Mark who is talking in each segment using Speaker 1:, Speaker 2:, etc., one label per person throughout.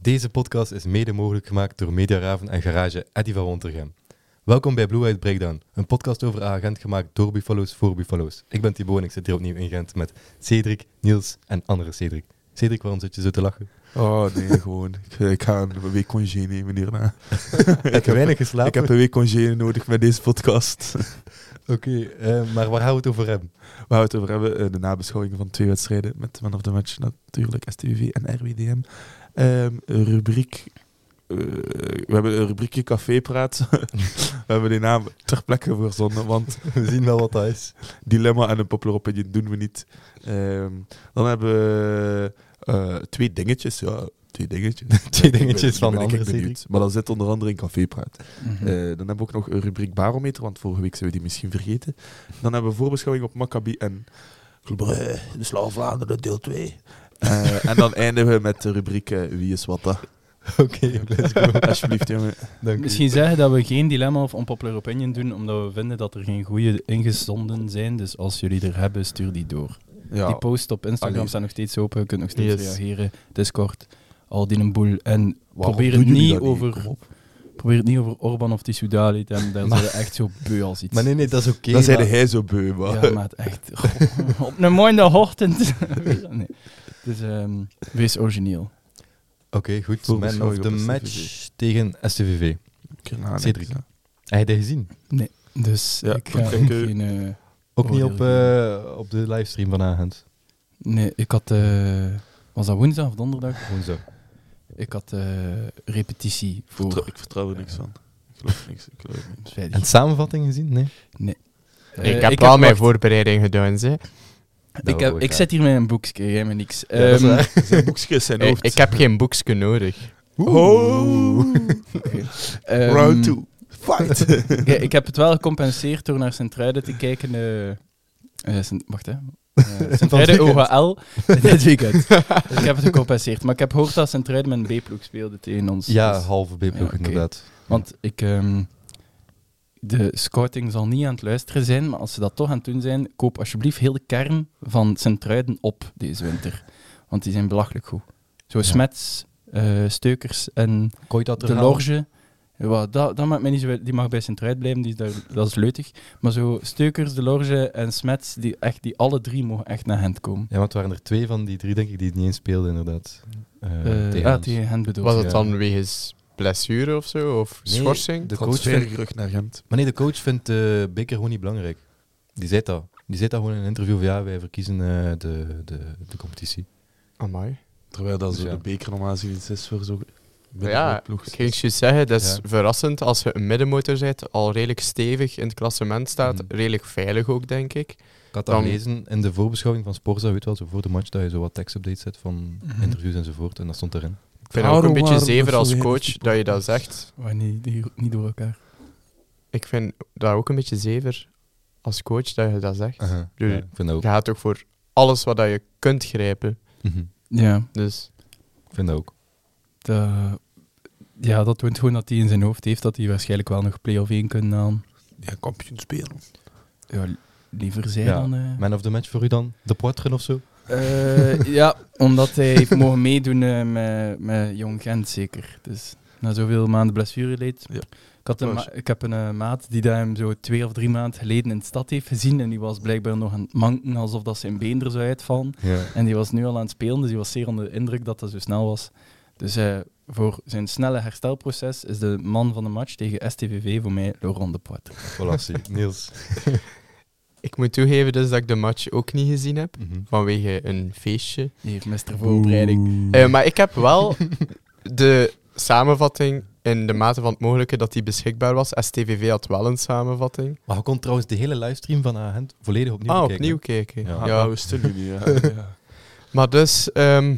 Speaker 1: Deze podcast is mede mogelijk gemaakt door Media Raven en garage Eddy van Wontergem. Welkom bij Blue White Breakdown, een podcast over agent gemaakt door Buffalo's voor Buffalo's. Ik ben Thibaut en ik zit hier opnieuw in Gent met Cedric, Niels en andere Cedric. Cedric, waarom zit je zo te lachen?
Speaker 2: Oh nee, gewoon. Ik, ik ga een week congé nemen hierna.
Speaker 1: Heb je weinig geslapen?
Speaker 2: Ik heb een week congé nodig met deze podcast.
Speaker 1: Oké, eh, maar waar gaan we het over hebben?
Speaker 2: Waar we het over hebben, eh, de nabeschouwing van twee wedstrijden met Man of the Match natuurlijk, STUV en RWDM. Ehm, een rubriek... eh, we hebben een rubriekje cafépraat. we hebben die naam ter plekke verzonnen, want
Speaker 1: We zien wel wat dat is.
Speaker 2: dilemma en een popular opinion doen we niet. Ehm, dan hebben we eh, twee dingetjes, ja, twee dingetjes.
Speaker 1: Twee dingetjes van
Speaker 2: ben ik
Speaker 1: andere
Speaker 2: benieuwd.
Speaker 1: Cedric.
Speaker 2: Maar dat zit onder andere in cafépraat.
Speaker 3: Mhm.
Speaker 2: Eh, dan hebben we ook nog een rubriek barometer, want vorige week zijn we die misschien vergeten. Dan hebben we voorbeschouwing op Maccabi en Club Brugge, de Slaal Vlaanderen, deel 2. en dan eindigen we met de rubriek eh, Wie is wat dat?
Speaker 1: Oké, let's go.
Speaker 2: Alsjeblieft, jongen.
Speaker 1: Dank u.
Speaker 3: Misschien zeggen dat we geen dilemma of unpopular opinion doen, omdat we vinden dat er geen goede ingezonden zijn. Dus als jullie er hebben, stuur die door. Die
Speaker 2: Ja,
Speaker 3: post op Instagram
Speaker 2: Allee.
Speaker 3: staat nog steeds open. Je kunt nog steeds
Speaker 1: Yes.
Speaker 3: reageren. Discord, al die een boel. En
Speaker 2: Waarom
Speaker 3: probeer
Speaker 2: doen
Speaker 3: het,
Speaker 2: jullie
Speaker 3: niet
Speaker 2: dat niet?
Speaker 3: over,
Speaker 2: Kom op.
Speaker 3: probeer het niet over Orban of Tissoudali te hebben. Daar
Speaker 1: Maar-
Speaker 3: zijn we echt zo beu als iets.
Speaker 1: Maar nee, nee, dat is oké.
Speaker 2: dan
Speaker 1: maar-
Speaker 2: zeiden hij zo beu, maar...
Speaker 3: Ja, maar het echt. Goh, op een mooie ochtend. nee. Dus ehm, wees origineel.
Speaker 1: Oké, goed. Man of
Speaker 2: Voorbeschouwing
Speaker 1: the
Speaker 2: op STVV.
Speaker 1: match tegen STVV.
Speaker 2: Ik na-
Speaker 1: Cedric.
Speaker 2: ja.
Speaker 1: Heb je dat gezien?
Speaker 3: Dus
Speaker 2: Ja,
Speaker 3: ik ga
Speaker 2: ik-
Speaker 3: ook
Speaker 2: ik, eh,
Speaker 3: geen... eh,
Speaker 2: Oh,
Speaker 1: Ook niet
Speaker 3: Oordeel
Speaker 1: op, eh, op de livestream van Agent.
Speaker 3: Nee, ik had. eh, was dat woensdag of donderdag?
Speaker 1: Gewoon zo.
Speaker 3: Ik had eh, repetitie voor.
Speaker 2: Vertrouw- Ik vertrouw er niks van. Ik geloof niks, ik geloof niks.
Speaker 3: vrijdag.
Speaker 1: En de samenvatting gezien? Nee.
Speaker 3: Eh,
Speaker 4: ik heb wel mijn
Speaker 3: wacht,
Speaker 4: voorbereiding gedaan. Ze.
Speaker 3: Ik, heb, ik zit hier met een boekje, jij met niks.
Speaker 1: Ja, dat is
Speaker 3: Ehm,
Speaker 1: waar.
Speaker 2: Zijn boekjes zijn
Speaker 4: Ik,
Speaker 2: hoofd.
Speaker 4: ik heb geen boekje nodig.
Speaker 2: Oh!
Speaker 3: ehm,
Speaker 2: Round 2. Fight!
Speaker 3: ja, ik heb het wel gecompenseerd door naar Sint-Truiden te kijken. eh, eh, Sint- wacht hè. Eh, Sint-Truiden
Speaker 1: weekend.
Speaker 3: OHL dit weekend. Dus ik heb het gecompenseerd. Maar ik heb gehoord dat Sint-Truiden met een B-ploeg speelde tegen ons.
Speaker 1: Ja,
Speaker 3: Dus-
Speaker 1: halve B-ploeg
Speaker 3: Ja, oké.
Speaker 1: inderdaad.
Speaker 3: Want ik, ehm, de scouting zal niet aan het luisteren zijn, maar als ze dat toch aan het doen zijn, koop alsjeblieft heel de kern van Sint-Truiden op deze winter. Want die zijn belachelijk goed. Zo Smets, eh, Steukers en
Speaker 1: Kon je dat
Speaker 3: De Lorge. Ja, dat, dat maakt mij niet zo uit. Die mag bij Sint-Truiden blijven, die is daar, dat is leutig. Maar zo Steukers, De Lorge en Smets, die, echt, die alle drie mogen echt naar Gent komen.
Speaker 1: Ja, want er waren er twee van die drie, denk ik, die het niet eens speelden inderdaad. Eh,
Speaker 3: Eh,
Speaker 1: tegen
Speaker 3: ah,
Speaker 1: ons.
Speaker 3: tegen Gent bedoel
Speaker 4: Was
Speaker 3: ik.
Speaker 4: het dan wegens blessure of zo? Of
Speaker 1: Nee,
Speaker 4: schorsing?
Speaker 1: de coach vindt,
Speaker 2: Transfergerucht naar Gent.
Speaker 1: maar nee, de coach vindt de beker gewoon niet belangrijk. Die zei dat. Die zei dat gewoon in een interview van ja, wij verkiezen eh, de, de, de competitie.
Speaker 4: Amai.
Speaker 2: Terwijl dat
Speaker 1: Dus
Speaker 2: zo
Speaker 1: ja.
Speaker 2: de beker normaal gezien iets is voor zo'n
Speaker 4: Ja,
Speaker 2: ploeg.
Speaker 4: Ik ging je zeggen, dat is
Speaker 1: Ja.
Speaker 4: verrassend als je een middenmotor bent, al redelijk stevig in het klassement staat,
Speaker 1: Mhm.
Speaker 4: redelijk veilig ook, denk ik.
Speaker 1: Ik had dat
Speaker 4: Dan-
Speaker 1: gelezen in de voorbeschouwing van Sporza, weet je wel, zo voor de match, dat je zo wat tekstupdates zet van
Speaker 3: Mhm.
Speaker 1: interviews enzovoort. En dat stond erin.
Speaker 4: Ik vind het ook een
Speaker 2: Waarom
Speaker 4: beetje
Speaker 2: waren we
Speaker 4: zever
Speaker 2: zo
Speaker 4: als
Speaker 2: weinig
Speaker 4: coach
Speaker 2: die
Speaker 4: dat je dat
Speaker 2: podcast?
Speaker 4: zegt.
Speaker 3: Maar niet, die- niet door elkaar.
Speaker 4: Ik vind dat ook een beetje zever als coach dat je dat zegt.
Speaker 1: Ja, ik vind dat ook.
Speaker 4: Je gaat toch voor alles wat dat je kunt grijpen.
Speaker 1: Mhm.
Speaker 3: Ja.
Speaker 4: Dus
Speaker 1: Ik vind dat ook.
Speaker 3: Dat- eh, ja, dat toont gewoon dat hij in zijn hoofd heeft dat hij waarschijnlijk wel nog play-off 1 kunnen halen.
Speaker 2: Ja, kampioen spelen.
Speaker 3: Ja, li- liever zijn
Speaker 1: Ja,
Speaker 3: dan... eh.
Speaker 1: Man of the match voor u dan? De Poitren of zo?
Speaker 3: Eh, ja, omdat hij heeft mogen meedoen eh, met, met Jong Gent zeker. Dus na zoveel maanden blessure leed.
Speaker 2: Ja.
Speaker 3: Ik, had een ma- ik heb een eh, maat die dat hem zo twee of drie maanden geleden in de stad heeft gezien. En die was blijkbaar nog aan het manken alsof dat zijn been er zou uitvallen.
Speaker 1: Ja.
Speaker 3: En die was nu al aan het spelen, dus die was zeer onder de indruk dat dat zo snel was. Dus eh, voor zijn snelle herstelproces is de man van de match tegen STVV voor mij Laurent de Poitre.
Speaker 1: Voilà, zie. Niels.
Speaker 4: ik moet toegeven dus dat ik de match ook niet gezien heb,
Speaker 1: Mhm.
Speaker 4: vanwege een feestje.
Speaker 3: Hier, mister voorbereiding.
Speaker 4: Eh, maar ik heb wel de samenvatting in de mate van het mogelijke dat die beschikbaar was. STVV had wel een samenvatting.
Speaker 1: Maar je kon trouwens de hele livestream van Agent volledig opnieuw
Speaker 4: ah,
Speaker 1: bekijken.
Speaker 4: opnieuw kijken.
Speaker 1: Ja.
Speaker 4: Ja.
Speaker 2: Ja, ja. nou, we stil nu niet. Ja. ja.
Speaker 4: Maar dus, ehm,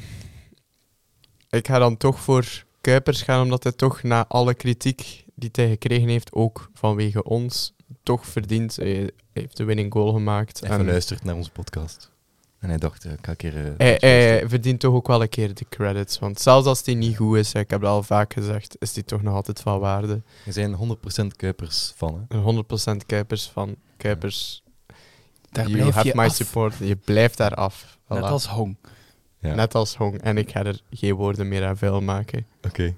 Speaker 4: ik ga dan toch voor Kuipers gaan, omdat hij toch na alle kritiek die hij gekregen heeft, ook vanwege ons, toch verdient. Hij heeft de winning goal gemaakt.
Speaker 1: Hij heeft
Speaker 4: en
Speaker 1: geluisterd naar onze podcast. En hij dacht, eh, ik ga een keer... eh,
Speaker 4: hij,
Speaker 1: dat luisteren.
Speaker 4: hij verdient toch ook wel een keer de credits. Want zelfs als die niet goed is, ik heb dat al vaak gezegd, is die toch nog altijd van waarde.
Speaker 1: We zijn 100% Kuipers van, hè.
Speaker 4: Een 100% Kuipers van Kuipers.
Speaker 3: Daar
Speaker 4: you
Speaker 3: blijf
Speaker 4: have
Speaker 3: je
Speaker 4: my
Speaker 3: af.
Speaker 4: support. Je blijft daar af.
Speaker 3: Net
Speaker 4: Voilà.
Speaker 3: als Hong.
Speaker 1: Ja.
Speaker 4: Net als Hong. En ik ga er geen woorden meer aan vuil maken.
Speaker 1: Oké,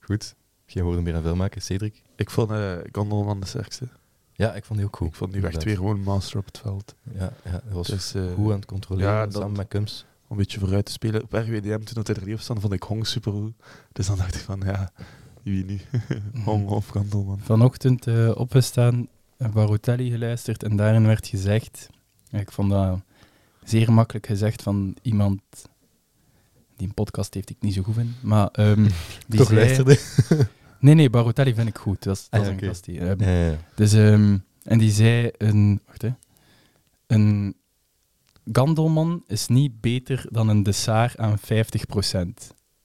Speaker 1: goed. Geen woorden meer aan veel maken. Cedric?
Speaker 2: Ik vond eh Gondolman de sterkste.
Speaker 1: Ja, ik vond die ook goed.
Speaker 2: Ik vond die echt
Speaker 1: Inderdaad.
Speaker 2: weer gewoon master op het veld.
Speaker 1: Ja, ja dat was
Speaker 2: Dus, eh,
Speaker 1: goed aan het controleren
Speaker 2: ja, dat-
Speaker 1: samen met Kums.
Speaker 2: om een beetje vooruit te spelen. Op RWDM, toen dat hij er niet op stond, vond ik Hong supergoed. Dus dan dacht ik van, ja, wie nu? Hong of Kandelman.
Speaker 3: Vanochtend eh, opgestaan, en Barotelli geluisterd en daarin werd gezegd, ja, ik vond dat zeer makkelijk gezegd van iemand die een podcast heeft die ik niet zo goed vind, maar ehm, die
Speaker 1: Toch
Speaker 3: zei-
Speaker 1: luisterde.
Speaker 3: Nee, nee, Barotelli vind ik goed. Dat is,
Speaker 1: Ah,
Speaker 3: dat is
Speaker 1: ja,
Speaker 3: een
Speaker 1: oké.
Speaker 3: gast die, ehm,
Speaker 1: Ja, ja, ja.
Speaker 3: Dus, ehm, en die zei een... Wacht, hè. Een gandelman is niet beter dan een dessaar aan 50%.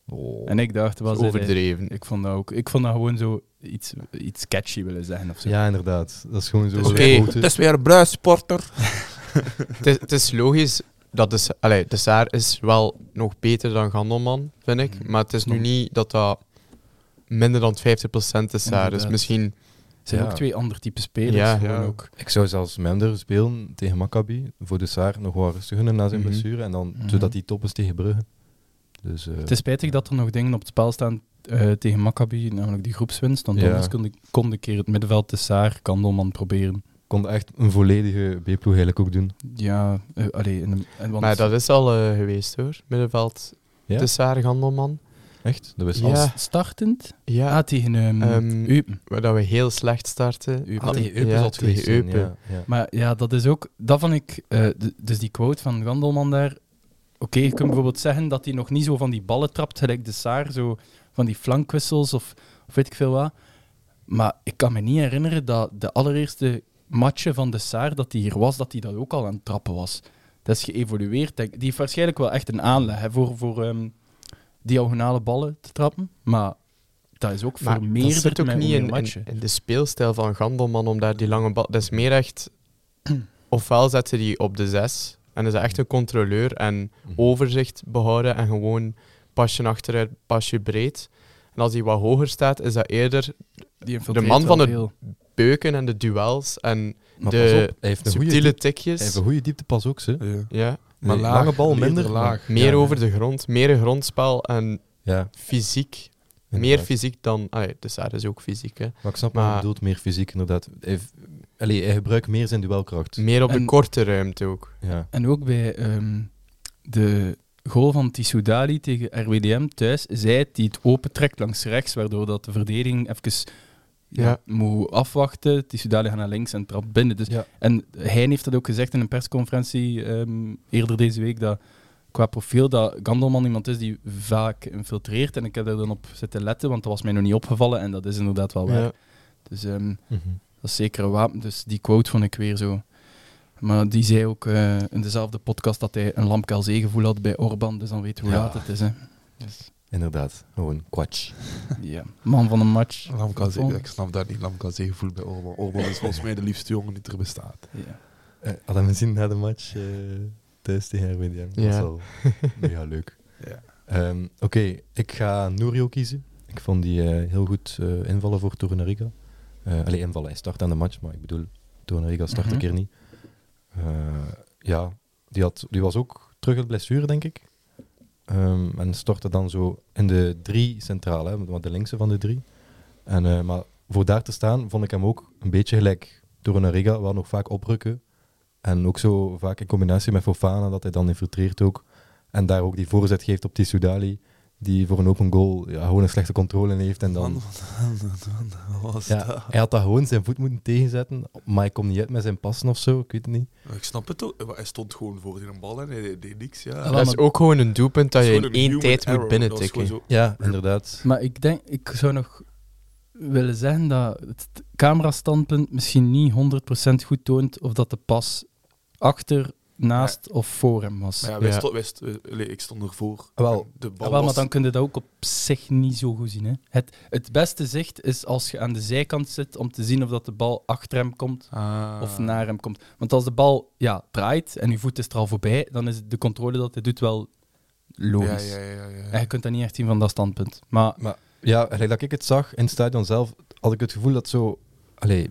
Speaker 1: Oh.
Speaker 3: En ik dacht,
Speaker 4: Dat
Speaker 3: was
Speaker 4: is overdreven.
Speaker 3: Ik vond dat ook... Ik vond dat gewoon zo iets, iets catchy willen zeggen of zo.
Speaker 1: Ja, inderdaad. Dat is gewoon zo.
Speaker 4: Oké.
Speaker 1: grote-
Speaker 2: is weer een bruisporter.
Speaker 4: Het is, het is logisch dat de, Sa- allee, de Saar is wel nog beter dan Gandelman, vind ik.
Speaker 3: Mm.
Speaker 4: Maar het is nu
Speaker 3: Mm.
Speaker 4: niet dat dat minder dan 50% de Saar is.
Speaker 3: Inderdaad.
Speaker 4: Misschien
Speaker 3: Het zijn
Speaker 1: Ja.
Speaker 3: ook twee andere type spelers.
Speaker 4: Ja,
Speaker 3: gewoon
Speaker 2: ja.
Speaker 3: ook.
Speaker 1: Ik zou zelfs Mender spelen tegen Maccabi. Voor de Saar nog wel rustig gunnen na zijn
Speaker 4: Mhm.
Speaker 1: blessure. En dan,
Speaker 3: Mhm.
Speaker 1: zodat hij top is tegen Brugge. Dus, eh,
Speaker 3: Het is spijtig dat er nog dingen op het spel staan eh, tegen Maccabi, namelijk die groepswinst. Want
Speaker 1: Ja.
Speaker 3: anders kon ik, kon ik keer het middenveld dessaar gandelman proberen.
Speaker 1: kon echt een volledige B-ploeg eigenlijk ook doen.
Speaker 3: Ja, eh, allee... In de, en want
Speaker 4: Maar dat is al eh, geweest hoor, middenveld.
Speaker 1: Ja?
Speaker 4: De Saar, Gandelman.
Speaker 1: Echt? Dat wist
Speaker 4: Ja.
Speaker 1: alles.
Speaker 3: als startend...
Speaker 4: Ja,
Speaker 3: Ah, tegen ehm
Speaker 4: Ehm,
Speaker 3: Eupen.
Speaker 4: waar dat we heel slecht starten.
Speaker 3: Eupen.
Speaker 1: Ah,
Speaker 3: Had
Speaker 4: Hadden-
Speaker 1: tegen Eupen
Speaker 4: ja,
Speaker 1: zal het geweest
Speaker 4: tegen
Speaker 1: zijn,
Speaker 4: Eupen.
Speaker 1: Ja, ja.
Speaker 3: Maar ja, dat is ook... Dat vond ik... eh, d- dus die quote van Gandelman daar... Oké, je kunt bijvoorbeeld zeggen dat hij nog niet zo van die ballen trapt, gelijk de Saar, zo van die flankwissels of, of weet ik veel wat. Maar ik kan me niet herinneren dat de allereerste matchen van de Saar, dat hij hier was, dat hij dat ook al aan het trappen was. Dat is geëvolueerd. denk ik. Die heeft waarschijnlijk wel echt een aanleg hè, voor, voor ehm, diagonale ballen te trappen. Maar dat is ook
Speaker 4: Maar dat
Speaker 3: vermeerderd
Speaker 4: zit ook
Speaker 3: met
Speaker 4: niet
Speaker 3: hoe
Speaker 4: in,
Speaker 3: meer
Speaker 4: in,
Speaker 3: matchen.
Speaker 4: in de speelstijl van Gandelman om daar die lange bal... Dat is meer echt... Ofwel zetten die op de zes en is hij echt een controleur en
Speaker 1: Oh,
Speaker 4: overzicht behouden en gewoon pasje achteruit, pasje breed. En als hij wat hoger staat, is dat eerder
Speaker 3: Die
Speaker 4: de man van
Speaker 3: het
Speaker 4: het- beuken en de duels en
Speaker 1: Maar
Speaker 4: de
Speaker 1: pas op, hij heeft een goede
Speaker 4: subtiele
Speaker 1: diep-
Speaker 4: tikjes.
Speaker 1: hij heeft een goede dieptepas ook, ze.
Speaker 2: Ja.
Speaker 4: Ja,
Speaker 1: Maar
Speaker 2: Nee,
Speaker 1: lange bal
Speaker 2: eerder
Speaker 1: minder.
Speaker 2: laag.
Speaker 4: meer
Speaker 1: Ja.
Speaker 4: over de grond, meer grondspel en
Speaker 1: Ja,
Speaker 4: fysiek. Meer
Speaker 1: inderdaad.
Speaker 4: fysiek dan... Allee, de Saar is ook fysiek, hè.
Speaker 1: Maar ik snap wat
Speaker 4: Maar-
Speaker 1: je bedoelt, meer fysiek inderdaad. Hij, heeft- allee, hij gebruikt meer zijn duelkracht.
Speaker 4: Meer op de
Speaker 3: En-
Speaker 4: korte ruimte ook.
Speaker 1: Ja.
Speaker 3: En ook bij ehm, de goal van Tissoudali tegen RWDM thuis, zij het die het opentrekt langs rechts, waardoor dat de verdediging even ja,
Speaker 4: Ja.
Speaker 3: moet afwachten. Tissoudali gaat naar links en trapt binnen. Dus,
Speaker 1: Ja.
Speaker 3: En hij heeft dat ook gezegd in een persconferentie ehm, eerder deze week, dat qua profiel dat Gandelman iemand is die vaak infiltreert. En ik heb daar dan op zitten letten, want dat was mij nog niet opgevallen en dat is inderdaad wel waar.
Speaker 4: Ja.
Speaker 3: Dus ehm,
Speaker 1: Mhm.
Speaker 3: dat is zeker een wapen. Dus die quote vond ik weer zo. Maar die zei ook eh, in dezelfde podcast dat hij een lamkelzeegevoel had bij Orban. Dus dan weten we hoe
Speaker 1: Ja.
Speaker 3: laat het is. Hè. Dus,
Speaker 1: Inderdaad, gewoon kwatsch.
Speaker 3: ja. Man van de match.
Speaker 2: Lamkazee,
Speaker 3: Oh.
Speaker 2: ik snap dat niet. Lamkazee gevoel bij Orban. Orban is volgens mij de liefste jongen die er bestaat.
Speaker 3: Ja.
Speaker 1: Eh, hadden we zien na de match eh, thuis tegen RWDM. Dat was
Speaker 4: Ja.
Speaker 1: al mega leuk.
Speaker 2: Ja.
Speaker 1: Ehm, Oké, ik ga Nourio kiezen. Ik vond die eh, heel goed eh, invallen voor Tornarica. Eh Alleen invallen, hij start aan de match, maar ik bedoel, Tornarica start
Speaker 3: Mhm.
Speaker 1: een keer niet. Eh, ja, die, had, die was ook terug uit blessure, denk ik. Ehm, en stortte dan zo in de drie centrale, hè, want de linkse van de drie. En, eh, maar voor daar te staan vond ik hem ook een beetje gelijk Tornarica, wel nog vaak oprukken. En ook zo vaak in combinatie met Fofana, dat hij dan infiltreert ook. En daar ook die voorzet geeft op Tissoudali, die voor een open goal ja, gewoon een slechte controle heeft. En dan,
Speaker 2: Man, man, man, man, wat was dat?
Speaker 1: ja, hij had dat gewoon zijn voet moeten tegenzetten, maar hij komt niet uit met zijn passen of zo, ik weet het niet.
Speaker 2: Ik snap het ook. Hij stond gewoon voor in een bal en hij deed niks. Ja.
Speaker 3: Ja,
Speaker 4: Dat is
Speaker 3: maar-
Speaker 4: ook gewoon een doelpunt dat je
Speaker 2: Gewoon
Speaker 4: in
Speaker 2: een
Speaker 4: één
Speaker 2: human
Speaker 4: tijd
Speaker 2: error.
Speaker 4: moet
Speaker 2: Dat was
Speaker 4: binnentikken.
Speaker 2: gewoon zo-
Speaker 1: Ja, inderdaad.
Speaker 3: Maar ik denk, ik zou nog willen zeggen dat het camerastandpunt misschien niet 100% goed toont of dat de pas achter, naast of voor hem was.
Speaker 2: Maar ja, wij
Speaker 4: Ja.
Speaker 2: sto- wij sto- eh, allee, ik stond ervoor.
Speaker 1: Wel,
Speaker 2: de
Speaker 3: Ja,
Speaker 2: bal
Speaker 3: wel, maar
Speaker 2: was-
Speaker 3: dan kun je dat ook op zich niet zo goed zien. Hè. Het, het beste zicht is als je aan de zijkant zit om te zien of dat de bal achter hem komt
Speaker 2: Ah.
Speaker 3: of naar hem komt. Want als de bal ja, draait en je voet is er al voorbij, dan is de controle dat hij doet wel logisch.
Speaker 2: Ja, ja, ja, ja, ja.
Speaker 3: En je kunt dat niet echt zien van dat standpunt. Maar
Speaker 1: Ja, gelijk dat ik het zag in het stadion zelf, had ik het gevoel dat zo allee,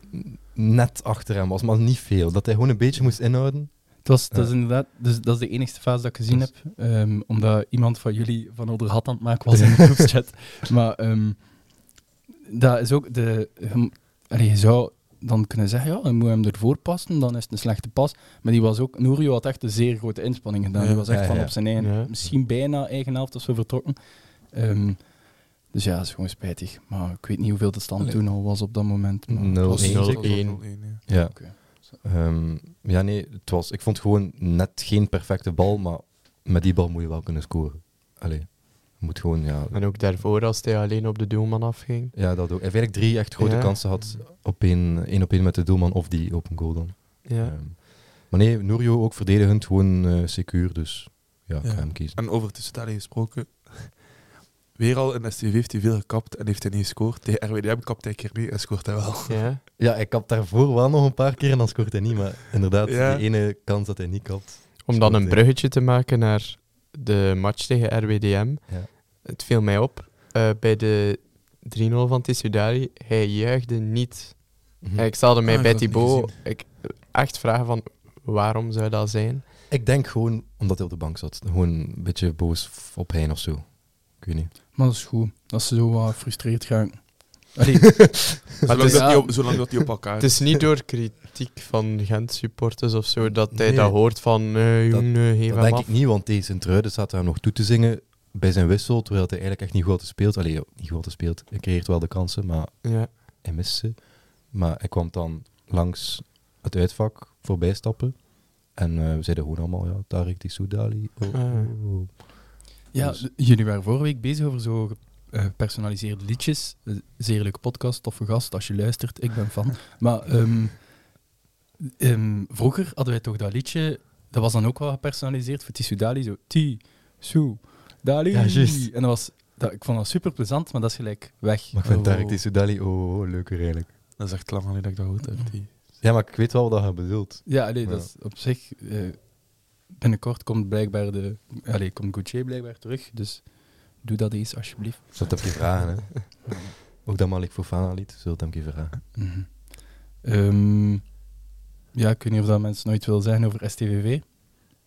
Speaker 1: net achter hem was, maar niet veel. Dat hij gewoon een beetje moest inhouden.
Speaker 3: Het was,
Speaker 1: Ja.
Speaker 3: dat, is inderdaad, dus, dat is de enige fase dat ik gezien
Speaker 1: Dus-
Speaker 3: heb. ehm, omdat iemand van jullie van onder had aan het maken was in de groepschat. maar ehm, dat is ook de. je- allee, je zou dan kunnen zeggen, ja, dan moet je hem ervoor passen, dan is het een slechte pas. Maar die was ook, Nourio had echt een zeer grote inspanning gedaan. die was echt
Speaker 1: Ja,
Speaker 3: van
Speaker 1: ja.
Speaker 3: op zijn eigen,
Speaker 4: Ja.
Speaker 3: misschien bijna eigen helft of zo vertrokken. Ehm, dus ja, dat is gewoon spijtig. Maar ik weet niet hoeveel de stand
Speaker 2: Allee.
Speaker 3: toen al was op dat moment. maar-
Speaker 1: Nul.
Speaker 2: Het was- het was
Speaker 4: 0-1.
Speaker 2: 0-1, ja.
Speaker 1: Ja.
Speaker 3: Oké.
Speaker 1: Ehm, ja, nee, het was, ik vond gewoon net geen perfecte bal, maar met die bal moet je wel kunnen scoren. Allee, je moet gewoon, ja...
Speaker 4: En ook daarvoor, als hij alleen op de doelman afging.
Speaker 1: Ja, dat ook. Hij heeft eigenlijk drie echt grote
Speaker 4: Ja.
Speaker 1: kansen had op één, één op één met de doelman of die open goal dan.
Speaker 4: Ja.
Speaker 1: Ehm, maar nee, Nourio ook verdedigend, gewoon eh, secuur, dus ja, ik
Speaker 2: Ja.
Speaker 1: ga hem kiezen.
Speaker 2: En over Tussentalen gesproken. Weer al in STV heeft hij veel gekapt en heeft hij niet gescoord. Tegen RWDM kapt hij een keer mee en scoort hij wel.
Speaker 4: ja.
Speaker 1: Ja, hij kapt daarvoor wel nog een paar keer en dan scoort hij niet, maar inderdaad,
Speaker 2: Ja.
Speaker 1: die ene kans dat hij niet kapt.
Speaker 4: Om dan een bruggetje te maken naar de match tegen RWDM.
Speaker 1: Ja.
Speaker 4: Het viel mij op. eh, bij de 3-0 van Tissudari, hij juichte niet.
Speaker 1: Mhm.
Speaker 4: Ik stelde mij
Speaker 2: Ah, ik
Speaker 4: bij
Speaker 2: had het niet
Speaker 4: Thibaut ik, echt vragen van waarom zou dat zijn?
Speaker 1: Ik denk gewoon omdat hij op de bank zat. Gewoon een beetje boos op Hein of zo. Ik weet niet.
Speaker 3: Maar dat is goed. Dat ze zo wat gefrustreerd gaan. Allee,
Speaker 2: Zolang,
Speaker 3: is-
Speaker 2: dat hij
Speaker 3: ja.
Speaker 2: op, zolang dat hij op elkaar
Speaker 4: Het is niet door kritiek van Gent-supporters of zo dat hij
Speaker 1: Nee.
Speaker 4: dat hoort van eh
Speaker 1: Dat-
Speaker 4: jongen, eh, geef
Speaker 1: dat
Speaker 4: hem
Speaker 1: denk
Speaker 4: af.
Speaker 1: ik niet, want deze Sint-Truiden zat hem nog toe te zingen bij zijn wissel, terwijl hij eigenlijk echt niet goed had gespeeld. Allee, niet goed had gespeeld. Hij creëert wel de kansen, maar
Speaker 4: Ja.
Speaker 1: hij mist ze. Maar hij kwam dan langs het uitvak voorbij stappen. En eh, we zeiden gewoon allemaal, ja, Tarek die Soudali. Oh,
Speaker 4: Ah, ja.
Speaker 1: oh, oh.
Speaker 3: ja,
Speaker 1: Dus-
Speaker 3: d- jullie waren vorige week bezig over zo eh, gepersonaliseerde liedjes. Eh, zeer leuke podcast, toffe gast. Als je luistert, ik ben fan. Maar ehm, ehm, vroeger hadden wij toch dat liedje. Dat was dan ook wel gepersonaliseerd voor Tissou Dali. Zo Tissou Dali.
Speaker 1: Ja, juist.
Speaker 3: En dat was, dat, ik vond dat super plezant, maar dat is gelijk weg.
Speaker 1: Maar ik vind
Speaker 2: Oh.
Speaker 1: Tarek die Soudali, oh, oh, leuker eigenlijk.
Speaker 2: Dat is echt lang geleden dat ik dat gehoord heb. Die...
Speaker 1: Ja, maar ik weet wel wat je bedoelt.
Speaker 3: Ja, allee, dat
Speaker 1: Ja.
Speaker 3: is op zich. eh, binnenkort komt blijkbaar de. Allee, komt Gauthier blijkbaar terug. Dus doe dat eens alsjeblieft.
Speaker 1: Dus dat heb je vragen, hè. Ook dat Malik Fofana liet, zult hem even vragen.
Speaker 3: Mhm. Ehm, ja, ik weet niet of dat mensen nooit wil zijn over STVV.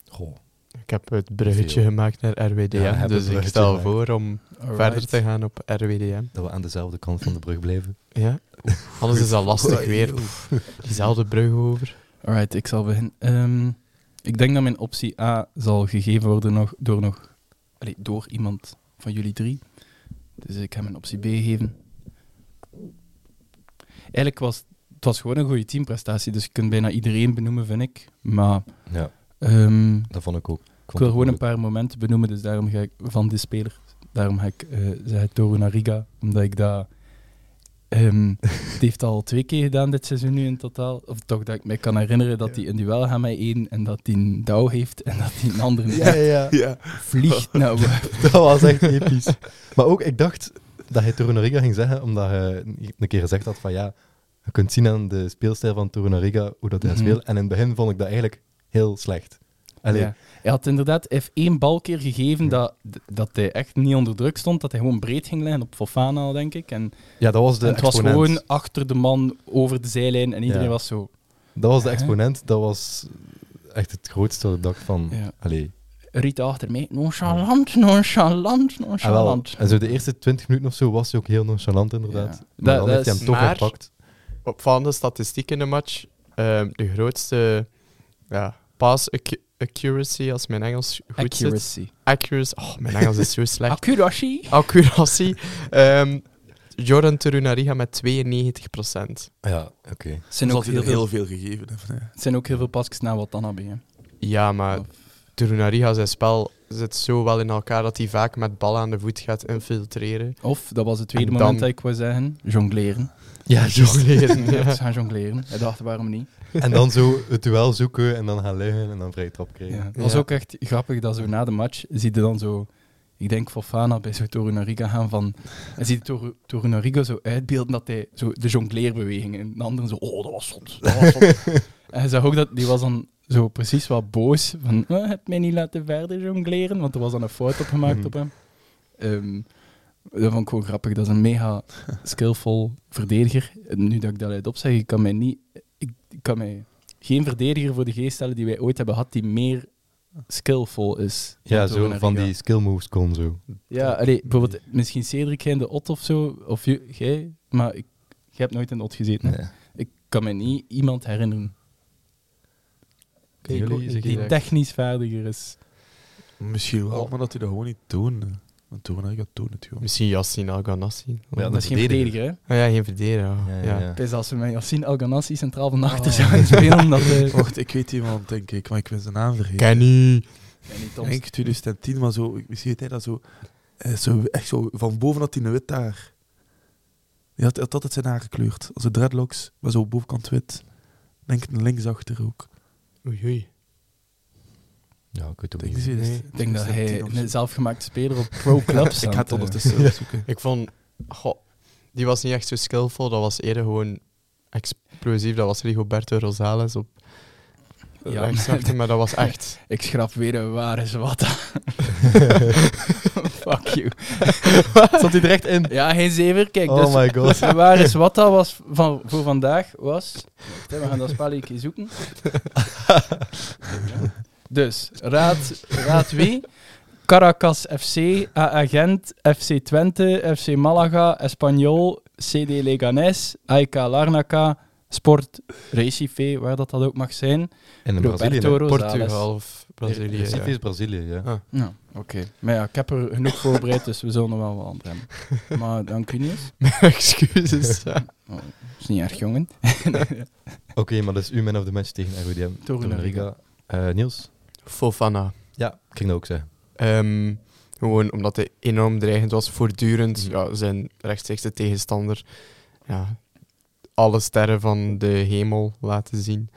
Speaker 1: Goh.
Speaker 4: Ik heb het bruggetje
Speaker 1: Veel.
Speaker 4: gemaakt naar
Speaker 1: Ja,
Speaker 4: RWDM,
Speaker 1: heb het
Speaker 4: dus ik
Speaker 1: bruggetje
Speaker 4: stel
Speaker 1: gemaakt.
Speaker 4: voor om
Speaker 3: Alright.
Speaker 4: verder te gaan op RWDM.
Speaker 1: Dat we aan dezelfde kant van de brug blijven.
Speaker 4: Ja, anders is dat lastig weer. Diezelfde brug over.
Speaker 3: Alright, ik zal beginnen. Ehm, ik denk dat mijn optie A zal gegeven worden nog, door, nog, allee, door iemand van jullie drie. Dus ik ga mijn optie B geven. Eigenlijk was het was gewoon een goede teamprestatie, dus je kunt bijna iedereen benoemen, vind ik. Maar
Speaker 1: Ja,
Speaker 3: ehm,
Speaker 1: dat vond ik ook.
Speaker 3: Ik wil gewoon een paar momenten benoemen, dus daarom ga ik van die speler. Daarom ga ik eh zeggen Toru Nariga, omdat ik dat. ehm, die heeft al twee keer gedaan dit seizoen nu in totaal. Of toch dat ik me kan herinneren dat
Speaker 2: Ja.
Speaker 3: hij een duel gaat met één en dat hij een douw heeft en dat hij een andere
Speaker 1: Ja, ja, ja.
Speaker 2: Ja.
Speaker 3: vliegt. Nou, we-
Speaker 1: dat was echt episch. Maar ook, ik dacht dat hij Torunariga ging zeggen, omdat hij een keer gezegd had van ja, je kunt zien aan de speelstijl van Torunariga hoe dat hij
Speaker 3: Mhm.
Speaker 1: speelt. En in het begin vond ik dat eigenlijk heel slecht. Allee,
Speaker 3: Ja. Hij had inderdaad hij heeft één bal keer gegeven dat, dat hij echt niet onder druk stond, dat hij gewoon breed ging liggen op Fofana, al, denk ik. En,
Speaker 1: ja, dat was de
Speaker 3: en het was
Speaker 1: exponent.
Speaker 3: gewoon achter de man over de zijlijn en iedereen
Speaker 1: Ja.
Speaker 3: was zo.
Speaker 1: Dat was de
Speaker 3: Hè?
Speaker 1: exponent, dat was echt het grootste dat ik dacht van...
Speaker 3: Ja.
Speaker 1: Allee,
Speaker 3: Riet achter mij. Nonchalant, nonchalant,
Speaker 1: Ah, wel.
Speaker 3: nonchalant.
Speaker 1: En zo de eerste 20 minuten of zo was hij ook heel nonchalant, inderdaad.
Speaker 3: Ja.
Speaker 1: Maar
Speaker 3: Dat-
Speaker 1: dan
Speaker 3: dat
Speaker 1: heeft hij
Speaker 3: is-
Speaker 1: hem toch
Speaker 4: maar-
Speaker 1: gepakt.
Speaker 4: Opvallende statistiek in de match. Ehm, de grootste ja, pass ac- accuracy, als mijn Engels goed zit.
Speaker 3: Accuracy.
Speaker 4: Accuracy. Oh, mijn Engels is zo slecht.
Speaker 3: Accuracy.
Speaker 4: Accuracy. Ehm Jordan Terunariga met 92%.
Speaker 1: Ah, Ja, oké.
Speaker 3: Het zijn,
Speaker 2: Zal
Speaker 3: ook
Speaker 2: hij er
Speaker 3: heel
Speaker 2: heel
Speaker 3: veel,
Speaker 2: veel gegeven hebben. hè.
Speaker 3: het zijn ook heel veel pasjes na Watanabe. hè.
Speaker 4: Ja, maar Terunariga, zijn spel zit zo wel in elkaar dat hij vaak met bal aan de voet gaat infiltreren.
Speaker 3: Of, dat was het tweede
Speaker 4: En dan-
Speaker 3: moment dat ik wou zeggen, jongleren.
Speaker 1: Ja,
Speaker 4: jongleren.
Speaker 3: Ja.
Speaker 4: ja.
Speaker 3: Ze gaan jongleren. Hij dacht, waarom niet?
Speaker 1: En dan zo het duel zoeken en dan gaan liggen en dan vrije trap
Speaker 3: Ja.
Speaker 1: krijgen.
Speaker 3: Het was
Speaker 4: Ja.
Speaker 3: ook echt grappig dat zo na de match zie je dan zo... Ik denk Fofana bij zo'n Torunariga gaan van... En ziet Toru- Torunariga zo uitbeelden dat hij zo de jongleerbewegingen... En de anderen zo... Oh, dat was zot. Dat was zot. en hij zag ook dat... Die was dan zo precies wat boos. Van, "Eh, heb mij niet laten verder jongleren. Want er was dan een fout op gemaakt
Speaker 1: Mhm.
Speaker 3: op hem. Ehm, dat vond ik gewoon grappig. Dat is een mega skillfol verdediger. En Nu dat ik dat uit opzeg, ik kan mij niet... Ik, ik kan mij geen verdediger voor de geest stellen die wij ooit hebben gehad die meer skillful is. dan
Speaker 1: Ja, zo
Speaker 3: Torunariga.
Speaker 1: van die skill moves kon zo.
Speaker 3: Ja, allee, bijvoorbeeld misschien Cedric, jij in de Ot of zo, of ju- jij, maar ik, jij hebt nooit in de Ot gezeten. hè?
Speaker 1: Nee.
Speaker 3: Ik kan me niet iemand herinneren
Speaker 1: Kunnen
Speaker 4: Ik ook
Speaker 1: jullie
Speaker 4: niet
Speaker 1: zeggen-
Speaker 3: die
Speaker 4: direct.
Speaker 3: technisch vaardiger is.
Speaker 2: Misschien wel, Oh, maar dat die dat gewoon niet doen. Want Torunariga doet het gewoon.
Speaker 4: Misschien Yassin Al-Ghanassi.
Speaker 1: Ja,
Speaker 4: Ja.
Speaker 3: dat is geen
Speaker 1: verdediger.
Speaker 3: verdediger, hè?
Speaker 4: ja, geen verdediger. Ah, Ja,
Speaker 1: Ja, ja, ja.
Speaker 3: Het is als we met Yassine Elganassi centraal van achter zouden spelen, eh, omdat we...
Speaker 2: Wacht, ik weet iemand, denk ik, maar ik ben zijn naam vergeten.
Speaker 4: Kenny.
Speaker 2: Ik denk 2010, maar zo, ik- misschien weet hij dat zo, eh, zo, echt zo, van boven had hij een wit haar. Hij had, had altijd zijn haar gekleurd, als een dreadlocks, maar zo bovenkant wit. Ik Denk een linksachter ook.
Speaker 4: Oei, oei.
Speaker 1: Ja, ik weet het
Speaker 2: Ik
Speaker 1: ook
Speaker 2: denk,
Speaker 1: niet.
Speaker 3: Ik denk dat hij een zelfgemaakte speler op pro-clubs
Speaker 2: Ik ga het ondertussen zoeken.
Speaker 4: Ik vond... Goh, die was niet echt zo skillful. Dat was eerder gewoon explosief. Dat was Rigoberto Rosales op
Speaker 3: Ja.
Speaker 4: ja. rechtsachter. Maar dat was echt...
Speaker 3: Ik schrap weer een ware zwatta. Fuck you.
Speaker 1: Zat hij er echt in?
Speaker 3: Ja, geen zever. Kijk,
Speaker 1: Oh
Speaker 3: dus
Speaker 1: my god.
Speaker 3: een ware zwatta was van, voor vandaag was... Wacht, hè, We gaan dat spel een keer zoeken. Dus, raad, raad wie? Caracas FC, AA Gent, FC Twente, FC Malaga, Espanyol, CD Leganés, AEK Larnaca, Sport Recife, waar dat, dat ook mag zijn.
Speaker 1: En in Brazilië. hè?
Speaker 3: Roberto Rosales.
Speaker 4: Portugal of Brazilië.
Speaker 1: Recife
Speaker 4: ja.
Speaker 1: is Brazilië, ja.
Speaker 4: Ah.
Speaker 3: Nou, oké. Maar ja, ik heb er genoeg voorbereid, dus we zullen er wel wat aan hebben. Maar dank u niet.
Speaker 4: Excuses. ja.
Speaker 3: is niet erg, jongen.
Speaker 1: Oké, maar dat is uw man of the match tegen RWDM.
Speaker 3: Torunariga.
Speaker 1: Eh, Niels?
Speaker 4: Fofana.
Speaker 1: Ja, ik ging dat ook zeggen.
Speaker 4: Ehm, gewoon omdat hij enorm dreigend was, voortdurend. Ja, zijn rechtstreekse tegenstander. Ja, alle sterren van de hemel laten zien.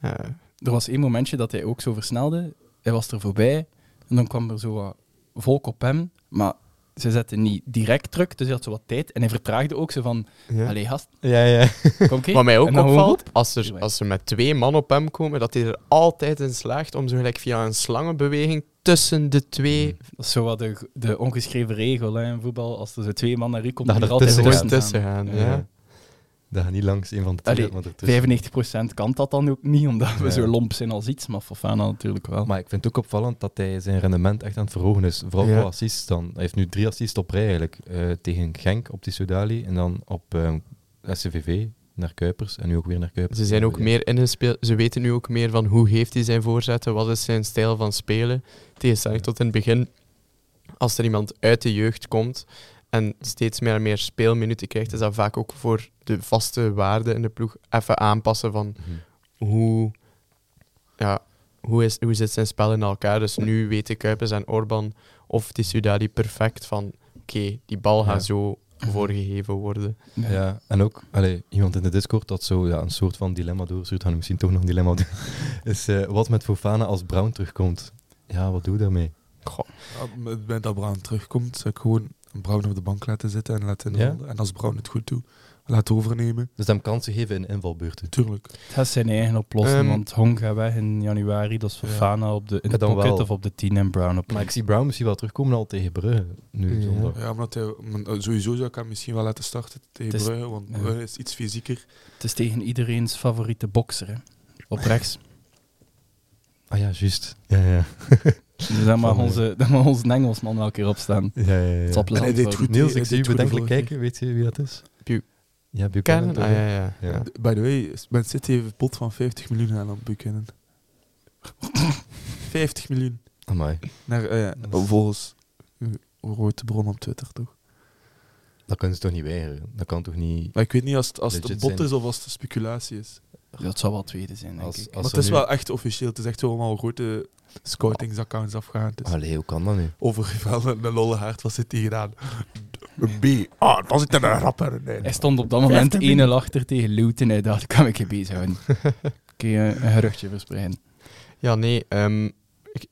Speaker 1: Ja.
Speaker 4: Eh,
Speaker 3: Er was één momentje dat hij ook zo versnelde. Hij was er voorbij. En dan kwam er zo wat volk op hem. Maar ze zetten niet direct druk, dus hij had zo wat tijd. En hij vertraagde ook zo van...
Speaker 4: ja.
Speaker 3: Allee, gast,
Speaker 1: Ja, ja.
Speaker 3: kom keer.
Speaker 4: Wat mij ook
Speaker 3: En dan
Speaker 4: opvalt,
Speaker 3: gewoon-
Speaker 4: als, er,
Speaker 3: Anyway.
Speaker 4: als ze met twee man op hem komen, dat hij er altijd in slaagt om zo gelijk via een slangenbeweging tussen de twee...
Speaker 1: Mhm.
Speaker 3: Dat is zo wat de, de ongeschreven regel hè, in voetbal. Als er zo twee man naar u komt,
Speaker 1: Dat
Speaker 3: moet
Speaker 1: er
Speaker 3: er altijd
Speaker 1: tussen
Speaker 3: gewoon
Speaker 1: gaat.
Speaker 3: tussen.
Speaker 4: tussen gaan. Ja.
Speaker 1: Ja. Dat gaat niet langs een van de twee,
Speaker 3: Allee,
Speaker 1: maar ertussen.
Speaker 3: 95% Dus kan dat dan ook niet, omdat we
Speaker 1: Ja.
Speaker 3: zo lomp zijn als iets. Maar Fofana natuurlijk wel.
Speaker 1: Maar ik vind het ook opvallend dat hij zijn rendement echt aan het verhogen is. Vooral
Speaker 4: Ja.
Speaker 1: qua assists dan. Hij heeft nu drie assists op rij eigenlijk. Eh, tegen Genk op Tissoudali en dan op ehm, SCVV naar Kuipers en nu ook weer naar Kuipers.
Speaker 4: Ze zijn ook
Speaker 1: Ja.
Speaker 4: meer ingespeeld. Ze weten nu ook meer van hoe heeft hij zijn voorzetten, wat is zijn stijl van spelen. Tegenstelling tot in het begin, als er iemand uit de jeugd komt en steeds meer en meer speelminuten krijgt, is dat vaak ook voor de vaste waarden in de ploeg even aanpassen van
Speaker 1: Mhm.
Speaker 4: hoe, ja, hoe, is, hoe zit zijn spel in elkaar. Dus nu weten Kuipers en Orban of Tissoudali perfect van oké, die bal gaat
Speaker 1: Ja.
Speaker 4: zo voorgegeven worden.
Speaker 1: Ja, en ook allee, iemand in de Discord dat zo ja, een soort van dilemma doorstuurt. Gaan we misschien toch nog een dilemma doen. Is eh, wat met Fofana als Brown terugkomt? Ja, wat doe je daarmee?
Speaker 4: Goh,
Speaker 2: Op het dat Brown terugkomt, zou ik gewoon Brown op de bank laten zitten en laten
Speaker 1: Ja?
Speaker 2: En als Brown het goed doet, laten overnemen.
Speaker 1: Dus hem kansen geven in invalbeurten.
Speaker 2: Tuurlijk.
Speaker 3: Het is zijn eigen oplossing,
Speaker 4: Ehm,
Speaker 3: want Hong gaat weg in januari. Dat is
Speaker 1: Ja.
Speaker 3: Fofana op de, in
Speaker 1: Ja,
Speaker 3: de
Speaker 1: dan
Speaker 3: pocket
Speaker 1: wel.
Speaker 3: of op de 10 en Brown op de
Speaker 1: Maar ik zie Brown misschien wel terugkomen al tegen Brugge nu
Speaker 4: Ja.
Speaker 1: zondag.
Speaker 2: Ja, omdat hij, men- eh, sowieso zou ik hem misschien wel laten starten tegen
Speaker 3: Het is-
Speaker 2: Brugge, want
Speaker 3: ja.
Speaker 2: Brugge is iets fysieker.
Speaker 3: Het is tegen iedereen's favoriete bokser, hè. Op rechts.
Speaker 1: Ah ja, juist. Ja, ja.
Speaker 3: Dus dan mag
Speaker 1: Van, eh,
Speaker 3: onze, dan mag onze Engelsman wel een keer opstaan.
Speaker 1: ja, ja, ja.
Speaker 3: Het
Speaker 2: En hij
Speaker 3: zal plezant
Speaker 2: deed
Speaker 3: worden.
Speaker 2: goed.
Speaker 1: Niels,
Speaker 2: Hij
Speaker 1: ik zie u
Speaker 2: deed goed de
Speaker 1: bedenkelijk
Speaker 2: vorige
Speaker 1: kijken. Weet je wie dat is?
Speaker 4: Bu-
Speaker 1: Ja, Buchanan.
Speaker 4: Kennen?
Speaker 1: toch?
Speaker 4: Ah, ja, ja.
Speaker 1: Ja.
Speaker 2: By the way, is- Man City heeft een pot van 50 miljoen aan op Buchanan. 50 miljoen.
Speaker 1: Amai.
Speaker 2: Naar, eh, ja,
Speaker 1: Dat is-
Speaker 2: volgens uw rode bron op Twitter, toch?
Speaker 1: Dat kunnen ze toch niet weigeren? Dat kan toch niet...
Speaker 2: Maar ik weet niet als het, als het een
Speaker 1: Legit
Speaker 2: bot
Speaker 1: zijn.
Speaker 2: is of als het een speculatie is.
Speaker 3: Ja, dat zou wel tweede zijn, denk
Speaker 1: Als,
Speaker 3: ik.
Speaker 1: als
Speaker 2: maar
Speaker 1: ze
Speaker 2: het is
Speaker 1: nu-
Speaker 2: wel echt officieel. Het is echt wel allemaal grote scoutingsaccounts afgegaan. Dus.
Speaker 1: Allee, hoe kan dat nu?
Speaker 2: Overigens wel een een lolle haard, wat zit hier gedaan? Een B. Ah, dat zit een rapper. Nee.
Speaker 3: Hij stond op dat moment 1-0
Speaker 2: 15
Speaker 3: achter tegen Luton. Hij dacht, kan ik je bezighouden. Kun je een geruchtje verspreiden.
Speaker 4: Ja, nee. ehm, ik,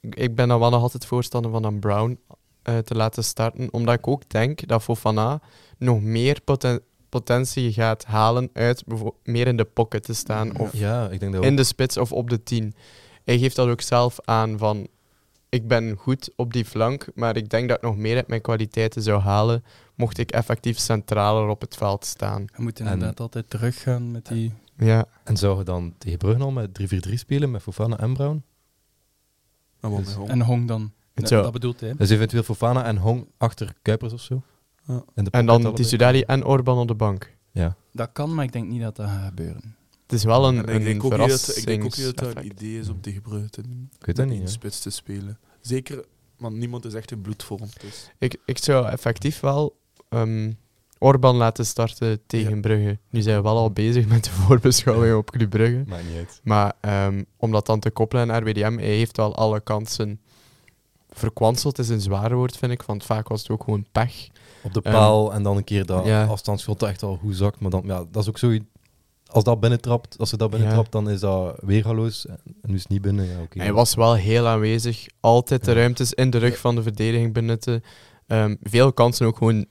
Speaker 4: ik ben dan wel nog altijd voorstander van een Brown eh, te laten starten. Omdat ik ook denk dat Fofana nog meer poten- potentie gaat halen uit bijvo- meer in de pocket te staan. Of
Speaker 1: Ja, ik denk dat we...
Speaker 4: in de spits of op de 10. Hij geeft dat ook zelf aan van... Ik ben goed op die flank, maar ik denk dat ik nog meer uit mijn kwaliteiten zou halen mocht ik effectief centraler op het veld staan.
Speaker 3: We moeten
Speaker 1: En-
Speaker 3: inderdaad altijd teruggaan met die
Speaker 4: Ja.
Speaker 1: En zou je dan tegen Brugge al met 3-4-3 spelen met Fofana en Brown?
Speaker 2: Maar Ah, wel
Speaker 1: Dus-
Speaker 2: met Hong.
Speaker 3: En Hong dan.
Speaker 4: Het
Speaker 3: Dat,
Speaker 4: zou-
Speaker 3: dat bedoelt hij.
Speaker 1: Dus eventueel Fofana en Hong achter Kuipers of zo?
Speaker 2: Ja.
Speaker 1: In de
Speaker 4: En
Speaker 1: pocket
Speaker 4: dan
Speaker 1: allebei.
Speaker 4: Tisudali en Orban op de bank.
Speaker 1: Ja.
Speaker 3: Dat kan, maar ik denk niet dat dat gaat gebeuren.
Speaker 4: Het is wel
Speaker 2: En
Speaker 4: een,
Speaker 2: ik, denk
Speaker 4: een
Speaker 2: ook niet dat, ik denk ook niet dat dat een
Speaker 4: verrassings-
Speaker 2: idee is om tegen Brugge te doen.
Speaker 1: Ik weet dat niet,
Speaker 2: in
Speaker 1: hè.
Speaker 2: de spits te spelen. Zeker, want niemand is echt in bloedvorm. Dus.
Speaker 4: Ik, ik zou effectief wel ehm, Orban laten starten tegen
Speaker 2: Ja.
Speaker 4: Brugge. Nu zijn we wel al bezig met de voorbeschouwing op Club Brugge.
Speaker 1: Maakt niet uit.
Speaker 4: Maar ehm, om dat dan te koppelen aan RWDM, hij heeft wel alle kansen verkwanseld, is een zwaar woord, vind ik. Want vaak was het ook gewoon pech.
Speaker 1: Op de
Speaker 4: Ehm,
Speaker 1: paal en dan een keer dat
Speaker 4: ja.
Speaker 1: afstandsschot dat echt al goed zakt. Maar dan, ja, dat is ook zoiets... Als dat binnentrapt, als ze dat binnentrapt, dan is dat weergaloos. En nu is het niet binnen, ja, oké.
Speaker 4: Hij was wel heel aanwezig. Altijd de
Speaker 1: Ja.
Speaker 4: ruimtes in de rug van de verdediging benutten. Ehm, veel kansen ook gewoon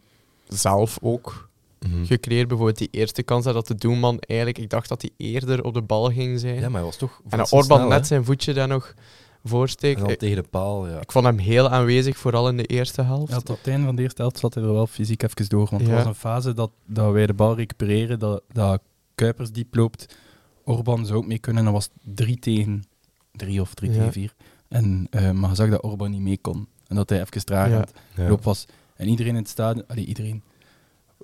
Speaker 4: zelf ook
Speaker 1: Mhm.
Speaker 4: gecreëerd. Bijvoorbeeld die eerste kans dat de doelman eigenlijk... Ik dacht dat hij eerder op de bal ging zijn.
Speaker 1: Ja, maar hij was toch...
Speaker 4: en dat
Speaker 1: verrassend
Speaker 4: Orban
Speaker 1: snel, hè?
Speaker 4: net zijn voetje daar nog
Speaker 1: En dan
Speaker 4: voorsteekt. Ik,
Speaker 1: tegen de paal, ja.
Speaker 4: ik vond hem heel aanwezig, vooral in de eerste helft.
Speaker 3: Ja, tot het einde van de eerste helft zat hij er wel fysiek even door. Want
Speaker 4: Ja.
Speaker 3: het was een fase dat, dat wij de bal recupereren, dat, dat Kuipers diep loopt. Orban zou ook mee kunnen. Dan was het 3 tegen 3 of 3
Speaker 4: Ja.
Speaker 3: tegen 4. En, eh, maar je zag dat Orban niet mee kon. En dat hij even traag
Speaker 4: Ja.
Speaker 3: aan het
Speaker 1: Ja.
Speaker 3: loop was. En iedereen in het stadion, allee, iedereen.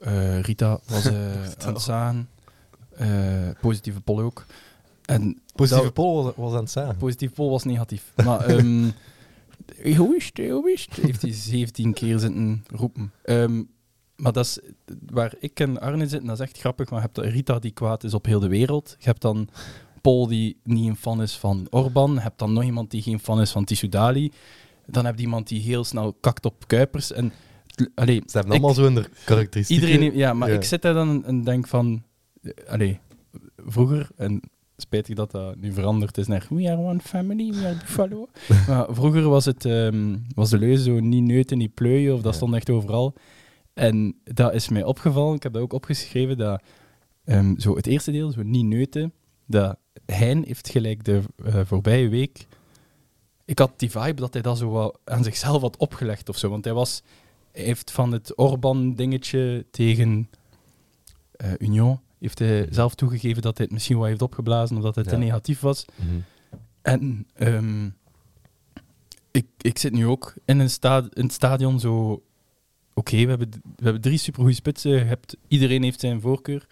Speaker 3: Eh, Rita was eh aan het zaan. Eh, positieve Pol ook. En
Speaker 1: Positieve
Speaker 3: dat-
Speaker 1: Pol was, was aan het zagen.
Speaker 3: positieve Pol was negatief. Maar ehm hoe is het, hoe is het? Heeft hij 17 keer zitten roepen. Ehm, maar dat is, waar ik en Arne zitten, dat is echt grappig. Maar je hebt Rita die kwaad is op heel de wereld. Je hebt dan Pol die niet een fan is van Orban. Je hebt dan nog iemand die geen fan is van Tissoudali. Dan heb je iemand die heel snel kakt op Kuipers. En, allee,
Speaker 1: Ze hebben
Speaker 3: Ik-
Speaker 1: allemaal zo hun karakteristieken.
Speaker 3: Iedereen heeft- ja, maar
Speaker 1: Ja.
Speaker 3: ik zit daar dan en- en denk van... eh, Allee, vroeger, en spijtig dat dat nu veranderd is naar We are one family, we are Buffalo. maar vroeger was, het, ehm, was de leuze zo niet neuten, niet pleuien, of dat
Speaker 1: Ja.
Speaker 3: stond echt overal. En dat is mij opgevallen, ik heb dat ook opgeschreven, dat ehm, zo het eerste deel, zo niet neuten, dat Hein heeft gelijk de eh, voorbije week... Ik had die vibe dat hij dat zo wat aan zichzelf had opgelegd of zo, want hij was hij heeft van het Orban-dingetje tegen eh, Union heeft hij zelf toegegeven dat hij het misschien wat heeft opgeblazen of dat het te
Speaker 1: Ja.
Speaker 3: negatief was.
Speaker 1: Mhm.
Speaker 3: En ehm, ik, ik zit nu ook in, een sta in het stadion zo... Oké, we, hebben, d- we hebben drie supergoeie spitsen. Je hebt, iedereen heeft zijn voorkeur.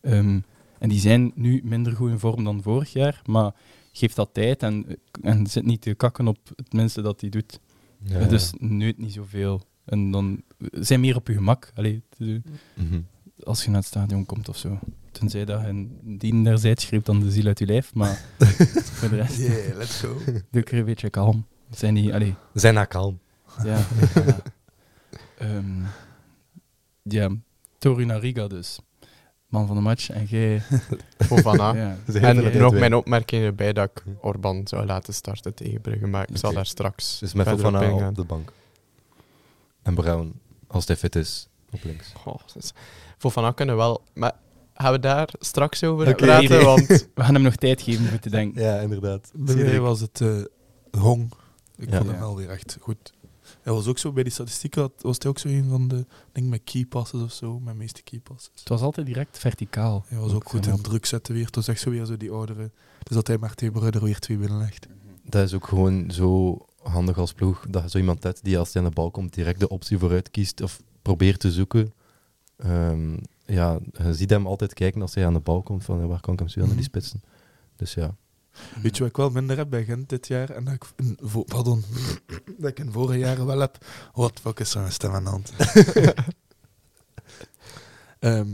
Speaker 3: Ehm, en die zijn nu minder goed in vorm dan vorig jaar. Maar geef dat tijd en, en zit niet te kakken op het minste dat hij doet.
Speaker 1: Ja,
Speaker 3: Eh,
Speaker 1: ja.
Speaker 3: Dus neut niet zoveel. En dan eh, zijn meer op je gemak. Allee, t- eh,
Speaker 1: Mhm.
Speaker 3: als je naar het stadion komt of zo. Tenzij dat je een dien derzijds schreeuwt dan de ziel uit je lijf. Maar voor de rest,
Speaker 2: Yeah, let's go.
Speaker 3: doe ik er een beetje kalm. Zijn die, allee,
Speaker 1: Zijn daar kalm.
Speaker 3: ja. ja. Ehm, ja, Toru Nariga dus. Man van de match. En jij...
Speaker 4: Fofana.
Speaker 3: Ja.
Speaker 1: Ze heeft
Speaker 4: En
Speaker 1: er
Speaker 3: jij-
Speaker 1: net
Speaker 4: nog
Speaker 1: twee.
Speaker 4: mijn opmerking erbij dat ik Orban zou laten starten tegen Brugge, maar ik zal
Speaker 1: Hm. Oké.
Speaker 4: daar straks
Speaker 1: Dus met
Speaker 4: verder op
Speaker 1: Fofana
Speaker 4: ingaan.
Speaker 1: op de bank. En Brown, als hij fit is, op links.
Speaker 4: Goh, dat is- Fofana kunnen wel, maar gaan we daar straks over
Speaker 1: Oké.
Speaker 4: praten, want
Speaker 3: We gaan hem nog tijd geven om te denken.
Speaker 1: Ja, inderdaad.
Speaker 2: Bij mij was het eh, Hong. Ik
Speaker 1: Ja.
Speaker 2: vond hem
Speaker 3: Ja.
Speaker 2: wel weer echt goed. Hij was ook zo bij die statistieken, had- was hij ook zo een van de, ik denk met key passes of zo, mijn meeste key passes.
Speaker 3: Het was altijd direct verticaal.
Speaker 2: Hij was ook goed in druk zetten weer, toen zegt zo weer zo die oudere. Dus dat hij maar tegen Brugge er weer twee binnenlegt.
Speaker 1: Dat is ook gewoon zo handig als ploeg, dat je zo iemand hebt die als hij aan de bal komt direct de optie vooruit kiest of probeert te zoeken. Ehm, ja, je ziet hem altijd kijken als hij aan de bal komt, van eh, waar kan ik hem sturen naar die
Speaker 2: Mhm.
Speaker 1: spitsen. Dus ja.
Speaker 2: Weet je wat ik wel minder heb bij Gent dit jaar? En dat ik, in vo- pardon, dat ik in vorige jaren wel heb. What the fuck is er met mijn stem aan de hand? Ehm,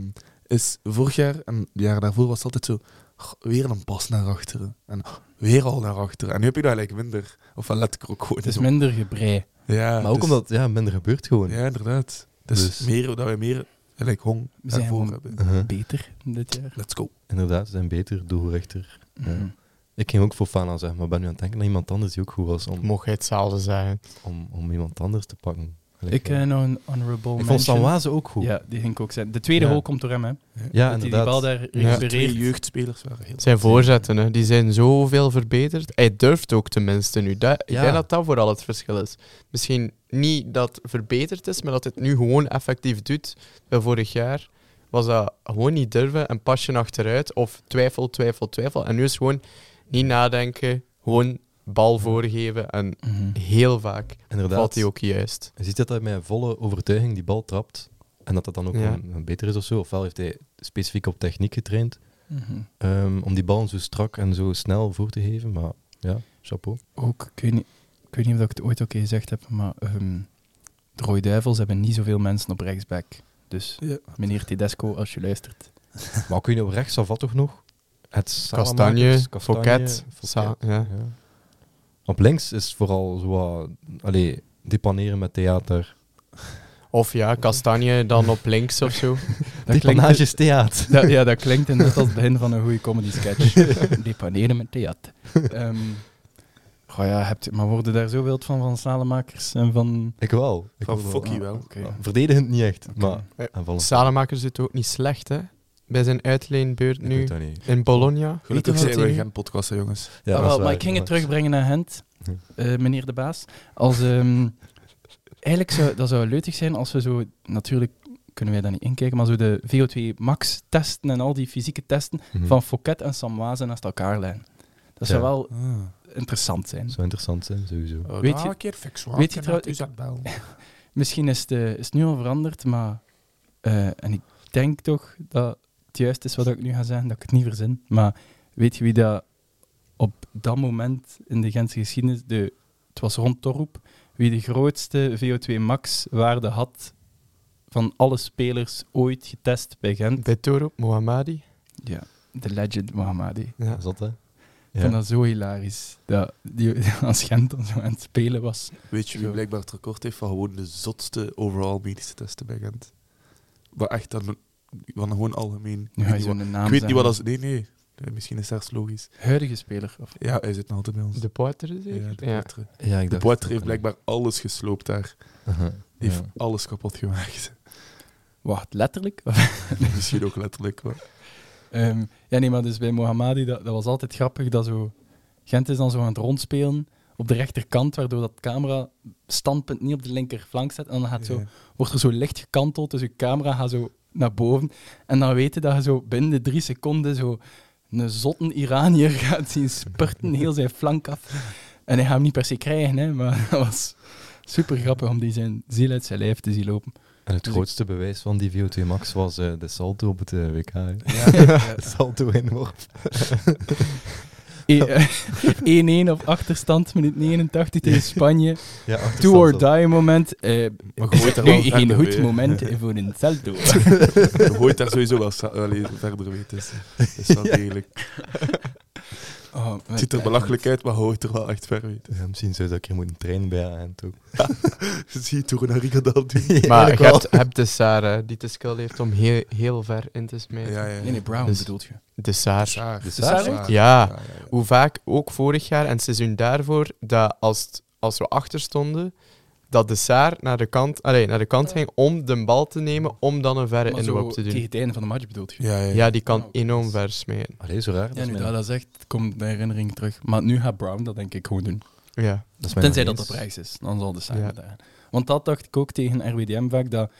Speaker 2: is vorig jaar en het jaar daarvoor was het altijd zo... "Goh, Weer een pas naar achteren. En "Oh, weer al naar achteren. En nu heb je dat eigenlijk minder. Of wel let ik er ook gewoon
Speaker 3: Het is
Speaker 2: niet op.
Speaker 3: minder gebrei.
Speaker 2: Ja,
Speaker 1: Maar
Speaker 2: het
Speaker 1: ook
Speaker 2: is-
Speaker 1: omdat ja, minder gebeurt gewoon.
Speaker 2: Ja, inderdaad. Dus,
Speaker 1: Dus-
Speaker 2: meer dat wij meer gelijk hong
Speaker 3: We zijn
Speaker 2: daarvoor
Speaker 3: gewoon
Speaker 2: hebben.
Speaker 1: Uh-huh.
Speaker 3: beter dit jaar. Mhm.
Speaker 2: Let's go.
Speaker 1: Inderdaad, ze zijn beter, doelgerichter. Ja. Ik ging ook voor Fana zeggen, maar ben nu aan het denken naar iemand anders die ook goed was om,
Speaker 4: mocht je hetzelfde zeggen.
Speaker 1: om, om iemand anders te pakken. eh, Gelijk,
Speaker 3: Ik eh,
Speaker 1: ja.
Speaker 3: heb nog een honorable
Speaker 1: ik
Speaker 3: mention.
Speaker 1: vond Sanwaze ook goed.
Speaker 3: Ja, die ging ik ook zijn. De tweede
Speaker 1: Ja.
Speaker 3: goal komt door hem, hè.
Speaker 1: Ja,
Speaker 3: dat hij die
Speaker 1: inderdaad.
Speaker 3: bal daar
Speaker 4: Ja.
Speaker 3: recupereert.
Speaker 2: Twee jeugdspelers waren heel...
Speaker 4: Zijn voorzetten, hè, die zijn zoveel verbeterd. Hij durft ook tenminste nu. Dat, Ik
Speaker 1: Ja.
Speaker 4: denk dat dat vooral het verschil is. Misschien niet dat verbeterd is, maar dat het nu gewoon effectief doet. Bij vorig jaar was dat gewoon niet durven en pasje achteruit of twijfel, twijfel, twijfel. En nu is gewoon niet nadenken, gewoon bal voorgeven en
Speaker 3: Mhm.
Speaker 4: heel vaak
Speaker 1: Inderdaad.
Speaker 4: valt hij ook juist.
Speaker 1: Je ziet dat hij met volle overtuiging die bal trapt. En dat dat dan ook
Speaker 4: Ja.
Speaker 1: gewoon beter is of zo. Ofwel heeft hij specifiek op techniek getraind.
Speaker 3: Mhm.
Speaker 1: ehm, om die bal zo strak en zo snel voor te geven. Maar ja, chapeau.
Speaker 3: Ook, ik weet, niet, ik weet niet of ik het ooit ook gezegd heb, maar ehm de Rode Duivels hebben niet zoveel mensen op rechtsback. Dus
Speaker 2: Ja.
Speaker 3: meneer Tedesco, als je luistert.
Speaker 1: Maar kun je op rechts af toch nog? Het
Speaker 4: Kastanje,
Speaker 1: Salamakers, Kastanje,
Speaker 4: Fouquet,
Speaker 1: Fouquet.
Speaker 4: Sa- ja.
Speaker 1: Ja. Op links is het vooral zo wat... Allee, depaneren met theater.
Speaker 4: Of ja, Kastanje dan op links of zo.
Speaker 3: Dat klinkt, dus
Speaker 1: Depanages theater.
Speaker 3: dat, ja, dat klinkt inderdaad als het begin van een goede comedy sketch. Depaneren met theater. Ehm oh ja, heb je, maar worden daar zo wild van, van salamakers en van... Oh,
Speaker 1: Ik wel. Ik
Speaker 2: Van
Speaker 1: wil wel.
Speaker 2: Fokkie wel.
Speaker 3: Oké.
Speaker 1: Verdedigend niet echt, maar
Speaker 4: Ja.
Speaker 1: aanvallend.
Speaker 4: Salemaker zit ook niet slecht, hè? Bij zijn
Speaker 1: Ik
Speaker 4: uitleenbeurt
Speaker 1: weet
Speaker 4: nu
Speaker 1: dat niet.
Speaker 4: in Bologna.
Speaker 2: Gelukkig
Speaker 4: Weet je wat
Speaker 2: zijn we
Speaker 4: hij nu-
Speaker 2: geen podcasten, jongens.
Speaker 1: Ja, Hm. dat
Speaker 3: Ah,
Speaker 1: is
Speaker 3: wel,
Speaker 1: waar,
Speaker 3: maar ik ging het
Speaker 1: maar-
Speaker 3: terugbrengen naar Hent,
Speaker 1: Ja.
Speaker 3: eh, meneer de baas. Als, ehm, eigenlijk zou dat zou leutig zijn als we zo, natuurlijk kunnen wij daar niet inkijken, maar zo de VO2 max testen en al die fysieke testen
Speaker 1: Mhm.
Speaker 3: van Fouquet en Samwaze naast elkaar leggen. Dat zou
Speaker 1: Ja.
Speaker 3: wel
Speaker 2: Ah.
Speaker 3: interessant zijn.
Speaker 1: Zou interessant zijn, sowieso.
Speaker 3: Weet je-
Speaker 2: een keer fix
Speaker 3: weet je trouw- ik- Misschien is het, eh, is het nu al veranderd, maar eh, en ik denk toch dat het juist is wat ik nu ga zeggen, dat ik het niet verzin. Maar weet je wie dat op dat moment in de Gentse geschiedenis, de, het was rond Torroep, wie de grootste VO2 max waarde had van alle spelers ooit getest bij Gent?
Speaker 4: Bij Toro, Mohammadi.
Speaker 3: Ja, de legend Mohammadi.
Speaker 4: Ja.
Speaker 1: Is dat, hè?
Speaker 3: Ik
Speaker 1: Ja.
Speaker 3: vind dat zo hilarisch, dat die, als Gent dan zo aan het spelen was.
Speaker 2: Weet je wie
Speaker 3: Zo.
Speaker 2: blijkbaar het record heeft van gewoon de zotste overall medische testen bij Gent? Maar echt, dan, van gewoon algemeen.
Speaker 3: Nu
Speaker 2: Ik
Speaker 3: ga
Speaker 2: weet
Speaker 3: je
Speaker 2: niet
Speaker 3: zo'n
Speaker 2: wat-
Speaker 3: naam
Speaker 2: ik weet niet
Speaker 3: zeggen.
Speaker 2: wat als... Nee, nee. Nee, Misschien is dat logisch.
Speaker 3: Huidige speler. Of...
Speaker 2: Ja, hij zit nog altijd bij ons.
Speaker 4: De Poitre
Speaker 2: ja,
Speaker 4: zeker?
Speaker 2: de
Speaker 4: Ja.
Speaker 2: Poitre.
Speaker 1: Ja, ik
Speaker 2: De
Speaker 1: dacht
Speaker 2: Poitre heeft blijkbaar alles gesloopt daar.
Speaker 1: Aha,
Speaker 2: Die heeft
Speaker 1: ja.
Speaker 2: alles kapot gemaakt.
Speaker 3: Wacht, letterlijk?
Speaker 2: Misschien ook letterlijk. Maar.
Speaker 3: Ehm, ja, nee, maar dus bij Mohammadi, dat, dat was altijd grappig. Dat zo, Gent is dan zo aan het rondspelen op de rechterkant, waardoor dat camera standpunt niet op de linkerflank zet. En dan gaat zo,
Speaker 2: Ja.
Speaker 3: wordt er zo licht gekanteld, dus je camera gaat zo naar boven. En dan weet je dat je zo binnen de drie seconden zo een zotte Iranier gaat zien spurten, heel zijn flank af. En hij gaat hem niet per se krijgen, hè, maar dat was super grappig om die zijn ziel uit zijn lijf te zien lopen.
Speaker 1: En het
Speaker 3: Dus ik-
Speaker 1: grootste bewijs van die VO2 Max was eh, de salto op het eh, WK. hè. De salto in worp.
Speaker 3: E- eh, 1-1 op achterstand, minuut 89 tegen Spanje.
Speaker 1: Ja, achterstand
Speaker 3: Do or
Speaker 1: zat.
Speaker 3: die moment. eh
Speaker 2: Maar gooit er wel
Speaker 3: nu geen
Speaker 2: verder
Speaker 3: goed
Speaker 2: mee.
Speaker 3: moment voor een salto.
Speaker 2: Je gooit daar sowieso wel stra- allee, verder mee tussen. Dat is wel degelijk.
Speaker 3: Oh,
Speaker 2: Het ziet er belachelijk uit, maar hoort er wel echt ver mee.
Speaker 1: Ja, misschien zou ik een keer moeten trainen bij aan toe.
Speaker 2: Zie je toch naar Rigadal doen?
Speaker 4: Maar je
Speaker 1: Eigenlijk
Speaker 4: hebt, hebt de Saar, hè, die te skill heeft om heel, heel ver in te smijten.
Speaker 2: Ja, ja.
Speaker 3: Nee, nee, Brown
Speaker 4: Dus-
Speaker 3: bedoelt je.
Speaker 4: De Saar.
Speaker 2: Saar.
Speaker 1: De
Speaker 3: Saar
Speaker 2: Saar.
Speaker 4: ook? Ja.
Speaker 2: ja, ja.
Speaker 4: Hoe vaak, ook vorig jaar en het seizoen daarvoor, dat als, het- als we achter stonden, dat de Saar naar de kant, allee, naar de kant ging om de bal te nemen, om dan een verre
Speaker 3: Maar zo
Speaker 4: inloop te
Speaker 3: tegen
Speaker 4: doen.
Speaker 3: het einde van de match bedoelt je.
Speaker 2: Ja, ja, ja.
Speaker 4: Ja, die kan
Speaker 3: Oh,
Speaker 4: enorm
Speaker 3: dus-
Speaker 4: ver smijten.
Speaker 1: Allee, zo raar.
Speaker 3: Ja,
Speaker 1: is
Speaker 3: nu
Speaker 1: mijn-
Speaker 3: dat dat zegt, komt de herinnering terug. Maar nu gaat Brown dat denk ik gewoon doen.
Speaker 4: Ja.
Speaker 1: dat is mijn
Speaker 3: Tenzij dat
Speaker 1: ineens.
Speaker 3: op rechts is, dan zal de samen
Speaker 4: Ja.
Speaker 3: daar. Want dat dacht ik ook tegen RWDM vaak, dat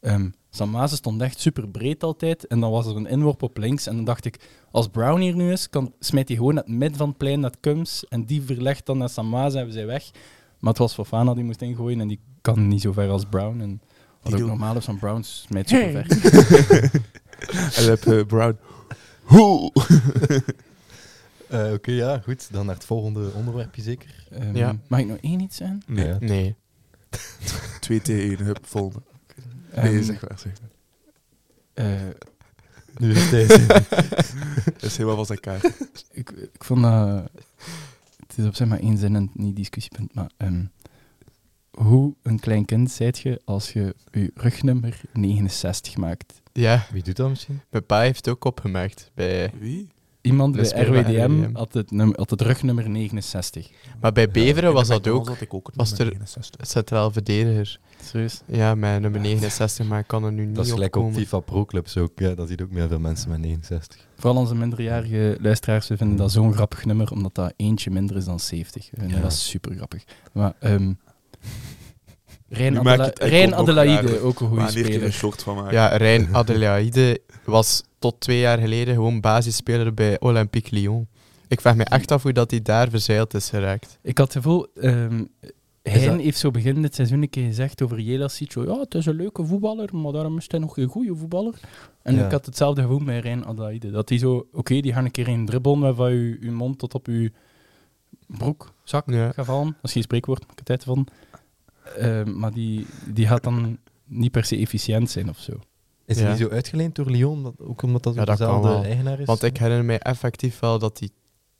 Speaker 3: ehm Samaze stond echt super breed altijd. En dan was er een inworp op links. En dan dacht ik, als Brown hier nu is, kan, smijt hij gewoon naar het midden van het plein, naar het Kums. En die verlegt dan naar Samaze en we zijn weg. Maar het was Fofana die moest ingooien en die kan niet zo ver als Brown. En wat
Speaker 2: Die
Speaker 3: ook
Speaker 2: doet-
Speaker 3: normaal is van Brown, smijt super ver.
Speaker 2: En dan heb je Brown. Hoe?
Speaker 1: Eh, Oké, ja, goed. Dan naar het volgende onderwerpje zeker.
Speaker 3: Ehm,
Speaker 4: Ja.
Speaker 3: Mag ik nog één iets zeggen?
Speaker 2: Nee,
Speaker 1: Ja.
Speaker 4: Nee.
Speaker 2: 2 tegen 1, hup, volgende.
Speaker 3: Ehm,
Speaker 2: Nee, zeg maar, zeg maar.
Speaker 3: eh,
Speaker 1: Nu is deze.
Speaker 2: Dat is helemaal van zijn kaart.
Speaker 3: Ik, ik vond dat... Het is op zich maar één zin en niet discussiepunt, maar... ehm, hoe een klein kind zijt je als je je rugnummer 69 maakt?
Speaker 4: Ja,
Speaker 1: Wie doet dat misschien?
Speaker 4: mijn pa heeft ook opgemerkt. Bij,
Speaker 2: Wie?
Speaker 3: Iemand
Speaker 4: Dat
Speaker 3: bij
Speaker 4: is bij
Speaker 3: RWDM,
Speaker 4: RWDM.
Speaker 3: had, het nummer, had het rugnummer 69.
Speaker 4: maar bij Beveren was
Speaker 2: In
Speaker 4: dat
Speaker 2: de McDonald's
Speaker 4: ook
Speaker 2: had ik ook een
Speaker 4: was
Speaker 2: nummer
Speaker 4: er-
Speaker 2: 61.
Speaker 4: centraal verdediger.
Speaker 3: Serieus?
Speaker 4: Ja, mijn nummer 69, maar ik kan er nu niet
Speaker 1: Dat is gelijk op
Speaker 4: opkomen.
Speaker 1: FIFA Pro Clubs ook. Ja, dat ziet ook meer veel mensen met 69.
Speaker 3: Vooral onze minderjarige luisteraars we vinden dat zo'n grappig nummer, omdat dat eentje minder is dan 70. We vinden
Speaker 1: Ja.
Speaker 3: dat super grappig. Maar ehm, Rijn,
Speaker 2: Nu
Speaker 3: Adela-
Speaker 2: maak je het echt
Speaker 3: Rijn
Speaker 2: ook nog
Speaker 3: Adelaide,
Speaker 2: raarder.
Speaker 3: ook een goede
Speaker 2: Maar hier kun je een
Speaker 3: speler.
Speaker 2: short van maken.
Speaker 4: Ja, Rijn Adelaide was tot twee jaar geleden gewoon basisspeler bij Olympique Lyon. Ik vraag me echt af hoe dat hij daar verzeild is geraakt.
Speaker 3: Ik had het gevoel, ehm Hein
Speaker 4: dat-
Speaker 3: heeft zo begin dit seizoen een keer gezegd over Jelasic. zo, Ja, het is een leuke voetballer, maar daarom is hij nog geen goede voetballer. En
Speaker 1: Ja.
Speaker 3: ik had hetzelfde gevoel met Rijn Adelaide. Dat hij zo, oké, die gaan een keer in dribbel met van je, je mond tot op je broek, zak
Speaker 4: Ja.
Speaker 3: gaan vallen. Dat is geen spreekwoord, maar ik heb tijd van. Ehm, maar die, die gaat dan niet per se efficiënt zijn of zo.
Speaker 1: Is hij
Speaker 4: Ja.
Speaker 1: niet zo uitgeleend door Lyon? Dat- Ook omdat dat
Speaker 4: Ja,
Speaker 1: ook
Speaker 4: dat kan
Speaker 1: dezelfde
Speaker 4: wel.
Speaker 1: eigenaar is?
Speaker 4: Want ik herinner mij effectief wel dat hij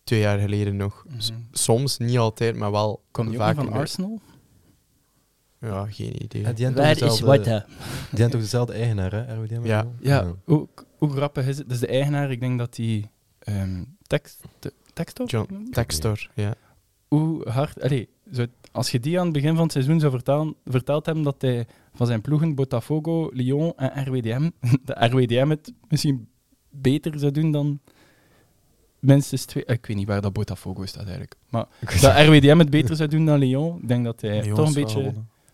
Speaker 4: twee jaar geleden nog, s-
Speaker 3: Mhm.
Speaker 4: soms niet altijd, maar wel
Speaker 3: Komt die ook
Speaker 4: vaak
Speaker 3: van
Speaker 4: mee-
Speaker 3: Arsenal?
Speaker 4: Ja, geen idee.
Speaker 1: Ja, die hebben
Speaker 3: Waar
Speaker 1: toch
Speaker 3: is
Speaker 1: dezelfde-
Speaker 3: Wata?
Speaker 1: Die hebben toch dezelfde eigenaar, hè? RWDM?
Speaker 4: Ja.
Speaker 3: Ja, Hoe, hoe grappig is het? Dus de eigenaar, ik denk dat die ehm tekst, te- tekst op?
Speaker 4: John Textor, ja.
Speaker 3: Hoe hard... Allee, zou het- als je die aan het begin van het seizoen zou vertellen, verteld hebben dat hij van zijn ploegen Botafogo, Lyon en RWDM, de RWDM het misschien beter zou doen dan minstens twee... eh, Ik weet niet waar dat Botafogo staat eigenlijk. Maar dat RWDM het beter zou doen dan Lyon, ik denk dat hij toch een beetje...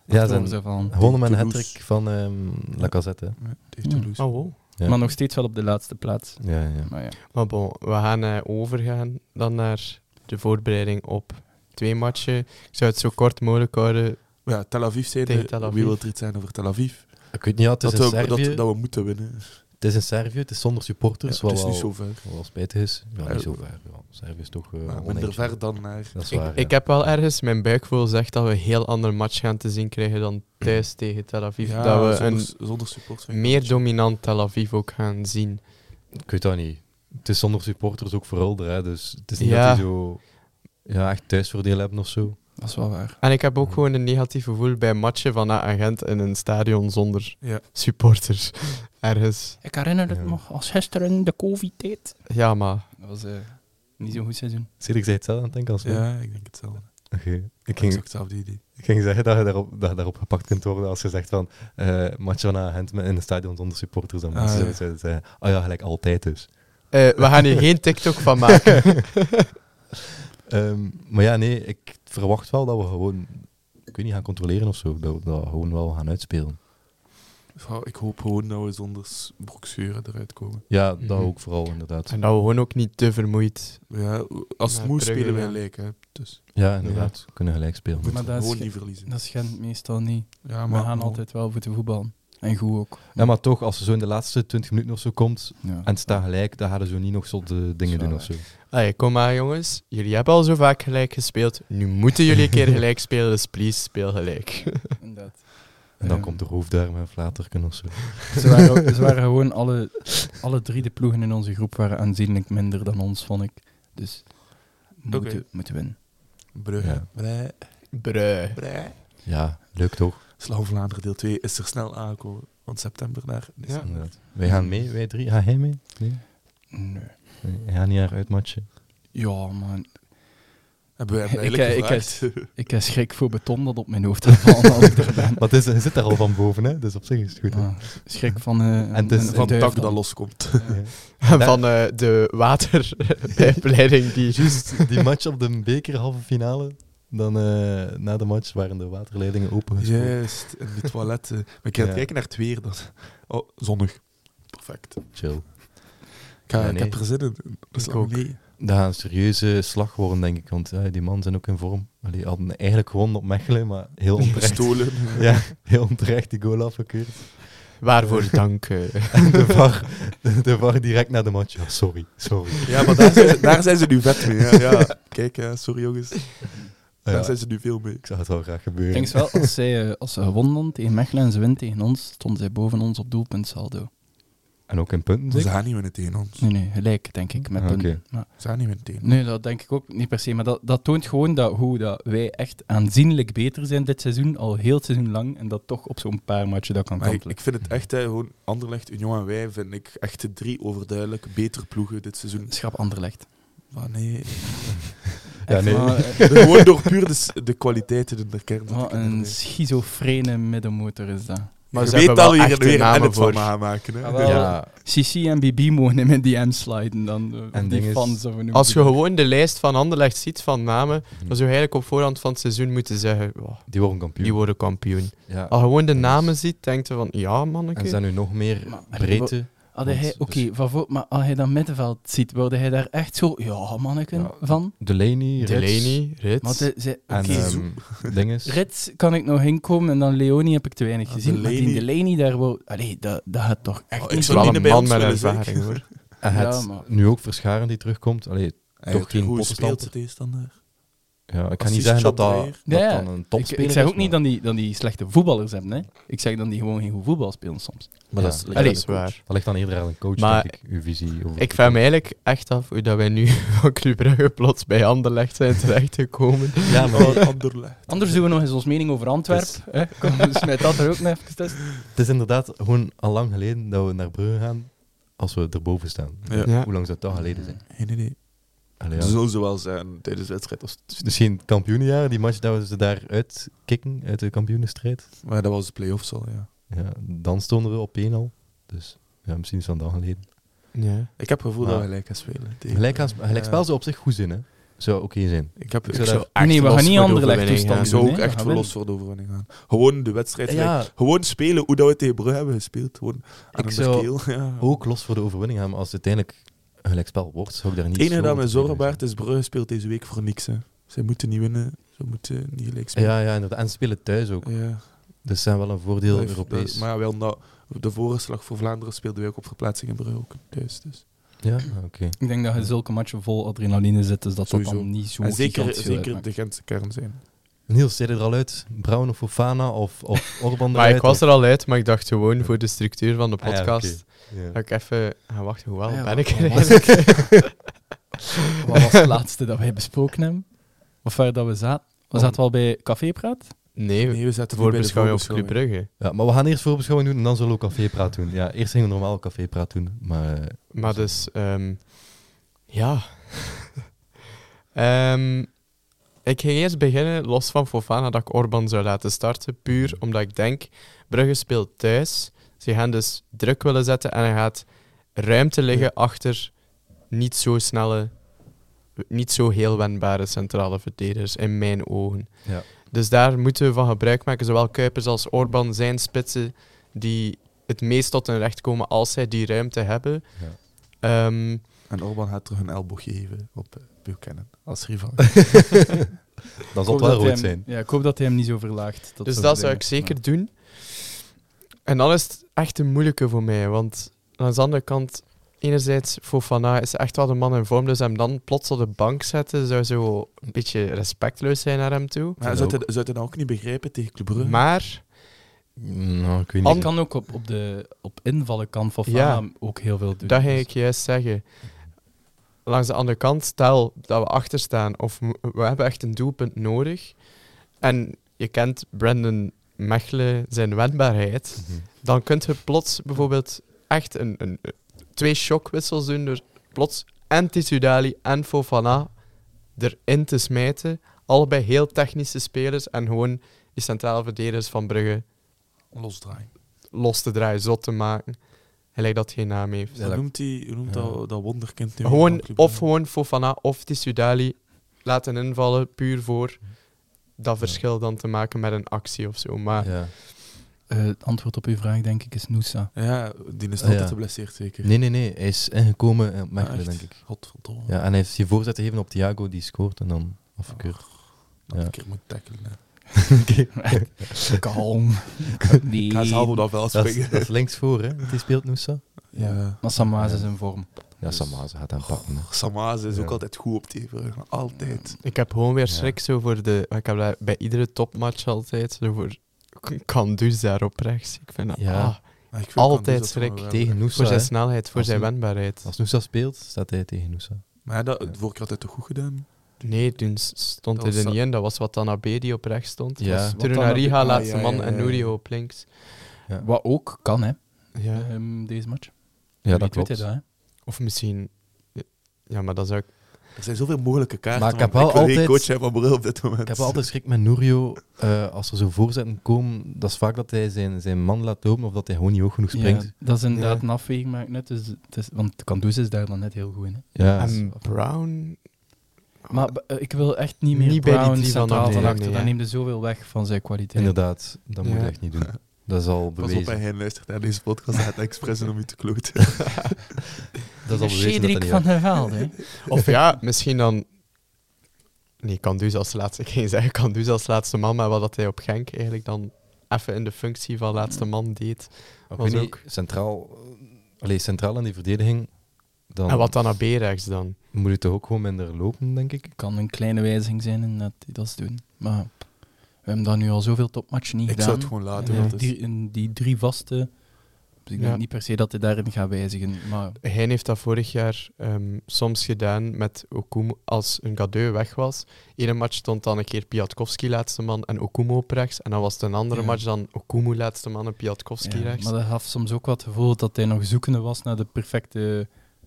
Speaker 1: Ja, zijn
Speaker 3: achterover zou vallen.
Speaker 1: gewonnen met een
Speaker 2: Toulouse.
Speaker 1: hat van ehm Lacazette. hè.
Speaker 3: Ja.
Speaker 2: Toulouse.
Speaker 4: Oh, wow.
Speaker 1: Ja.
Speaker 3: Maar nog steeds wel op de laatste plaats.
Speaker 1: Ja, ja.
Speaker 3: Maar ja.
Speaker 4: Maar bon, we gaan eh, overgaan dan naar de voorbereiding op twee matchen. Ik zou het zo kort mogelijk houden.
Speaker 2: Ja, Tel Aviv
Speaker 4: Tegen
Speaker 2: zeiden
Speaker 4: Tel
Speaker 2: we.
Speaker 4: Aviv.
Speaker 2: Wie wil er iets zijn over Tel Aviv?
Speaker 1: Ik weet niet, ja, het is
Speaker 2: Dat
Speaker 1: in
Speaker 2: we,
Speaker 1: Servië.
Speaker 2: dat, dat we moeten winnen.
Speaker 1: Het is in Servië, het is zonder supporters.
Speaker 2: Ja,
Speaker 1: wat
Speaker 2: het is
Speaker 1: wel,
Speaker 2: niet zo ver.
Speaker 1: wat wel spijtig is. Ja,
Speaker 2: Ja.
Speaker 1: niet zo ver. Ja, Servië is toch... eh,
Speaker 2: Maar minder
Speaker 1: oneentje.
Speaker 2: ver dan naar...
Speaker 1: Dat is
Speaker 4: Ik,
Speaker 1: waar, ja.
Speaker 4: ik heb wel ergens, mijn buikgevoel zegt dat we een heel ander match gaan te zien krijgen dan
Speaker 1: Hm.
Speaker 4: thuis tegen Tel Aviv.
Speaker 2: Ja,
Speaker 4: dat we een
Speaker 2: zonder, zonder support. vind ik
Speaker 4: meer dominant Tel Aviv ook gaan zien.
Speaker 1: Ik weet dat niet. Het is zonder supporters ook verhulder, hè. Dus het is niet
Speaker 4: Ja.
Speaker 1: dat die zo... Ja, echt thuisvoordeel hebben of zo.
Speaker 3: Dat is wel waar.
Speaker 4: En ik heb ook gewoon een negatief gevoel bij matchen van eh, Agent in een stadion zonder
Speaker 2: Ja.
Speaker 4: supporters. Ergens.
Speaker 3: Ik herinner het
Speaker 1: Ja.
Speaker 3: nog als gisteren de covid
Speaker 4: Ja, maar
Speaker 3: Dat was eh, niet zo'n goed seizoen.
Speaker 1: Cedric zei het zelf aan het denken als mij.
Speaker 2: Ja, ik denk hetzelfde.
Speaker 1: Oké. Ik
Speaker 2: Ik heb
Speaker 1: ging
Speaker 2: ook hetzelfde idee.
Speaker 1: Ik ging zeggen dat je daarop, dat je daarop gepakt kunt worden als je zegt van eh Machana hand in een stadion zonder supporters. Dan
Speaker 2: Ah,
Speaker 1: mensen
Speaker 2: ja.
Speaker 1: zouden- zouden zeggen, oh ja, gelijk altijd dus.
Speaker 4: eh, we gaan hier geen TikTok van maken.
Speaker 1: Ehm, maar ja, nee, ik verwacht wel dat we gewoon, ik weet niet, gaan controleren of zo. Dat we dat gewoon wel gaan uitspelen.
Speaker 2: Vrouw, ik hoop gewoon dat we zonder s- broekscheuren eruit komen.
Speaker 1: Ja, dat
Speaker 4: Mhm.
Speaker 1: ook vooral inderdaad.
Speaker 4: En dat we gewoon ook niet te vermoeid.
Speaker 2: Ja, als het
Speaker 4: Ja,
Speaker 2: moet
Speaker 4: Brugge,
Speaker 2: spelen wij
Speaker 4: ja.
Speaker 2: gelijk. Hè. Dus
Speaker 1: Ja, inderdaad. We kunnen gelijk spelen.
Speaker 2: moeten
Speaker 3: dat is
Speaker 2: gewoon
Speaker 3: ge-
Speaker 2: niet verliezen.
Speaker 3: Dat schendt meestal niet.
Speaker 2: ja,
Speaker 3: we gaan altijd wel voor de voetballen. En goed ook.
Speaker 1: Ja, maar toch, als ze zo in de laatste 20 minuten of zo komt
Speaker 3: Ja.
Speaker 1: en het staat gelijk, dan gaan ze zo niet nog zotte dingen
Speaker 3: wel
Speaker 1: doen of zo.
Speaker 4: Allee, kom maar jongens. Jullie hebben al zo vaak gelijk gespeeld. Nu moeten jullie een keer gelijk spelen, dus please speel gelijk.
Speaker 3: Inderdaad.
Speaker 1: En dan
Speaker 3: Ja.
Speaker 1: komt de hoofddarm en flaterken of zo.
Speaker 3: Ze waren, ze waren gewoon alle, alle drie de ploegen in onze groep waren aanzienlijk minder dan ons, vond ik. Dus we
Speaker 2: Oké.
Speaker 3: moeten, moeten winnen.
Speaker 2: Brugge.
Speaker 1: Ja.
Speaker 2: Brugge.
Speaker 4: Bruh.
Speaker 2: Brugge.
Speaker 1: Ja, leuk toch?
Speaker 2: Slag om Vlaanderen deel 2 is er snel aangekomen. Van september naar
Speaker 4: Ja.
Speaker 2: december.
Speaker 1: Inderdaad. Wij gaan mee, wij drie. Ga jij mee? Nee?
Speaker 3: Nee.
Speaker 1: Nee, hij gaat niet naar uitmatchen.
Speaker 3: Ja, man.
Speaker 2: Hebben wij hem
Speaker 3: Ik- eh,
Speaker 2: eigenlijk
Speaker 3: ik- ik-
Speaker 2: gevraagd?
Speaker 3: Ik heb schrik voor beton dat op mijn hoofd gaat vallen als ik er ben.
Speaker 1: Want het is, hij zit daar al van boven, hè? dus op zich is het goed. hè?
Speaker 3: Ja, schrik van... eh
Speaker 1: En het is
Speaker 3: een- een
Speaker 2: Van
Speaker 3: duif
Speaker 2: tak
Speaker 3: dan.
Speaker 2: dat loskomt.
Speaker 1: Ja.
Speaker 4: En van eh, de waterpijpleiding die...
Speaker 1: Juist, die match op de beker halve finale, dan eh, na de match waren de waterleidingen open.
Speaker 2: Juist, in de toiletten. Maar ik ga
Speaker 1: Ja.
Speaker 2: kijken naar het weer dan. Oh, zonnig. Perfect.
Speaker 1: Chill.
Speaker 2: Ik, ga-
Speaker 1: Ja,
Speaker 2: ik
Speaker 1: nee.
Speaker 2: heb er zin in. Dat is
Speaker 4: Ik
Speaker 2: lang
Speaker 4: ook.
Speaker 2: geleden.
Speaker 1: Dat gaat een serieuze slag worden, denk ik, want eh, die mannen zijn ook in vorm. Allee, hadden eigenlijk gewonnen op Mechelen, maar heel onterecht.
Speaker 2: Gestolen.
Speaker 1: Ja, heel onterecht die goal afgekeurd.
Speaker 4: Waarvoor dank. eh.
Speaker 1: En de VAR, de, de VAR direct na de match. Ja, sorry, sorry.
Speaker 2: Ja, maar daar zijn, ze- daar zijn ze nu vet mee. hè. Ja. Kijk, hè, sorry jongens.
Speaker 1: Ah,
Speaker 2: Daar
Speaker 1: ja,
Speaker 2: zijn ze nu veel mee.
Speaker 1: ik zag het wel graag
Speaker 3: Ik
Speaker 1: gebeuren.
Speaker 3: denk wel, als, zij, eh, als ze gewonnen hadden tegen Mechelen en ze wint tegen ons, stonden zij boven ons op doelpuntsaldo.
Speaker 1: En ook in punten,
Speaker 2: Ze
Speaker 1: zeker?
Speaker 2: gaan niet winnen tegen ons.
Speaker 3: Nee, nee, gelijk, denk ik, met
Speaker 1: Ah,
Speaker 3: punten.
Speaker 1: oké.
Speaker 3: Maar-
Speaker 2: Ze gaan niet winnen tegen ons.
Speaker 3: Nee, dat denk ik ook niet per se. Maar dat, dat toont gewoon dat, hoe dat wij echt aanzienlijk beter zijn dit seizoen, al heel het seizoen lang. En dat toch op zo'n paar matchen dat kan
Speaker 2: Maar ik,
Speaker 3: kantelen.
Speaker 2: ik vind het echt, hè, gewoon Anderlecht, Union en wij vind ik echt de drie overduidelijk betere ploegen dit seizoen.
Speaker 3: Schrap Anderlecht.
Speaker 2: Maar nee.
Speaker 1: Ja,
Speaker 3: Echt,
Speaker 1: nee.
Speaker 3: maar, eh,
Speaker 2: gewoon door puur de, s- de kwaliteiten in de kern. zit ik
Speaker 3: wat
Speaker 2: in de
Speaker 3: een
Speaker 2: rij.
Speaker 3: schizofrene middenmotor is dat.
Speaker 4: Maar
Speaker 2: je
Speaker 4: ze
Speaker 2: weet
Speaker 4: hebben
Speaker 2: dat
Speaker 4: wel
Speaker 2: we hier
Speaker 4: echte
Speaker 2: weer een
Speaker 4: namen
Speaker 2: edit
Speaker 4: voor.
Speaker 2: van aanmaken. Hè?
Speaker 3: Ah,
Speaker 2: Dus-
Speaker 3: wel.
Speaker 1: Ja.
Speaker 3: Sissi en Bibi mogen in mijn DM sliden dan. eh,
Speaker 1: En
Speaker 3: die
Speaker 1: ding is,
Speaker 3: fans, of hoe noem
Speaker 4: Als
Speaker 3: je
Speaker 4: je
Speaker 3: dat?
Speaker 4: gewoon de lijst van Anderlecht ziet van namen,
Speaker 1: Mhm.
Speaker 4: dan zou je eigenlijk op voorhand van het seizoen moeten zeggen, "Oh,
Speaker 1: Die worden kampioen.
Speaker 4: die worden kampioen.
Speaker 1: ja.
Speaker 4: Als je gewoon de
Speaker 1: dat is-
Speaker 4: namen ziet, denk je van, ja
Speaker 1: En er
Speaker 4: manneke.
Speaker 1: zijn nu nog meer
Speaker 3: Maar-
Speaker 1: breedte.
Speaker 3: Had hij,
Speaker 1: Want-
Speaker 3: oké, van voor- maar als hij dat middenveld ziet, wilde hij daar echt zo, ja, manneken,
Speaker 1: Ja.
Speaker 3: van?
Speaker 1: Delaney, Rits
Speaker 4: Delaney, Rits.
Speaker 3: Maar de, ze,
Speaker 1: en
Speaker 2: eh,
Speaker 3: oké,
Speaker 1: ehm,
Speaker 3: zo-
Speaker 1: dinges.
Speaker 3: Rits kan ik nog inkomen en dan Leonie heb ik te weinig
Speaker 2: Ah,
Speaker 3: gezien. Maar die
Speaker 2: Delaney.
Speaker 3: Delaney daar wel... Allee, dat, dat gaat toch echt
Speaker 2: Oh, ik
Speaker 3: niet
Speaker 2: zou
Speaker 3: doen?
Speaker 2: die bij ons willen, zeg.
Speaker 4: hoor.
Speaker 1: En
Speaker 3: Ja,
Speaker 1: het-
Speaker 3: maar-
Speaker 1: nu ook Verscharen die terugkomt. Allee, Toch
Speaker 2: Hij heeft
Speaker 1: geen
Speaker 2: een goede
Speaker 1: poppenstand.
Speaker 2: speeltijd is dan daar.
Speaker 1: ja, ik kan
Speaker 2: Assist
Speaker 1: niet zeggen dat
Speaker 2: John
Speaker 1: dat,
Speaker 2: Dreyer.
Speaker 1: dat
Speaker 3: Ja, ja.
Speaker 1: dan een
Speaker 3: ik,
Speaker 1: topspeler
Speaker 3: ik zeg
Speaker 1: is,
Speaker 3: ook niet
Speaker 1: maar-
Speaker 3: dat die, dat die slechte voetballers hebben. Hè. Ik zeg dat die gewoon geen goed voetbal spelen soms.
Speaker 1: Maar
Speaker 2: Ja.
Speaker 1: dat, is,
Speaker 4: Dat
Speaker 1: allee,
Speaker 4: is waar.
Speaker 1: dat ligt dan eerder aan een coach,
Speaker 4: Maar-
Speaker 1: denk ik, uw visie. over-
Speaker 4: Ik vraag me eigenlijk echt af hoe dat wij nu van Club Brugge plots bij Anderlecht zijn terechtgekomen.
Speaker 1: Ja, maar
Speaker 2: Oh, Anderlecht.
Speaker 3: Anders doen we nog eens ons mening over Antwerpen. hè. Kom, dus smijt dat er ook nog even tussen.
Speaker 1: het is inderdaad gewoon al lang geleden dat we naar Brugge gaan als we erboven staan.
Speaker 2: Ja.
Speaker 4: Ja.
Speaker 1: Hoe lang zou het dan geleden zijn?
Speaker 2: Geen idee.
Speaker 1: Allee,
Speaker 2: Zo
Speaker 1: ja.
Speaker 2: Zullen ze wel zijn tijdens de wedstrijd. Als
Speaker 1: Dus Misschien het kampioenenjaar, die match dat we ze daar uitkicken uit de kampioenenstrijd.
Speaker 2: maar dat was de play-offs al, ja.
Speaker 1: Ja, dan stonden we op één al. Dus ja, misschien is het dan geleden.
Speaker 4: Ja.
Speaker 2: Ik heb het gevoel
Speaker 1: Maar-
Speaker 2: dat we gelijk gaan spelen. tegen-
Speaker 1: Gelijk, gaan, gelijk
Speaker 2: Ja.
Speaker 1: spel zou op zich goed zijn, hè? Zou oké zijn.
Speaker 2: Ik, heb,
Speaker 1: Ik
Speaker 2: ik,
Speaker 1: zou
Speaker 2: zou,
Speaker 1: daar-
Speaker 2: echt
Speaker 3: Nee, we
Speaker 2: los
Speaker 3: gaan niet
Speaker 2: voor de
Speaker 3: andere
Speaker 2: overwinning
Speaker 3: Anderlecht
Speaker 2: gaan.
Speaker 4: gaan
Speaker 2: Ik zou
Speaker 3: doen,
Speaker 2: ook
Speaker 3: hè.
Speaker 2: echt
Speaker 3: Gaan
Speaker 2: voor los
Speaker 3: winnen.
Speaker 2: voor de overwinning gaan. Gewoon de wedstrijd. gelijk-
Speaker 1: Ja,
Speaker 2: Gewoon spelen hoe dat we tegen Brugge hebben gespeeld. Gewoon aan
Speaker 1: Ik
Speaker 2: de
Speaker 1: zou
Speaker 2: keel, ja.
Speaker 1: ook los voor de overwinning gaan, maar als het uiteindelijk een gelijkspel wordt, zou ik daar niet
Speaker 2: Het enige
Speaker 1: zo
Speaker 2: dat mij zorgen
Speaker 1: tegen
Speaker 2: baart is Brugge speelt deze week voor niks. Hè. Ze moeten niet winnen. Ze moeten niet gelijk
Speaker 1: zijn.
Speaker 2: spelen.
Speaker 1: Ja, ja, inderdaad. En ze spelen thuis ook.
Speaker 2: Ja.
Speaker 1: Dus zijn wel een voordeel
Speaker 2: Dat-
Speaker 1: Europees.
Speaker 2: dat- maar ja, wel omdat de vorige slag voor Vlaanderen speelden wij ook op verplaatsing in Brugge ook thuis. Dus.
Speaker 1: Ja, ah, oké.
Speaker 3: Ik denk dat je zulke matchen vol adrenaline zit, dus dat dat
Speaker 2: Sowieso.
Speaker 3: dan niet zo
Speaker 2: En zeker,
Speaker 3: gigantisch veel
Speaker 2: zeker
Speaker 3: uitmaakt.
Speaker 2: de Gentse kern zijn.
Speaker 1: Niels, zei er al uit. Brown of Fofana of, of Orban
Speaker 4: Maar ik was er al uit, maar ik dacht gewoon voor de structuur van de
Speaker 1: Ah ja,
Speaker 4: podcast.
Speaker 1: oké. Ja.
Speaker 4: Dat ik even. Ah, wacht, hoe wel
Speaker 3: Ah ja,
Speaker 4: ben ik
Speaker 3: wat-
Speaker 4: er
Speaker 3: wat was
Speaker 4: eigenlijk?
Speaker 3: Wat was het laatste dat wij besproken hebben? Of waar dat we zaten? We zaten wel bij Café Praat.
Speaker 4: Nee,
Speaker 2: Nee, we zaten voor bij de
Speaker 4: voorbeschouwing op
Speaker 2: voorbeschouwing.
Speaker 4: Club Brugge.
Speaker 1: Ja, maar we gaan eerst voorbeschouwing doen en dan zullen we ook cafépraat doen. Ja, eerst gingen we normaal cafépraat doen, maar... eh,
Speaker 4: Maar dus, ehm, ja. Ehm, ik ging eerst beginnen, los van Fofana, dat ik Orban zou laten starten. Puur omdat ik denk, Brugge speelt thuis. Ze gaan dus druk willen zetten en er gaat ruimte liggen achter niet zo snelle, niet zo heel wendbare centrale verdedigers, in mijn ogen.
Speaker 1: Ja.
Speaker 4: Dus daar moeten we van gebruik maken. Zowel Kuipers als Orban zijn spitsen die het meest tot hun recht komen als zij die ruimte hebben.
Speaker 1: Ja.
Speaker 4: Ehm,
Speaker 2: En Orban gaat terug een elbow geven op eh, Buchanan als rival.
Speaker 1: dat
Speaker 3: Ik
Speaker 1: zal het
Speaker 3: hoop
Speaker 1: wel
Speaker 3: dat hij
Speaker 1: rood
Speaker 3: hem-
Speaker 1: zijn.
Speaker 3: Ja, ik hoop dat hij hem niet zo verlaagt. tot
Speaker 4: dus
Speaker 3: zo'n
Speaker 4: dat zou
Speaker 3: dingen.
Speaker 4: ik zeker doen. En dan is het echt een moeilijke voor mij. Want aan de andere kant, enerzijds, Fofana is echt wel een man in vorm. Dus hem dan plots op de bank zetten zou zo een beetje respectloos zijn naar hem toe.
Speaker 2: Maar
Speaker 1: Dat
Speaker 2: zou
Speaker 1: ook.
Speaker 2: je zou je dat nou ook niet begrijpen tegen Club Brugge?
Speaker 4: Maar
Speaker 1: Nou, ik weet
Speaker 3: Maar
Speaker 1: niet.
Speaker 3: Je kan ook op, op, de, op invallen kan van
Speaker 4: Ja.
Speaker 3: Fana ook heel veel doen.
Speaker 4: dat ging
Speaker 3: Dus-
Speaker 4: ik juist zeggen. Langs de andere kant, stel dat we achterstaan of m- we hebben echt een doelpunt nodig. En je kent Brandon Mechelen, zijn wendbaarheid.
Speaker 1: Mhm.
Speaker 4: dan kunt je plots bijvoorbeeld echt een, een, twee shockwissels doen door plots en Tisudali en Fofana erin te smijten. Allebei heel technische spelers en gewoon die centrale verdedigers van Brugge
Speaker 2: Losdraaien.
Speaker 4: los te draaien, zot te maken. Gelijk dat geen naam heeft.
Speaker 1: Ja,
Speaker 2: Hoe
Speaker 1: dat-
Speaker 2: noemt, die, hoe noemt
Speaker 1: ja.
Speaker 2: dat, dat wonderkind nu?
Speaker 4: Gewoon,
Speaker 2: van Club
Speaker 4: of
Speaker 2: Brugge?
Speaker 4: gewoon Fofana of Tisudali laten invallen, puur voor dat verschil dan te maken met een actie of zo. Maar
Speaker 1: Ja.
Speaker 3: Eh, het antwoord op uw vraag, denk ik, is Noosa.
Speaker 2: Ja, die is
Speaker 1: Ah,
Speaker 2: altijd
Speaker 1: ja.
Speaker 2: geblesseerd zeker.
Speaker 1: Nee, nee, nee. Hij is ingekomen eh, op
Speaker 2: Ah,
Speaker 1: Mechelen,
Speaker 2: echt?
Speaker 1: denk ik.
Speaker 2: Godverdomme.
Speaker 1: Ja, en hij heeft je voorzet gegeven op Thiago, die scoort en dan afgekeurd.
Speaker 2: Dat
Speaker 1: Ja.
Speaker 2: ik er moet tackelen. hè.
Speaker 3: Kalm.
Speaker 2: Ik ga zelf op dat veld
Speaker 1: Dat is,
Speaker 2: springen.
Speaker 1: dat is links voor, hè? Die speelt Noosa.
Speaker 2: Ja.
Speaker 3: Maar Samaas is in vorm.
Speaker 1: Ja, Samaze gaat hem pakken. hè.
Speaker 2: Samaz is
Speaker 1: Ja.
Speaker 2: ook altijd goed op die brug. Altijd.
Speaker 4: Ik heb gewoon weer
Speaker 1: Ja.
Speaker 4: schrik zo voor de. Ik heb dat bij iedere topmatch altijd zo voor. Kandus daar op rechts. Ik vind dat.
Speaker 1: Ja.
Speaker 4: ah,
Speaker 2: Maar ik vind
Speaker 4: Altijd
Speaker 2: Kandus dat
Speaker 4: schrik
Speaker 2: wel eh, wel
Speaker 1: Tegen
Speaker 2: leuk.
Speaker 1: Noosa.
Speaker 4: voor zijn
Speaker 1: hè.
Speaker 4: snelheid, voor
Speaker 1: Als
Speaker 4: zijn
Speaker 1: hij-
Speaker 4: wendbaarheid.
Speaker 1: Als Noosa speelt, staat hij tegen Noosa.
Speaker 2: Maar dat, vorige keer had hij toch goed gedaan?
Speaker 4: Nee, toen s-
Speaker 2: Dat
Speaker 4: stond hij
Speaker 2: was
Speaker 4: er
Speaker 2: dat-
Speaker 4: niet in. Dat was wat Tanabe die op rechts stond. Dus
Speaker 1: Ja.
Speaker 4: Ja.
Speaker 1: Wat
Speaker 3: Watanabe-
Speaker 4: Turunariga,
Speaker 3: Ah,
Speaker 4: laatste
Speaker 2: ja,
Speaker 4: man,
Speaker 2: ja,
Speaker 4: en
Speaker 2: ja.
Speaker 4: Nurio op links.
Speaker 1: Ja,
Speaker 3: Wat ook kan, hè,
Speaker 4: Ja.
Speaker 3: ehm, deze match.
Speaker 1: ja
Speaker 3: Wie
Speaker 1: dat
Speaker 3: weet
Speaker 1: klopt.
Speaker 3: Hij dat, hè?
Speaker 4: Of misschien. Ja, maar dat zou ik.
Speaker 2: Er zijn zoveel mogelijke kaarten.
Speaker 1: Maar ik heb
Speaker 2: man.
Speaker 1: wel
Speaker 2: wil geen
Speaker 1: altijd-
Speaker 2: coach hebben van Brugge op dit moment.
Speaker 1: Ik heb wel altijd schrik met Nourio. eh, als er zo voorzetten komen, dat is vaak dat hij zijn, zijn man laat lopen of dat hij gewoon niet hoog genoeg springt.
Speaker 3: Ja, dat is inderdaad
Speaker 4: Ja.
Speaker 3: een afweging, maar net. Dus, het is- want Kandus is daar dan net heel goed in. Hè.
Speaker 1: Ja, dat is-
Speaker 4: En Brown...
Speaker 3: Maar b- eh, ik wil echt niet meer
Speaker 4: Niet bij die
Speaker 3: Brown
Speaker 4: drie van
Speaker 3: centraal
Speaker 4: achter,
Speaker 3: van
Speaker 4: nee,
Speaker 3: achter.
Speaker 4: nee,
Speaker 3: dat
Speaker 4: hè.
Speaker 3: neemt er zoveel weg van zijn kwaliteit.
Speaker 1: inderdaad, dat moet je
Speaker 4: Ja.
Speaker 1: echt niet doen. Dat is al
Speaker 2: Pas op, en
Speaker 1: bewezen.
Speaker 2: hij luistert naar deze podcast. Hij gaat expres doen om je te kloten.
Speaker 1: Dat is al bewezen dat dat
Speaker 3: Cedric
Speaker 1: niet
Speaker 3: van
Speaker 1: werkt.
Speaker 3: der Velde.
Speaker 4: Of ja, misschien dan... Nee, Kandus als laatste... Ik ging zeggen Kandus als laatste man, maar wat dat hij op Genk eigenlijk dan even in de functie van laatste man deed.
Speaker 1: Ik
Speaker 4: was
Speaker 1: weet niet,
Speaker 4: ook.
Speaker 1: Centraal, alleen centraal in die verdediging, dan
Speaker 4: En wat dan naar B-rechts dan?
Speaker 1: moet je toch ook gewoon minder lopen, denk ik.
Speaker 3: kan een kleine wijziging zijn in dat die dat doen. Maar we hebben dat nu al zoveel topmatchen niet
Speaker 2: Ik zou het
Speaker 3: gedaan.
Speaker 2: gewoon laten.
Speaker 3: En
Speaker 2: want
Speaker 3: die,
Speaker 2: het is-
Speaker 3: drie- en die drie vaste. Dus ik
Speaker 4: Ja.
Speaker 3: denk niet per se dat hij daarin gaat wijzigen. Maar
Speaker 4: Hij heeft dat vorig jaar ehm, soms gedaan met Okumo als een gadeu weg was. Ene match stond dan een keer Piatkowski laatste man en Okumo op rechts. En dan was het een andere
Speaker 3: Ja.
Speaker 4: match dan Okumo laatste man en Piatkowski
Speaker 3: Ja,
Speaker 4: rechts.
Speaker 3: Maar dat gaf soms ook wat gevoel dat hij nog zoekende was naar de perfecte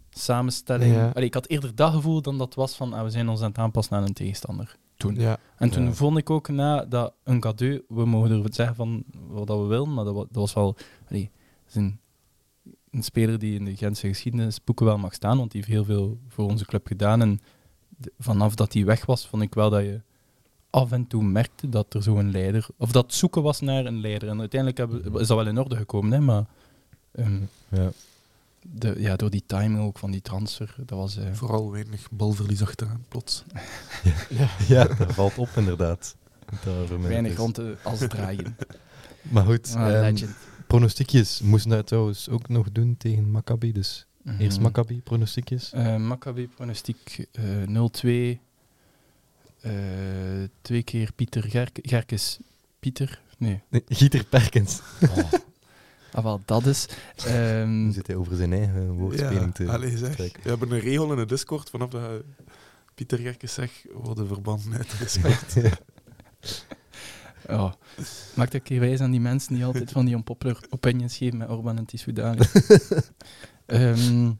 Speaker 3: samenstelling.
Speaker 4: Ja.
Speaker 3: Allee, ik had eerder dat gevoel dan dat het was van ah, we zijn ons aan het aanpassen aan een tegenstander. Toen.
Speaker 4: Ja.
Speaker 3: En toen
Speaker 1: Ja.
Speaker 3: vond ik ook na dat een cadeau, we mogen er zeggen van wat dat we willen, maar dat, wa- dat was wel allee, dat is een, een speler die in de Gentse geschiedenisboeken wel mag staan, want die heeft heel veel voor onze club gedaan. En de- vanaf dat hij weg was, vond ik wel dat je af en toe merkte dat er zo'n leider, of dat het zoeken was naar een leider. En uiteindelijk hebben, is dat wel in orde gekomen, hè, maar ehm,
Speaker 1: Ja.
Speaker 3: de, ja, door die timing ook van die transfer, dat was... eh,
Speaker 2: Vooral weinig balverlies achteraan, plots.
Speaker 1: Ja, dat valt op inderdaad. Dat er verminderd
Speaker 3: Weinig
Speaker 1: is.
Speaker 3: rond de als draaien.
Speaker 1: Maar goed,
Speaker 3: Ah,
Speaker 1: dus- ehm,
Speaker 3: legend.
Speaker 1: pronostiekjes moesten dat trouwens ook nog doen tegen Maccabi. Dus eerst
Speaker 3: Mhm.
Speaker 1: Maccabi, pronostiekjes.
Speaker 3: Eh, Maccabi pronostiek eh, 0-2. Eh, twee keer Pieter Gerk Gerkes. Pieter? Nee.
Speaker 1: Nee, Gieter Perkins.
Speaker 3: Ah, wel, dat is.
Speaker 1: Nu
Speaker 3: Ehm,
Speaker 1: zit hij over zijn eigen woordspeling
Speaker 2: Ja,
Speaker 1: te...
Speaker 2: allee, zeg.
Speaker 1: trekken.
Speaker 2: We hebben een regel in de Discord vanaf dat eh, Pieter Gerkes zegt, worden verbanden uit de Discord.
Speaker 3: ja. Maak dat ik hier wijs aan die mensen die altijd van die unpopular opinions geven met Orban en Tissoudali. Ehm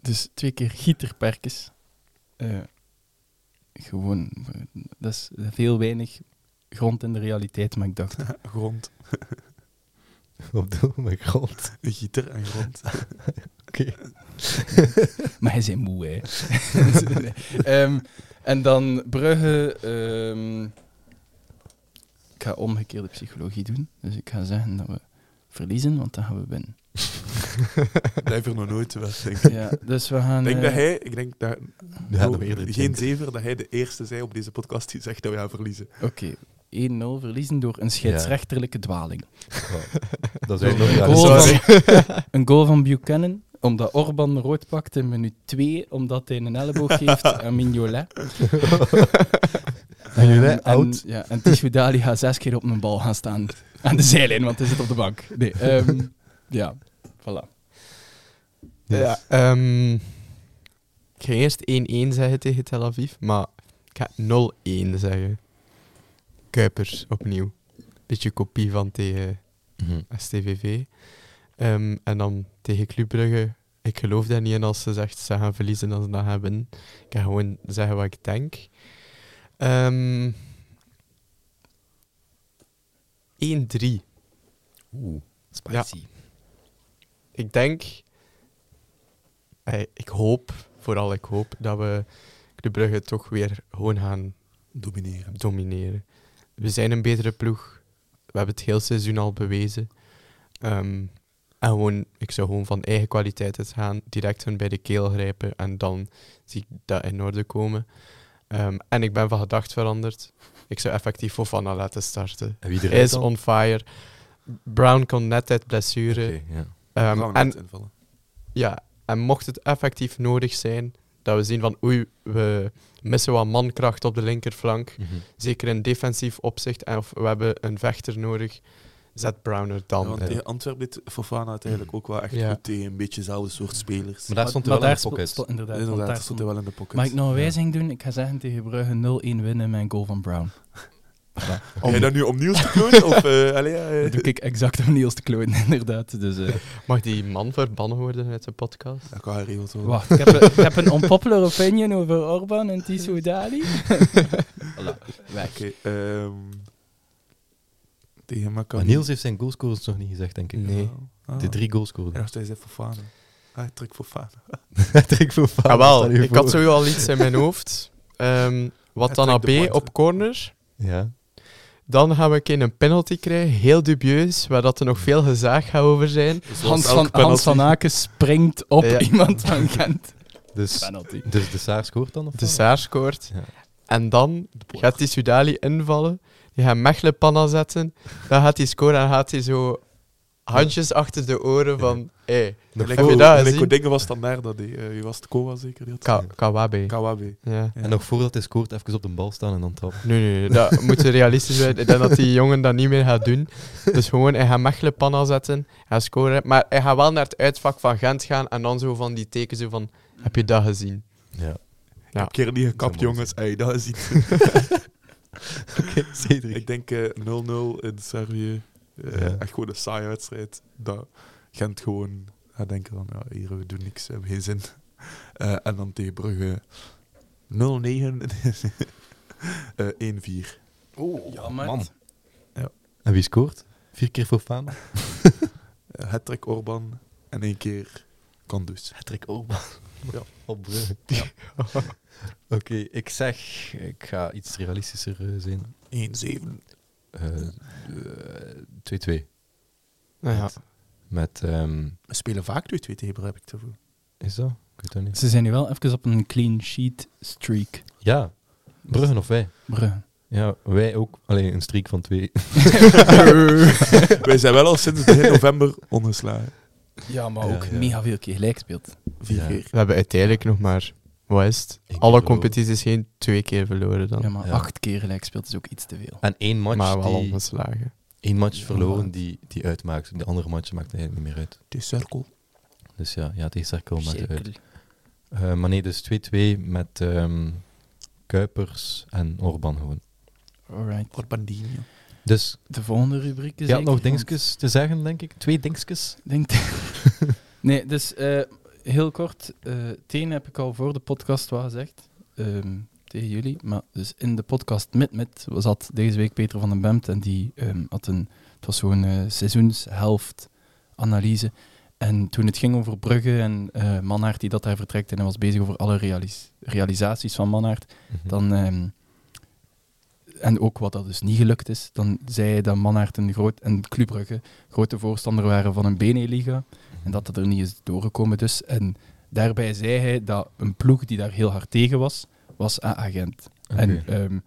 Speaker 3: dus twee keer Gieter Perkes. Eh, gewoon, eh, dat is veel weinig grond in de realiteit, maar ik dacht,
Speaker 2: grond.
Speaker 1: Op de oh mijn god.
Speaker 2: Een gieter en grond.
Speaker 3: Maar hij zijn moe, hè. Nee. Ehm, en dan Brugge. ehm, ik ga omgekeerde psychologie doen. Dus ik ga zeggen dat we verliezen, want dan gaan we winnen.
Speaker 2: Blijf er nog nooit weg, denk ik.
Speaker 3: Ja, dus we gaan...
Speaker 2: Ik denk
Speaker 3: eh,
Speaker 2: dat hij, ik denk dat,
Speaker 1: Ja, dat
Speaker 2: oh,
Speaker 1: we eerder
Speaker 2: geen
Speaker 1: denken.
Speaker 2: zever, dat hij de eerste zei op deze podcast die zegt dat we gaan verliezen.
Speaker 3: Oké, 1-0 verliezen door een scheidsrechterlijke dwaling.
Speaker 1: Oh, dat is
Speaker 3: Door
Speaker 1: eigenlijk
Speaker 3: een,
Speaker 1: nog
Speaker 3: goal
Speaker 1: raar.
Speaker 3: van, een goal van Buchanan, omdat Orban rood pakt in minuut 2, omdat hij een elleboog geeft aan Mignolet.
Speaker 1: Mignolet,
Speaker 3: Ehm, en-
Speaker 1: oud.
Speaker 3: Ja, en Tishu Dali gaat zes keer op een bal gaan staan. Aan de zijlijn, want hij zit op de bank. Nee, ehm, ja, voilà.
Speaker 1: Yes.
Speaker 4: Ja, ehm, ik ging eerst 1-1 zeggen tegen Tel Aviv, maar ik ga 0-1 zeggen. Kuipers opnieuw. Beetje kopie van tegen
Speaker 1: Mhm.
Speaker 4: STVV. Ehm, en dan tegen Club Brugge. Ik geloof daar niet in als ze zegt ze gaan verliezen dan ze dat gaan winnen. Ik ga gewoon zeggen wat ik denk. Ehm 1-3.
Speaker 1: Oeh,
Speaker 4: spicy. Ik denk, eh, ik hoop, vooral ik hoop, dat we de Brugge toch weer gewoon gaan
Speaker 2: Domineren.
Speaker 4: domineren. We zijn een betere ploeg. We hebben het heel seizoen al bewezen. Ehm, en gewoon, ik zou gewoon van eigen kwaliteit uit gaan, direct hun bij de keel grijpen en dan zie ik dat in orde komen. Ehm, en ik ben van gedacht veranderd. Ik zou effectief Fofana laten starten.
Speaker 1: En wie
Speaker 4: Hij
Speaker 1: eruit
Speaker 4: is
Speaker 1: dan?
Speaker 4: on fire. Brown kon net uit blessure.
Speaker 1: Oké, ja.
Speaker 4: Ehm,
Speaker 2: Gaan we
Speaker 4: en
Speaker 2: net invallen.
Speaker 4: ja, en mocht het effectief nodig zijn, dat we zien van oei, we missen wat mankracht op de linkerflank.
Speaker 1: Mhm.
Speaker 4: Zeker in defensief opzicht, en of we hebben een vechter nodig, zet Browner
Speaker 2: Ja,
Speaker 4: dan.
Speaker 2: want
Speaker 1: eh.
Speaker 2: tegen Antwerpen deed Fofana het eigenlijk ook wel echt
Speaker 4: Ja.
Speaker 2: goed tegen een beetje dezelfde soort spelers.
Speaker 1: Maar daar stond hij wel in de
Speaker 3: spo-
Speaker 1: pocket.
Speaker 3: stond- inderdaad, want
Speaker 2: Inderdaad,
Speaker 3: daar
Speaker 2: dat stond
Speaker 3: stond-
Speaker 2: hij wel in de pocket.
Speaker 3: Mag ik nog een
Speaker 1: Ja.
Speaker 3: wijziging doen? Ik ga zeggen tegen Brugge 0-1 winnen met een goal van Brown.
Speaker 2: Om... Jij dat nu opnieuw te klonen? of, eh, allee, ja, eh,
Speaker 3: Dat doe ik exact om Niels te klooien, inderdaad. Dus, eh,
Speaker 4: Mag die man verbannen worden uit de podcast?
Speaker 2: dat kan geregeld worden.
Speaker 3: wacht, ik heb, een- ik heb een unpopular opinion over Orban en Tiso Dali. voilà, weg.
Speaker 2: Oké, ehm, tegen elkaar
Speaker 1: Maar
Speaker 2: niet.
Speaker 1: Niels heeft zijn goalscorers nog niet gezegd, denk ik.
Speaker 4: Nee.
Speaker 2: Ah.
Speaker 1: De drie
Speaker 2: En
Speaker 1: goalscorers.
Speaker 2: nog steeds even Fofana. Ah, trek Fofana.
Speaker 1: Trek voor fout,
Speaker 3: Ah,
Speaker 4: Jawel,
Speaker 1: stel je
Speaker 4: ik had
Speaker 1: voor.
Speaker 4: sowieso al iets in mijn hoofd. Ehm wat dan
Speaker 2: trekt
Speaker 4: AB
Speaker 2: de point,
Speaker 4: op
Speaker 2: hè.
Speaker 4: corner.
Speaker 1: Ja.
Speaker 4: Dan gaan we een keer een penalty krijgen, heel dubieus, waar dat er nog veel gezaag gaat over zijn.
Speaker 3: Hans van, Hans van Aken springt op
Speaker 4: Ja.
Speaker 3: iemand van Gent.
Speaker 1: Dus,
Speaker 3: Penalty.
Speaker 1: dus de Saar scoort dan? Of
Speaker 4: De
Speaker 2: Oh.
Speaker 1: wat?
Speaker 4: Saar scoort.
Speaker 1: Ja.
Speaker 4: En dan gaat die Sudali invallen. Die gaat Mechelen panna zetten. Dan gaat hij scoren en gaat hij zo handjes achter de oren van... Hé,
Speaker 1: Nog
Speaker 4: Heb je
Speaker 1: voor-
Speaker 4: dat gezien?
Speaker 2: Lekker dingen was dan daar dat die. eh, wie was het? Koa zeker? Die had
Speaker 4: Ka- Kawabe.
Speaker 2: Kawabe.
Speaker 4: Ja.
Speaker 1: En nog voordat hij scoort, even op de bal staan en dan trappen.
Speaker 4: Nee, nee, nee, dat moet realistisch zijn. Ik denk dat die jongen dat niet meer gaat doen. Dus gewoon, hij gaat Mechelen panna zetten. Hij gaat scoren. Maar hij gaat wel naar het uitvak van Gent gaan. En dan zo van die teken zo van... Heb je dat gezien?
Speaker 1: Ja.
Speaker 4: Ja.
Speaker 2: Een keer niet gekapt,
Speaker 1: Dat is een
Speaker 2: jongens. Ey, dat is iets.
Speaker 1: Oké, Cedric.
Speaker 2: Ik denk eh, 0-0 in Servië. Eh,
Speaker 1: Ja.
Speaker 2: Echt gewoon een saaie wedstrijd. Dat Gent gewoon gaat denken van, ja, hier, we doen niks, we hebben geen zin. Eh, en dan tegen Brugge 0-9. Eh, 1-4.
Speaker 3: Oeh, jammer.
Speaker 1: man.
Speaker 2: Ja.
Speaker 1: En wie scoort? Vier keer voor Fama.
Speaker 2: Uh, Hattrick Orban en één keer Kandus.
Speaker 1: Patrick Orban.
Speaker 2: Ja.
Speaker 1: Op Brugge. Oké, ik zeg... Ik ga iets realistischer eh, zijn.
Speaker 2: 1-7.
Speaker 1: Eh, eh, 2-2.
Speaker 4: Nou ja.
Speaker 1: Met... ehm,
Speaker 2: We spelen vaak 2-2 tegen Brugge, heb ik te voelen.
Speaker 1: is dat? Ik weet dat niet.
Speaker 3: Ze zijn nu wel even op een clean sheet streak. eh,
Speaker 1: Ja. Bruggen of wij?
Speaker 3: Brugge.
Speaker 1: Ja, wij ook. Alleen een streak van twee.
Speaker 2: Wij zijn wel al sinds begin november ongeslagen.
Speaker 3: Ja, maar
Speaker 1: Ja,
Speaker 3: ook
Speaker 1: ja.
Speaker 3: mega veel keer gelijk speelt.
Speaker 2: Vier
Speaker 1: Ja.
Speaker 2: keer.
Speaker 4: We hebben uiteindelijk nog maar... Wat is het?
Speaker 1: keer
Speaker 4: Alle
Speaker 1: verloren.
Speaker 4: competities geen twee keer verloren dan.
Speaker 3: Ja, maar
Speaker 1: Ja.
Speaker 3: acht keer gelijk speelt is ook iets te veel.
Speaker 1: En één match,
Speaker 4: maar wel
Speaker 1: die,
Speaker 4: ongeslagen.
Speaker 1: één match
Speaker 2: Ja,
Speaker 1: verloren
Speaker 2: inderdaad.
Speaker 1: die, die uitmaakt. De andere match maakt eigenlijk niet meer uit.
Speaker 2: De cirkel.
Speaker 1: Dus ja, ja die cirkel maakt het uit.
Speaker 3: Cirkel.
Speaker 1: Eh, maar nee, dus 2-2 met ehm, Kuipers en Orban gewoon.
Speaker 3: Alright.
Speaker 2: Orbandinho.
Speaker 1: Dus
Speaker 3: De volgende rubriek is.
Speaker 1: je had nog dingetjes te zeggen, denk ik. Twee dingetjes.
Speaker 3: Denk nee, dus eh, heel kort. eh Teen heb ik al voor de podcast wat gezegd. ehm, tegen jullie. Maar dus in de podcast Mit Mit was dat deze week Peter van den Bemt. En die ehm, had een. Het was zo'n eh, seizoenshelft analyse. En toen het ging over Brugge en eh Mannaert die dat daar vertrekt. En hij was bezig over alle realis- realisaties van Mannaert. dan, ehm, en ook wat dat dus niet gelukt is, dan zei hij dat Mannaert en, groot, en Club Brugge grote voorstander waren van een BNE-liga en dat het er niet is doorgekomen dus. En daarbij zei hij dat een ploeg die daar heel hard tegen was, was A-agent.
Speaker 1: Oké.
Speaker 3: En ehm,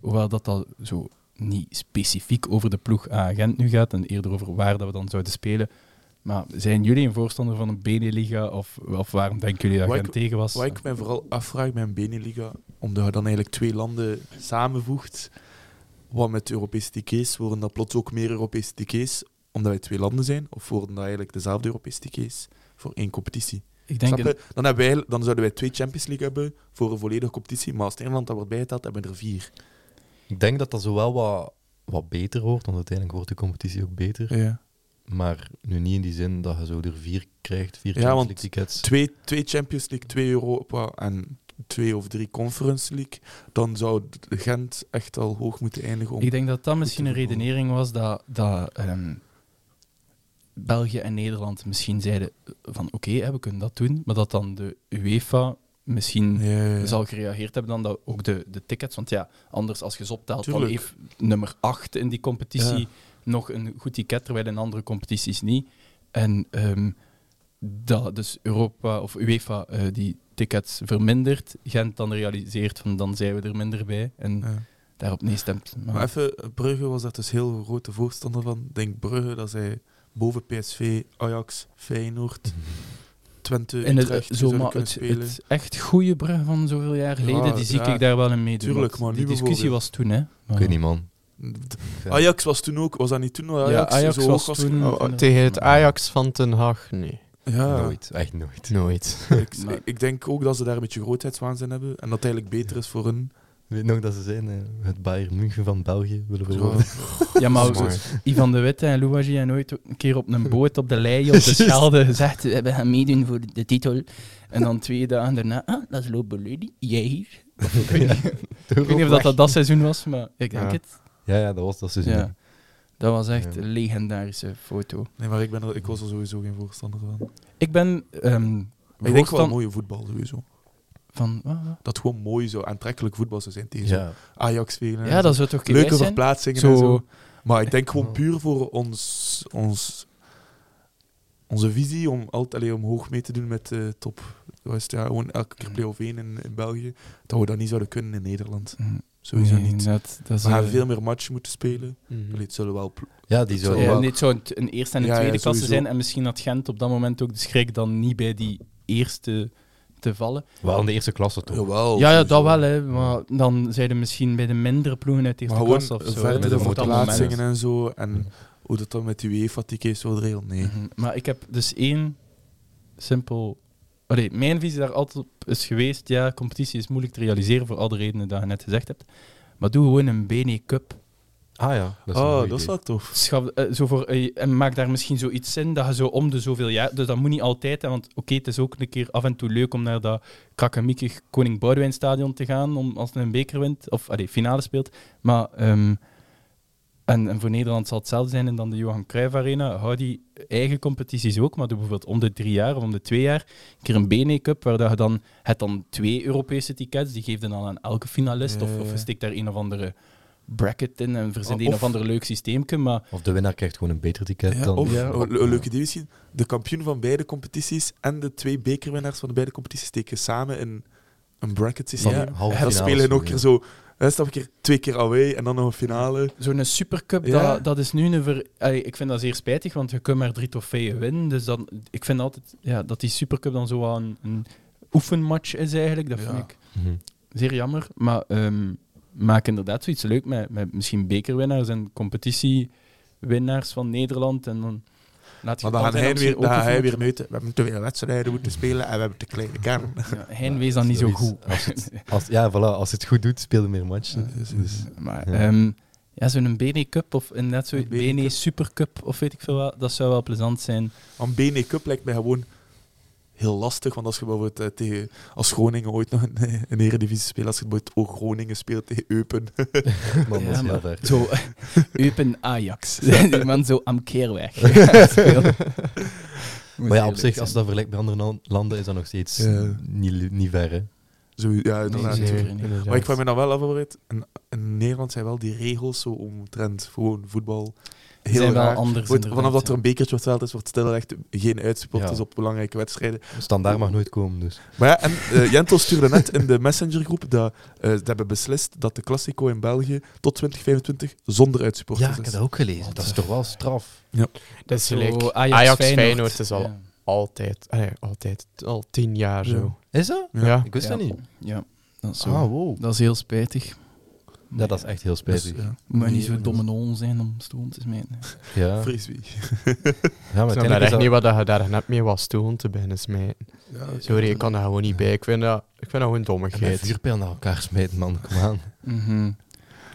Speaker 3: hoewel dat dat zo niet specifiek over de ploeg A-agent nu gaat en eerder over waar dat we dan zouden spelen, maar zijn jullie een voorstander van een BNE-liga of, of waarom denken jullie dat
Speaker 2: Wat
Speaker 3: Gent
Speaker 2: ik-
Speaker 3: tegen was?
Speaker 2: Wat ik mij vooral afvraag bij een Beneliga, omdat je dan eigenlijk twee landen samenvoegt, wat met Europese tickets, worden dat plots ook meer Europese tickets, omdat wij twee landen zijn, of worden dat eigenlijk dezelfde Europese tickets voor één competitie?
Speaker 3: Ik denk
Speaker 2: Snap je? Dan, hebben wij, dan zouden wij twee Champions League hebben voor een volledige competitie, maar als het Engeland dat wordt bijgeteld, hebben we er vier.
Speaker 1: Ik denk dat dat zo wel wat, wat beter wordt, want uiteindelijk wordt de competitie ook beter.
Speaker 2: Ja.
Speaker 1: Maar nu niet in die zin dat je zo er vier krijgt, vier
Speaker 2: Ja,
Speaker 1: Champions
Speaker 2: want
Speaker 1: League tickets.
Speaker 2: Twee, twee Champions League, twee Europa en twee of drie Conference League, dan zou Gent echt al hoog moeten eindigen om...
Speaker 3: Ik denk dat dat misschien een
Speaker 2: te voetballen.
Speaker 3: redenering was dat, dat ehm, België en Nederland misschien zeiden van oké, hè, we kunnen dat doen, maar dat dan de UEFA misschien
Speaker 2: Ja, ja, ja.
Speaker 3: zal gereageerd hebben dan dat ook de, de tickets, want ja, anders als je ze optelt, dan
Speaker 2: Tuurlijk.
Speaker 3: heeft nummer 8 in die competitie
Speaker 2: Ja.
Speaker 3: nog een goed ticket, terwijl in andere competities niet. En ehm, dat dus Europa of UEFA eh, die tickets vermindert, Gent dan realiseert van dan zijn we er minder bij en
Speaker 2: Ja.
Speaker 3: daarop nee stemt.
Speaker 2: Maar even, Brugge was daar dus heel grote voorstander van. Ik denk Brugge, dat zij boven PSV, Ajax, Feyenoord, Twente,
Speaker 3: En het,
Speaker 2: Utrecht, die
Speaker 3: zo,
Speaker 2: zouden
Speaker 3: maar
Speaker 2: kunnen
Speaker 3: het,
Speaker 2: spelen.
Speaker 3: het echt goede brug van zoveel jaar geleden,
Speaker 2: Ja,
Speaker 3: die zie
Speaker 2: ja.
Speaker 3: ik daar wel in meedoen.
Speaker 2: Tuurlijk,
Speaker 3: want
Speaker 2: maar nu
Speaker 3: die discussie was
Speaker 2: bijvoorbeeld.
Speaker 3: toen, hè.
Speaker 1: Ik weet niet, man.
Speaker 2: D- Ajax was toen ook, was dat niet toen? Ajax,
Speaker 3: Ja, Ajax
Speaker 2: zo hoog
Speaker 3: was toen-
Speaker 2: ge-
Speaker 4: Oh,
Speaker 1: Mm.
Speaker 4: oh, tegen het Ajax van Ten Haag? Nee.
Speaker 2: Ja,
Speaker 1: Nooit, echt nooit.
Speaker 4: Nooit.
Speaker 2: Ik,
Speaker 3: Maar-
Speaker 2: ik denk ook dat ze daar een beetje grootheidswaanzin hebben en dat het eigenlijk beter is voor hun.
Speaker 1: Weet nog dat ze zijn het Bayern München van België willen verwoorden.
Speaker 3: Ja,
Speaker 2: Dat
Speaker 3: maar
Speaker 2: is mooi.
Speaker 3: Ivan de Witte en Louwagie hebben ooit een keer op een boot op de lei op de Schelde gezegd we gaan meedoen voor de titel. En dan twee dagen daarna, ah, dat is Lobo Lady, jij hier. Ik weet niet- ik weet niet of dat dat, dat seizoen was, maar ik denk
Speaker 4: Ja.
Speaker 3: het.
Speaker 1: Ja, ja, dat was dat seizoen.
Speaker 3: Ja. Dat was echt
Speaker 1: Ja.
Speaker 3: een legendarische foto.
Speaker 2: Nee, maar ik, ben er, ik was er sowieso geen voorstander van.
Speaker 3: Ik ben ehm
Speaker 2: Ik denk wel
Speaker 3: voorstand-
Speaker 2: mooie voetbal sowieso.
Speaker 3: van... ah, ah.
Speaker 2: Dat gewoon mooi zo aantrekkelijk voetbal zou zijn tegen zo'n
Speaker 1: Ja.
Speaker 2: Ajax spelen. en
Speaker 3: Ja,
Speaker 2: zo.
Speaker 3: dat zou toch
Speaker 2: Leuke
Speaker 3: geweest zijn?
Speaker 2: verplaatsingen
Speaker 3: Zo-
Speaker 2: en zo. Maar ik denk
Speaker 1: Ja.
Speaker 2: gewoon puur voor ons, ons, onze visie om altijd alleen omhoog mee te doen met eh top. wat is het, ja, gewoon elke keer play-off 1 in, in België. Dat we dat niet zouden kunnen in Nederland.
Speaker 3: Mm,
Speaker 2: Sowieso
Speaker 3: nee,
Speaker 2: niet.
Speaker 3: Dat, dat is,
Speaker 2: We gaan
Speaker 3: eh,
Speaker 2: veel meer matchen moeten spelen.
Speaker 4: Mm.
Speaker 1: Mm.
Speaker 2: Allee, het zullen wel pl-
Speaker 1: ja, die zo.
Speaker 2: Zo,
Speaker 3: Ja,
Speaker 2: wel.
Speaker 3: dit zou een- een eerste en een
Speaker 2: Ja, ja,
Speaker 3: tweede klasse
Speaker 2: sowieso.
Speaker 3: zijn. En misschien had Gent op dat moment ook de schrik dan niet bij die eerste te vallen.
Speaker 1: Wel in de eerste klasse toch?
Speaker 2: Jawel,
Speaker 3: ja, ja, dat
Speaker 2: Oh, sowieso.
Speaker 3: wel, hè. Maar dan zeiden misschien bij de mindere ploegen uit de
Speaker 2: Maar
Speaker 3: eerste
Speaker 2: gewoon
Speaker 3: klasse of zo.
Speaker 1: met
Speaker 3: hè.
Speaker 1: een
Speaker 2: verdere
Speaker 3: Op dat
Speaker 2: verplaatsingen
Speaker 1: moment.
Speaker 2: en zo. En
Speaker 1: Ja.
Speaker 2: hoe dat dan met die UEFA ticket is, wel de regel. Nee.
Speaker 3: moment. Mhm. Maar ik heb dus één simpel... Allee, mijn visie daar altijd op is geweest, ja, competitie is moeilijk te realiseren voor al de redenen die je net gezegd hebt. Maar doe gewoon een BNE Cup.
Speaker 1: Ah ja. Dat is een
Speaker 2: oh,
Speaker 1: goed
Speaker 2: dat is
Speaker 1: idee.
Speaker 2: wel tof.
Speaker 3: Schaf, eh, zo voor, eh, en maak daar misschien zoiets in dat je zo om de zoveel jaar. Dus dat moet niet altijd, hè, want oké, het is ook een keer af en toe leuk om naar dat kakamiekig Koning Boudewijn stadion te gaan. Om, als hij een beker wint, of allee, finale speelt. Maar, ehm, en, en voor Nederland zal het hetzelfde zijn en dan de Johan Cruijff Arena. Hou die eigen competities ook, maar doe bijvoorbeeld om de drie jaar of om de twee jaar een keer een BNE Cup, waar dat je dan, het dan twee Europese tickets, die geeft dan aan elke finalist,
Speaker 2: Ja,
Speaker 3: of, of
Speaker 2: ja.
Speaker 3: je steekt daar een of andere bracket in en verzint een
Speaker 2: Of-
Speaker 3: of ander leuk systeemke, maar...
Speaker 1: Of de winnaar krijgt gewoon een beter ticket
Speaker 2: Ja,
Speaker 1: dan.
Speaker 2: of
Speaker 3: Ja.
Speaker 2: oh, le- een leuke idee misschien. De kampioen van beide competities en de twee bekerwinnaars van de beide competities steken samen in een bracket systeem.
Speaker 1: Van
Speaker 2: Ja,
Speaker 1: halve
Speaker 2: en dan
Speaker 1: finales
Speaker 2: spelen ook
Speaker 1: voor,
Speaker 2: keer
Speaker 1: ja.
Speaker 2: zo. hè, Stap een keer twee keer away en dan nog een finale.
Speaker 3: Zo'n supercup,
Speaker 2: Ja.
Speaker 3: dat, dat is nu een ver... Allee, ik vind dat zeer spijtig, want je kunt maar drie trofeeën winnen. Dus dan, ik vind altijd ja, dat die supercup dan zo wat een, een oefenmatch is eigenlijk. Dat
Speaker 2: Ja.
Speaker 3: vind ik
Speaker 1: Mhm.
Speaker 3: zeer jammer. Maar ehm, maak inderdaad zoiets leuk met, met misschien bekerwinnaars en competitiewinnaars van Nederland. En dan laat je
Speaker 2: Maar dan
Speaker 3: dat
Speaker 2: gaan hij
Speaker 3: misschien
Speaker 2: weer,
Speaker 3: ook
Speaker 2: dan gaat hij
Speaker 3: oefenen.
Speaker 2: weer meten. We hebben te veel wedstrijden moeten spelen en we hebben te kleine kern.
Speaker 3: Ja, Hein wees dan niet zo
Speaker 1: Zoiets.
Speaker 3: goed.
Speaker 1: Als het, als, ja, voilà. Als het goed doet, speel je meer matchen.
Speaker 2: Ja, dus-
Speaker 1: dus,
Speaker 3: Maar
Speaker 1: Ja.
Speaker 3: ja. ja, zo'n BNE Cup of net zo'n
Speaker 2: Een BNE
Speaker 3: BNE
Speaker 2: Cup.
Speaker 3: E Supercup of weet ik veel wat, dat zou wel plezant zijn.
Speaker 2: Aan BNE E Cup lijkt mij gewoon heel lastig. Want als je bijvoorbeeld eh, tegen, als Groningen ooit nog een, een eredivisie speelt, als je bijvoorbeeld ook Groningen speelt tegen Eupen.
Speaker 1: man, dat is
Speaker 3: Ja,
Speaker 1: heel
Speaker 3: maar-
Speaker 1: ver.
Speaker 3: Zo, Eupen Ajax. Die man zo am keerweg. maar
Speaker 1: Maar ja, op zich, als je dat vergelijkt met andere lan- landen, is dat nog steeds
Speaker 2: Ja.
Speaker 1: niet, niet ver, hè?
Speaker 2: Zo, ja, inderdaad.
Speaker 3: zeker.
Speaker 2: Maar ik vraag me dan wel af, Albert, in, in Nederland zijn wel die regels zo omtrent gewoon voetbal heel
Speaker 3: zijn wel
Speaker 2: raar.
Speaker 3: anders.
Speaker 2: Wordt, vanaf
Speaker 3: inderdaad,
Speaker 2: dat er een bekertje wordt is, wordt stilgelegd geen uitsupporters
Speaker 1: Ja.
Speaker 2: op belangrijke wedstrijden.
Speaker 1: Standaard mag nooit komen, dus.
Speaker 2: Maar ja, en eh, Jentel stuurde net in de messengergroep dat eh, ze hebben beslist dat de Classico in België tot 2025 zonder uitsupporters is.
Speaker 1: ook gelezen.
Speaker 3: Wat
Speaker 1: Oh, Dat is
Speaker 3: de-
Speaker 1: toch wel straf.
Speaker 4: Dat is
Speaker 3: Zo,
Speaker 4: gelijk.
Speaker 3: Ajax,
Speaker 4: Ajax,
Speaker 3: Feyenoord.
Speaker 4: Feyenoord is al
Speaker 3: Ja.
Speaker 4: altijd, eh, altijd, al tien jaar zo.
Speaker 1: Is dat?
Speaker 4: Ja.
Speaker 2: Ja.
Speaker 1: Ik wist
Speaker 3: Ja.
Speaker 1: dat niet.
Speaker 3: Ja, dat is, zo.
Speaker 1: Ah, wow.
Speaker 3: dat is heel spijtig.
Speaker 1: Ja, dat is echt heel
Speaker 2: Dus,
Speaker 1: spijtig.
Speaker 2: ja.
Speaker 3: Moet maar niet
Speaker 2: Nee,
Speaker 3: zo domme nol zijn om stoom te smijten.
Speaker 1: ja. ja,
Speaker 2: Frisbee.
Speaker 1: maar
Speaker 4: Ik snap
Speaker 1: uiteindelijk
Speaker 4: daar
Speaker 1: is
Speaker 4: echt
Speaker 1: dat-
Speaker 4: niet wat dat je daar net mee was toen te beginnen smijten.
Speaker 2: Ja,
Speaker 4: Sorry, ik kan daar gewoon niet bij. Ik vind dat, ik vind dat gewoon
Speaker 1: En met
Speaker 4: dommigheid.
Speaker 1: vuurpijl naar elkaar smijten, man. Kom aan.
Speaker 3: Mhm.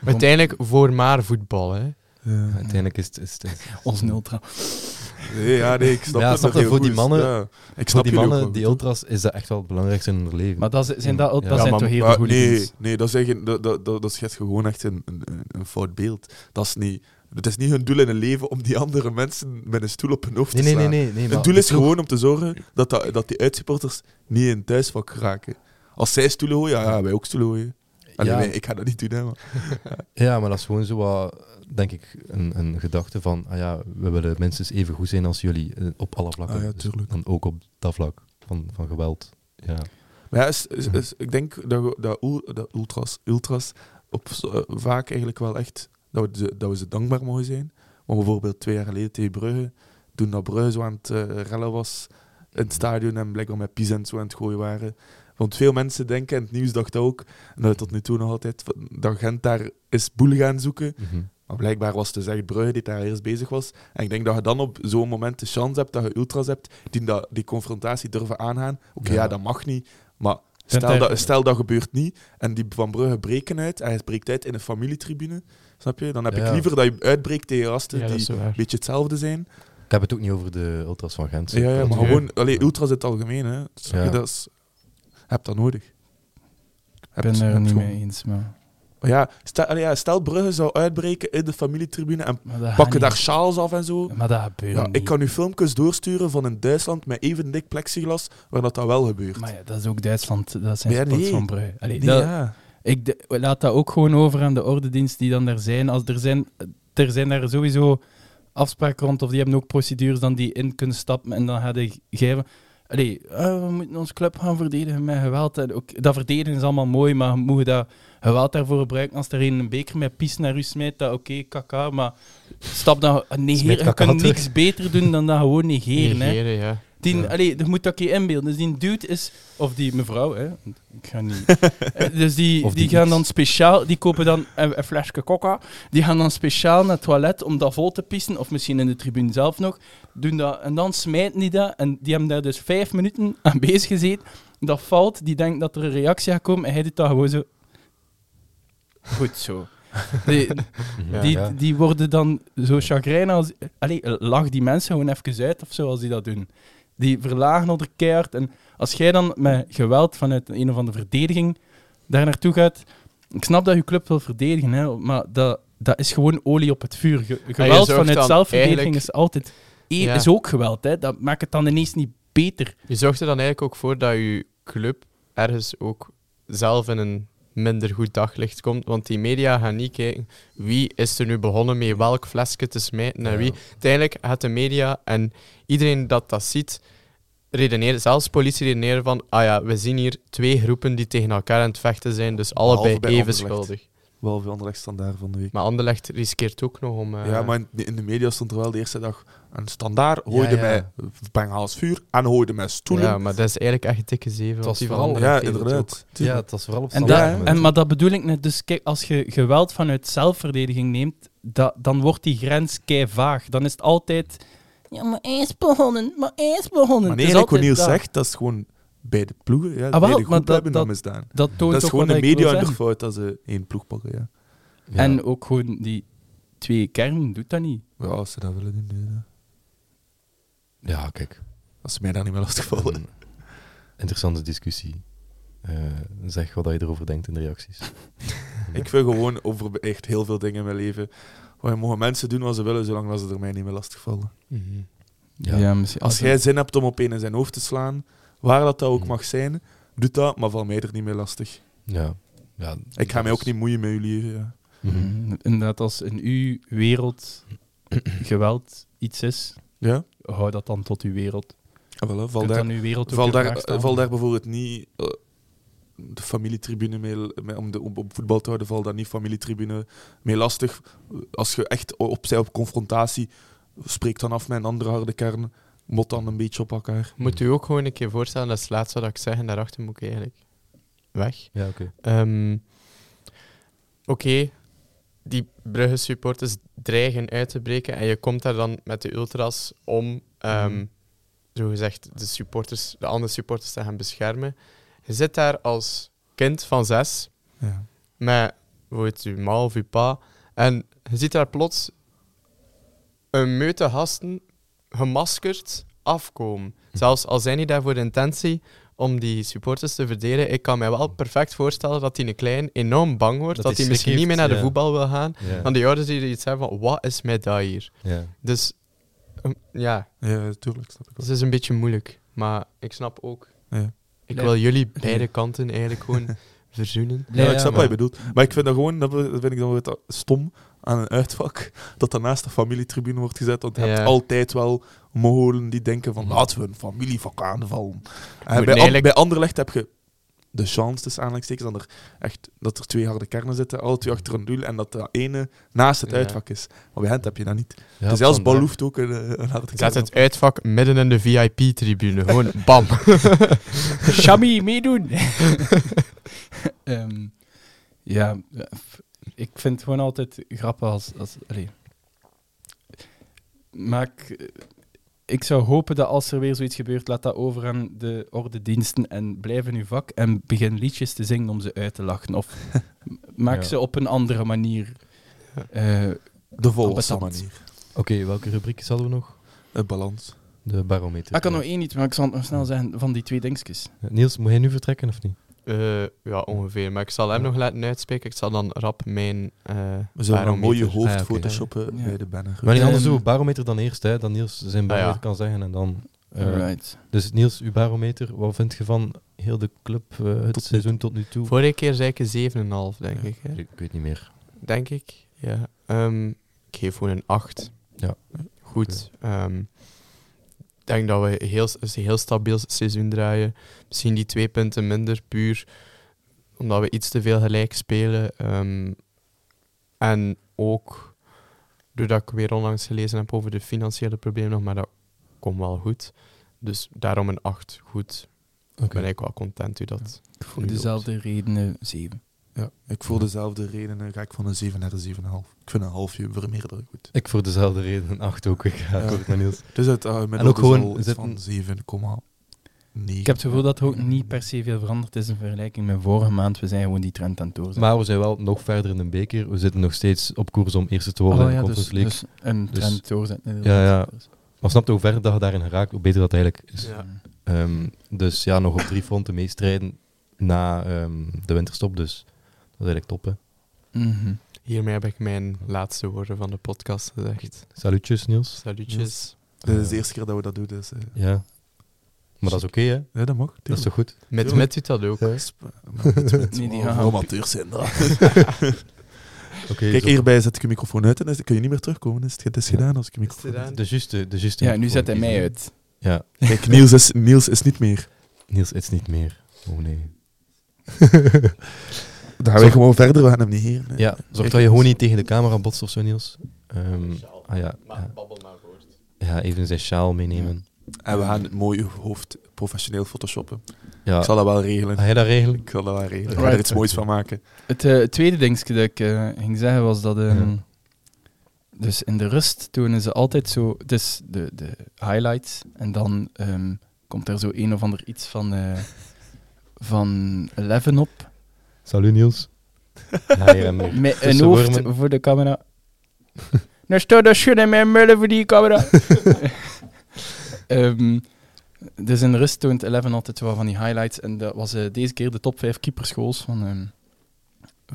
Speaker 4: Maar uiteindelijk voor maar voetbal, hè.
Speaker 2: Ja.
Speaker 1: Uiteindelijk is het... Is het- is het-
Speaker 3: Ons ultra.
Speaker 2: Nee, ja, nee, ik snap
Speaker 1: Ja,
Speaker 2: het
Speaker 1: snap
Speaker 2: nog
Speaker 1: dat
Speaker 2: heel
Speaker 1: voor die
Speaker 2: goed.
Speaker 1: mannen-
Speaker 2: Ja. Ik
Speaker 1: Voor
Speaker 2: snap
Speaker 1: die
Speaker 2: jullie ook
Speaker 1: mannen,
Speaker 2: wel.
Speaker 1: die ultras, is dat echt wel het belangrijkste in hun leven.
Speaker 3: Maar dat, zi- zijn dat, dat
Speaker 1: Ja,
Speaker 3: zijn
Speaker 4: maar-
Speaker 3: toch heel
Speaker 2: Maar
Speaker 3: goede
Speaker 2: nee,
Speaker 3: mensen.
Speaker 2: nee, dat, is echt, dat, dat, dat, dat schetst gewoon echt een, een, een- een fout beeld. Dat is niet, het is niet hun doel in hun leven om die andere mensen met een stoel op hun hoofd
Speaker 1: Nee,
Speaker 2: te
Speaker 1: nee,
Speaker 2: slaan.
Speaker 1: nee. nee, nee maar
Speaker 2: Het doel
Speaker 1: de
Speaker 2: is
Speaker 1: ploeg-
Speaker 2: gewoon om te zorgen dat, dat, dat die uitsupporters niet in het thuisvak geraken. Als zij stoelen gooien, ja, ja, wij ook stoelen gooien. Allee,
Speaker 1: Ja.
Speaker 2: nee, ik ga dat niet doen, hè, maar.
Speaker 1: Ja, maar dat is gewoon zo wat, denk ik, een, een gedachte van... Ah ja, we willen minstens even goed zijn als jullie eh, op alle vlakken.
Speaker 2: Ah ja,
Speaker 1: Dus
Speaker 2: tuurlijk.
Speaker 1: dan ook op dat vlak van, van geweld. Ja.
Speaker 2: Maar ja, is- is- is- ik denk dat, we- dat, oel- dat ultras, ultras op, zo- eh, vaak eigenlijk wel echt... Dat we, ze- dat we ze dankbaar mogen zijn. Want bijvoorbeeld twee jaar geleden tegen Brugge, toen dat Brugge zo aan het eh, rellen was in het stadion en blijkbaar met Pisa en zo aan het gooien waren. Want veel mensen denken, en het nieuws dacht dat ook, en dat tot nu toe nog altijd, van- dat Gent daar is boel gaan zoeken.
Speaker 1: Mhm.
Speaker 2: Maar blijkbaar was het dus echt Brugge die daar eerst bezig was. En ik denk dat je dan op zo'n moment de chance hebt dat je ultras hebt die dat, die confrontatie durven aangaan. Oké,
Speaker 1: Ja.
Speaker 2: ja. dat mag niet. Maar
Speaker 3: kunt
Speaker 2: Stel
Speaker 3: daar-
Speaker 2: dat, stel dat gebeurt niet en die Van Brugge breken uit en hij breekt uit in een familietribune, snap je? Dan heb
Speaker 1: Ja.
Speaker 2: ik liever dat je uitbreekt tegen gasten
Speaker 4: Ja, dat
Speaker 2: die
Speaker 4: is zo waar.
Speaker 2: een beetje hetzelfde zijn.
Speaker 1: Ik heb het ook niet over de ultras van Gent.
Speaker 2: Ja, ja maar
Speaker 4: Ja.
Speaker 2: gewoon, allee, ultras in het algemeen, hè. Snap je?
Speaker 1: Ja.
Speaker 2: Dat is, heb dat nodig.
Speaker 3: Ik ben er niet
Speaker 2: gewoon-
Speaker 3: mee eens, maar...
Speaker 2: Ja, stel, allee, ja, stel Brugge zou uitbreken in de familietribune en
Speaker 3: maar dat
Speaker 2: pakken
Speaker 3: gaat
Speaker 2: daar sjaals af en zo.
Speaker 3: niet. Maar dat gebeurt
Speaker 2: Ja,
Speaker 3: niet.
Speaker 2: ik kan u filmpjes doorsturen van in Duitsland met even dik plexiglas waar dat, dat wel gebeurt.
Speaker 3: Maar ja, dat is ook Duitsland. Dat zijn
Speaker 2: Ja,
Speaker 3: supporters
Speaker 2: nee.
Speaker 3: van Brugge. Allee,
Speaker 2: Nee,
Speaker 3: dat-
Speaker 2: ja.
Speaker 3: ik de- laat dat ook gewoon over aan de ordendienst die dan daar zijn. Als er zijn, er zijn daar sowieso afspraken rond, of die hebben ook procedures dan die in kunnen stappen en dan gaat hij geven. Allee, eh, we moeten ons club gaan verdedigen met geweld. En ook, dat verdedigen is allemaal mooi, maar moet je dat geweld daarvoor gebruiken? Als er een, een beker met pies naar u smijt, dat oké, kaka, maar stap dan... Nee,
Speaker 1: Smijt
Speaker 3: je
Speaker 1: kaka
Speaker 3: kunt
Speaker 1: terug.
Speaker 3: niks beter doen dan dat gewoon negeren. hè.
Speaker 4: Negeren, ja.
Speaker 3: Die,
Speaker 1: Ja.
Speaker 3: allee, je moet dat je inbeelden. Dus die dude is, of die mevrouw, hè, want ik ga niet. Eh, dus die,
Speaker 1: Of
Speaker 3: die,
Speaker 1: die
Speaker 3: gaan
Speaker 1: iets.
Speaker 3: dan speciaal, die kopen dan een, een flesje coca. Die gaan dan speciaal naar het toilet om dat vol te pissen, of misschien in de tribune zelf nog. Doen dat, en dan smijten die dat. En die hebben daar dus vijf minuten aan bezig gezeten. Dat valt, die denkt dat er een reactie gaat komen. En hij doet dat gewoon zo. Goed zo. Die,
Speaker 1: Ja,
Speaker 3: die,
Speaker 1: Mhm. ja.
Speaker 3: die worden dan zo chagrijn als... Allee, lach die mensen gewoon even uit of zo als die dat doen. Die verlagen onder keihard. En als jij dan met geweld vanuit een of andere verdediging daar naartoe gaat... Ik snap dat je club wil verdedigen, hè, maar dat, dat is gewoon olie op het vuur. Ge- geweld
Speaker 4: Ah, zorgt
Speaker 3: vanuit
Speaker 4: dan
Speaker 3: zelfverdediging
Speaker 4: eigenlijk-
Speaker 3: is altijd... e-
Speaker 4: Ja.
Speaker 3: is ook geweld, hè. Dat maakt het dan ineens niet beter.
Speaker 4: Je zorgt er dan eigenlijk ook voor dat je club ergens ook zelf in een minder goed daglicht komt. Want die media gaan niet kijken wie is er nu begonnen met welk flesje te smijten naar wie. Uiteindelijk gaat de media en iedereen dat dat ziet, redeneren, zelfs politie redeneren van ah ja, we zien hier twee groepen die tegen elkaar aan het vechten zijn, dus
Speaker 2: Behalve
Speaker 4: allebei
Speaker 2: bij
Speaker 4: even
Speaker 2: Anderlecht.
Speaker 4: schuldig.
Speaker 2: Wel veel andere standaard van de week.
Speaker 4: Maar Anderlecht riskeert ook nog om... eh,
Speaker 2: ja, maar in, in de media stond er wel de eerste dag een standaard. Hooide
Speaker 4: Ja, ja.
Speaker 2: mij Bengals vuur en hooide mij stoelen.
Speaker 4: Ja,
Speaker 2: Ja,
Speaker 4: maar dat is eigenlijk echt een dikke zeven. want
Speaker 1: was
Speaker 4: die van
Speaker 1: vooral-
Speaker 4: Anderlecht deed het ook.
Speaker 2: inderdaad.
Speaker 1: ja,
Speaker 2: Tuurlijk.
Speaker 1: het was vooral op
Speaker 3: En,
Speaker 1: standaard
Speaker 3: dat-
Speaker 1: moment.
Speaker 3: en, maar dat bedoel ik net. Dus kijk, als je geweld vanuit zelfverdediging neemt, dat, dan wordt die grens kei vaag. Dan is het altijd... Ja, maar hij is begonnen, maar hij is begonnen.
Speaker 2: Maar
Speaker 3: Het is
Speaker 2: nee, wat
Speaker 3: altijd
Speaker 2: Niels
Speaker 3: dat.
Speaker 2: zegt, dat is gewoon bij de ploegen. Ja,
Speaker 3: Ah, wel,
Speaker 2: bij de
Speaker 3: maar
Speaker 2: groep
Speaker 3: dat-
Speaker 2: hebben dat
Speaker 3: dat-
Speaker 2: misdaan.
Speaker 3: Dat, toont
Speaker 2: Dat is
Speaker 3: ook
Speaker 2: gewoon
Speaker 3: wat
Speaker 2: de
Speaker 3: ik wil
Speaker 2: media in de
Speaker 3: zeggen.
Speaker 2: fout als ze één ploeg pakken. Ja,
Speaker 1: Ja.
Speaker 3: En ook gewoon die twee kernen doet dat niet.
Speaker 2: ja als ze dat willen doen. ja.
Speaker 1: ja, kijk.
Speaker 2: Als ze mij daar niet meer lastigvallen.
Speaker 1: Een interessante discussie. Eh, zeg wat je erover denkt in de reacties.
Speaker 2: Ik wil gewoon over echt heel veel dingen in mijn leven. Gewoon, mogen mensen doen wat ze willen, zolang dat ze er mij niet meer lastigvallen.
Speaker 4: Mhm.
Speaker 1: Ja.
Speaker 3: misschien.
Speaker 2: Als jij zin hebt om op een in zijn hoofd te slaan, waar dat, dat ook
Speaker 1: Hm.
Speaker 2: mag zijn, doe dat, maar val mij er niet meer lastig.
Speaker 1: Ja. ja
Speaker 2: Ik ga mij ook niet moeien met jullie. Ja.
Speaker 1: Mhm.
Speaker 3: Inderdaad, als in uw wereld geweld iets is,
Speaker 2: ja?
Speaker 3: hou dat dan tot uw wereld.
Speaker 2: Ah, voilà, val
Speaker 3: Kunt
Speaker 2: daar,
Speaker 3: aan uw wereld ook
Speaker 2: val,
Speaker 3: in
Speaker 2: daar,
Speaker 3: vraag stellen.
Speaker 2: val daar bijvoorbeeld niet eh, de familietribune mee, mee- om, de, om op voetbal te houden, val daar niet familietribune mee lastig. Als je echt o- opzij op confrontatie, spreek dan af met een andere harde kern, mot dan een beetje op elkaar.
Speaker 4: Moet u ook gewoon een keer voorstellen, dat is het laatste wat ik zeg en daarachter moet ik eigenlijk weg.
Speaker 1: Ja, oké.
Speaker 4: Ehm, Oké, die Brugge supporters dreigen uit te breken en je komt daar dan met de ultras om, ehm zogezegd, de, supporters, de andere supporters te gaan beschermen. Je zit daar als kind van zes
Speaker 2: Ja.
Speaker 4: met bijvoorbeeld uw ma of uw pa. En je ziet daar plots een meute gasten gemaskerd afkomen. Zelfs al zijn die daarvoor de intentie om die supporters te verdedigen, ik kan mij wel perfect voorstellen dat die een klein enorm bang wordt,
Speaker 1: Dat
Speaker 4: dat
Speaker 1: die
Speaker 4: hij
Speaker 1: schrik
Speaker 4: misschien niet meer
Speaker 1: heeft,
Speaker 4: naar de
Speaker 1: ja.
Speaker 4: voetbal wil gaan.
Speaker 1: Ja.
Speaker 4: Dan die ouders die er iets hebben van, wat is mij dat hier?
Speaker 1: Ja.
Speaker 4: Dus ehm, ja,
Speaker 2: Ja, tuurlijk, snap ik wel.
Speaker 4: het is een beetje moeilijk. Maar ik snap ook,
Speaker 2: Ja.
Speaker 4: ik
Speaker 3: Nee.
Speaker 4: wil jullie beide kanten eigenlijk gewoon verzoenen.
Speaker 3: Nee,
Speaker 2: ja, ik snap
Speaker 3: maar-
Speaker 2: wat je bedoelt. Maar ik vind dat gewoon, dat vind ik dan weer ta- stom aan een uitvak, dat daarnaast de familietribune wordt gezet. Want je
Speaker 4: Ja.
Speaker 2: hebt altijd wel molen die denken van
Speaker 1: Mhm.
Speaker 2: laten we een familievak aanvallen. En
Speaker 4: Moet
Speaker 2: bij, an-
Speaker 4: eigenlijk-
Speaker 2: bij Anderlecht heb je de chance, dus aanleidingstekens, dat er, echt, dat er twee harde kernen zitten, alle twee achter een doel, en dat de ene naast het
Speaker 4: Ja.
Speaker 2: uitvak is. Maar bij hen heb je dat niet.
Speaker 1: Ja,
Speaker 2: dus zelfs
Speaker 1: vandaar.
Speaker 2: Bal hoeft ook een, eh, een harde
Speaker 4: Zet
Speaker 2: kern
Speaker 4: het uitvak midden in de VIP-tribune. Gewoon bam.
Speaker 3: Shami, meedoen. Ehm, ja, f- ik vind het gewoon altijd grappig als... als allee. Maak eh, ik zou hopen dat als er weer zoiets gebeurt, laat dat over aan de orde diensten en blijf in uw vak en begin liedjes te zingen om ze uit te lachen. Of m- maak
Speaker 1: Ja.
Speaker 3: ze op een andere manier. eh,
Speaker 2: De volgende
Speaker 3: Competent.
Speaker 2: manier.
Speaker 1: Oké, welke rubriekjes hadden we nog?
Speaker 2: Een balans.
Speaker 1: De barometer.
Speaker 3: Ah, ik kan nog één niet, maar ik zal het nog snel zeggen van die twee dingetjes.
Speaker 1: Ja. Niels, moet jij nu vertrekken of niet?
Speaker 4: Eh, ja, ongeveer. Maar ik zal hem nog laten uitspreken. Ik zal dan rap mijn. eh
Speaker 2: We zullen een mooie
Speaker 4: barometer-
Speaker 2: hoofd
Speaker 1: Ah, ja, oké.
Speaker 2: photoshoppen
Speaker 3: Ja.
Speaker 2: bij de banner.
Speaker 1: Maar niet anders
Speaker 3: Ehm,
Speaker 1: doen we barometer dan eerst, hè, dat Niels zijn
Speaker 4: ja.
Speaker 1: barometer kan zeggen. En dan, eh,
Speaker 3: Alright.
Speaker 1: dus Niels, uw barometer, wat vind je van heel de club, eh, het
Speaker 2: Tot nu
Speaker 1: seizoen tot nu toe?
Speaker 4: Vorige keer zei ik een 7,5, denk
Speaker 1: Ja.
Speaker 4: ik. Hè?
Speaker 1: Ik weet niet meer.
Speaker 4: Denk ik. Ja. Ehm, ik geef gewoon een 8.
Speaker 1: Ja.
Speaker 4: Goed. ehm, ik denk dat we heel, een heel stabiel seizoen draaien. Misschien die twee punten minder, puur omdat we iets te veel gelijk spelen. Ehm, en ook doordat ik weer onlangs gelezen heb over de financiële problemen nog, maar dat komt wel goed. Dus daarom een 8. Goed. Ik ben ik wel content u dat.
Speaker 3: Voor dezelfde redenen, zeven.
Speaker 2: Ja, ik voel dezelfde redenen. Ga ik van een 7 naar een 7,5. Ik vind een halfje vermeerderen goed.
Speaker 1: Ik voor dezelfde reden een 8 ook weer
Speaker 2: Ja.
Speaker 1: graag, hoor ik met Niels.
Speaker 2: Dus het uh,
Speaker 1: En ook gewoon zitten-
Speaker 2: van 7,9.
Speaker 3: Ik heb het gevoel dat er ook niet per se veel veranderd is in vergelijking met vorige maand. We zijn gewoon die trend aan het doorzetten.
Speaker 1: Maar we zijn wel nog verder in de beker. We zitten nog steeds op koers om eerste te worden
Speaker 3: Oh
Speaker 1: in de
Speaker 3: ja,
Speaker 1: Conference
Speaker 3: dus,
Speaker 1: League.
Speaker 3: dus een
Speaker 1: Dus-
Speaker 3: trend doorzetten.
Speaker 1: Ja, ja.
Speaker 3: Dus-
Speaker 1: Maar snap je hoe verder dat je daarin geraakt, hoe beter dat eigenlijk is.
Speaker 4: Ja.
Speaker 1: Ehm, dus ja, nog op drie fronten meestrijden na ehm, de winterstop. Dus dat is eigenlijk top, hè.
Speaker 3: Mhm.
Speaker 4: Hiermee heb ik mijn laatste woorden van de podcast gezegd.
Speaker 1: Salutjes, Niels.
Speaker 4: Salutjes.
Speaker 2: Dit is de eerste keer dat we dat doen, dus... eh,
Speaker 1: Ja. Maar dat is oké, hè.
Speaker 2: nee, dat mag.
Speaker 1: Dat is toch goed?
Speaker 4: Met,
Speaker 2: Tuurlijk. eh,
Speaker 4: met u dat ook.
Speaker 3: Nee,
Speaker 2: Nee,
Speaker 3: die
Speaker 2: die
Speaker 3: gaan-
Speaker 2: Oh, amateurs zijn dat.
Speaker 1: Oké,
Speaker 2: Kijk,
Speaker 1: zo.
Speaker 2: hierbij zet ik je microfoon uit en dan kun je niet meer terugkomen. Is het, het is
Speaker 1: Ja.
Speaker 2: gedaan als ik je microfoon
Speaker 4: gedaan.
Speaker 2: uit.
Speaker 1: De juiste, de juiste.
Speaker 3: Ja, nu
Speaker 1: microfoon
Speaker 3: zet hij mij
Speaker 1: kiezen.
Speaker 3: uit.
Speaker 1: Ja,
Speaker 2: Kijk, Niels is, Niels is niet meer.
Speaker 1: Niels, het is niet meer. Oh nee.
Speaker 2: Dan gaan we
Speaker 1: Zo-
Speaker 2: gewoon verder, we gaan hem niet hier. Nee.
Speaker 1: Ja, zorg dat je gewoon niet tegen de camera botst of zo, Niels. Ehm, ah ja. ja.
Speaker 4: babbel maar voort.
Speaker 1: Ja, even zijn sjaal meenemen.
Speaker 2: En we gaan het mooie hoofd professioneel photoshoppen.
Speaker 1: Ja.
Speaker 2: Ik zal dat wel regelen.
Speaker 1: Ga jij dat regelen?
Speaker 2: Ik zal dat wel regelen. Ik ga
Speaker 3: Right.
Speaker 2: er iets moois van maken.
Speaker 3: Het eh, tweede dingetje dat ik eh, ging zeggen was dat. ehm,
Speaker 1: Ja.
Speaker 3: Dus in de rust tonen ze altijd zo. Het is de, de highlights. En dan ehm, komt er zo een of ander iets van. eh van 11 op.
Speaker 1: Salut, Niels. Ja, hier en meer.
Speaker 3: Met een
Speaker 1: Tussen
Speaker 3: hoofd
Speaker 1: wormen.
Speaker 3: voor de camera. Nou staat dat schud in mijn mullen voor die camera. Ehm, dus in de rust toont 11 altijd wel van die highlights. En dat was eh, deze keer de top 5 keeperschools van, ehm,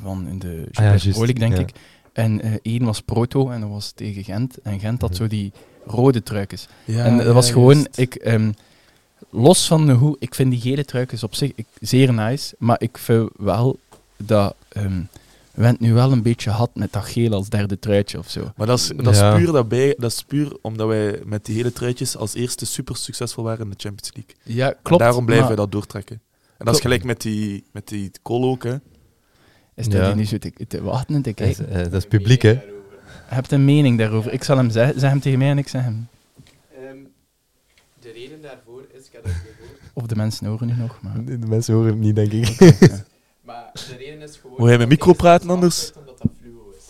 Speaker 3: van in de
Speaker 1: Ah ja,
Speaker 3: Jupiler
Speaker 1: juist,
Speaker 3: Pro League, denk
Speaker 1: ja.
Speaker 3: ik. En eh één was Proto en dat was tegen Gent. En Gent
Speaker 1: Mhm.
Speaker 3: had zo die rode truikjes. en dat was gewoon, ik, ehm, los van hoe, ik vind die gele truikjes op zich ik, zeer nice. Maar ik vind wel dat ehm Went nu wel een beetje had met dat geel als derde truitje of zo.
Speaker 2: Maar dat is, dat, is
Speaker 1: Ja.
Speaker 2: puur daarbij, dat is puur omdat wij met die hele truitjes als eerste super succesvol waren in de Champions League.
Speaker 3: Ja, klopt.
Speaker 2: Daarom blijven
Speaker 3: maar-
Speaker 2: wij dat doortrekken. En dat is
Speaker 3: Klopt.
Speaker 2: gelijk met die, met die kool ook, hè.
Speaker 3: Is dat
Speaker 1: Ja.
Speaker 3: hier niet zo te, te wachten en te
Speaker 1: Dat is,
Speaker 3: kijken?
Speaker 1: eh, dat is publiek, hè?
Speaker 3: Je hebt een mening daarover. Ik zal hem zeggen. Zeg hem tegen mij en ik zeg hem.
Speaker 1: Ehm,
Speaker 4: de reden daarvoor is, ik heb dat gehoord,
Speaker 3: Of de mensen horen nu nog. Maar...
Speaker 1: De mensen horen hem niet, denk ik.
Speaker 4: maar de reden is gewoon...
Speaker 2: Moet jij met micro praten anders?
Speaker 4: Omdat dat fluo is.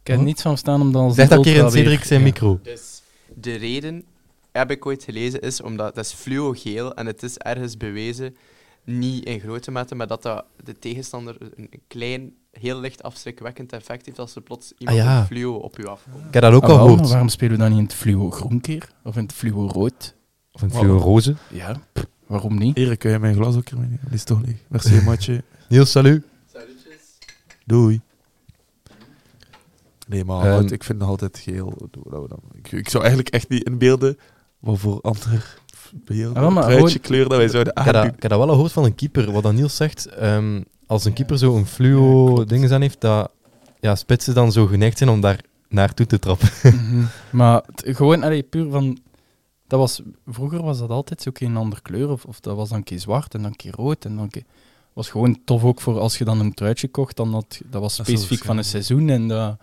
Speaker 3: Ik heb er niets van staan om dan als
Speaker 1: Zeg dat
Speaker 3: dood
Speaker 1: keer in
Speaker 3: wel weer-
Speaker 1: Cedric zijn
Speaker 3: Ja.
Speaker 1: micro.
Speaker 4: Dus de reden, heb ik ooit gelezen, is omdat dat is fluo-geel en het is ergens bewezen, niet in grote mate, maar dat, dat de tegenstander een een klein, heel licht afschrikwekkend effect heeft als er plots iemand
Speaker 1: Ah, ja.
Speaker 4: in fluo op u afkomt.
Speaker 1: Ik heb dat ook
Speaker 3: Ah,
Speaker 1: al
Speaker 3: wel, maar
Speaker 1: gehoord.
Speaker 3: Waarom spelen we dan niet in het fluo groen keer? Of in het fluo rood?
Speaker 1: Of een fluo roze.
Speaker 3: Ja, pff, waarom niet?
Speaker 2: Erik, kun je mijn glas ook ermee nemen? Die is toch leeg. Merci, maatje.
Speaker 1: Niels, salut.
Speaker 2: Doei. Nee, maar
Speaker 1: Ehm.
Speaker 2: het- ik vind nog altijd geel. Doe dat we dan. Ik, ik zou eigenlijk echt niet inbeelden wat voor ander beeld,
Speaker 3: Ah, wel, maar
Speaker 2: truitje,
Speaker 3: gewoon-
Speaker 2: kleur dat wij zouden
Speaker 1: Ik heb, dat,
Speaker 2: aandoen.
Speaker 1: ik heb dat wel al gehoord van een keeper. Wat dan Niels zegt, ehm, als een keeper zo'n fluo dingen aan heeft, dat ja, spitsen dan zo geneigd zijn om daar naartoe te trappen.
Speaker 3: Mhm. Maar het- gewoon, allee, puur van... Dat was, vroeger was dat altijd zo een ander kleur. Of, of dat was dan een keer zwart en dan een keer rood. En dan een keer, was gewoon tof ook voor als je dan een truitje kocht. Dan dat, dat was
Speaker 2: Dat is
Speaker 3: specifiek
Speaker 2: wel
Speaker 3: van een seizoen. En dat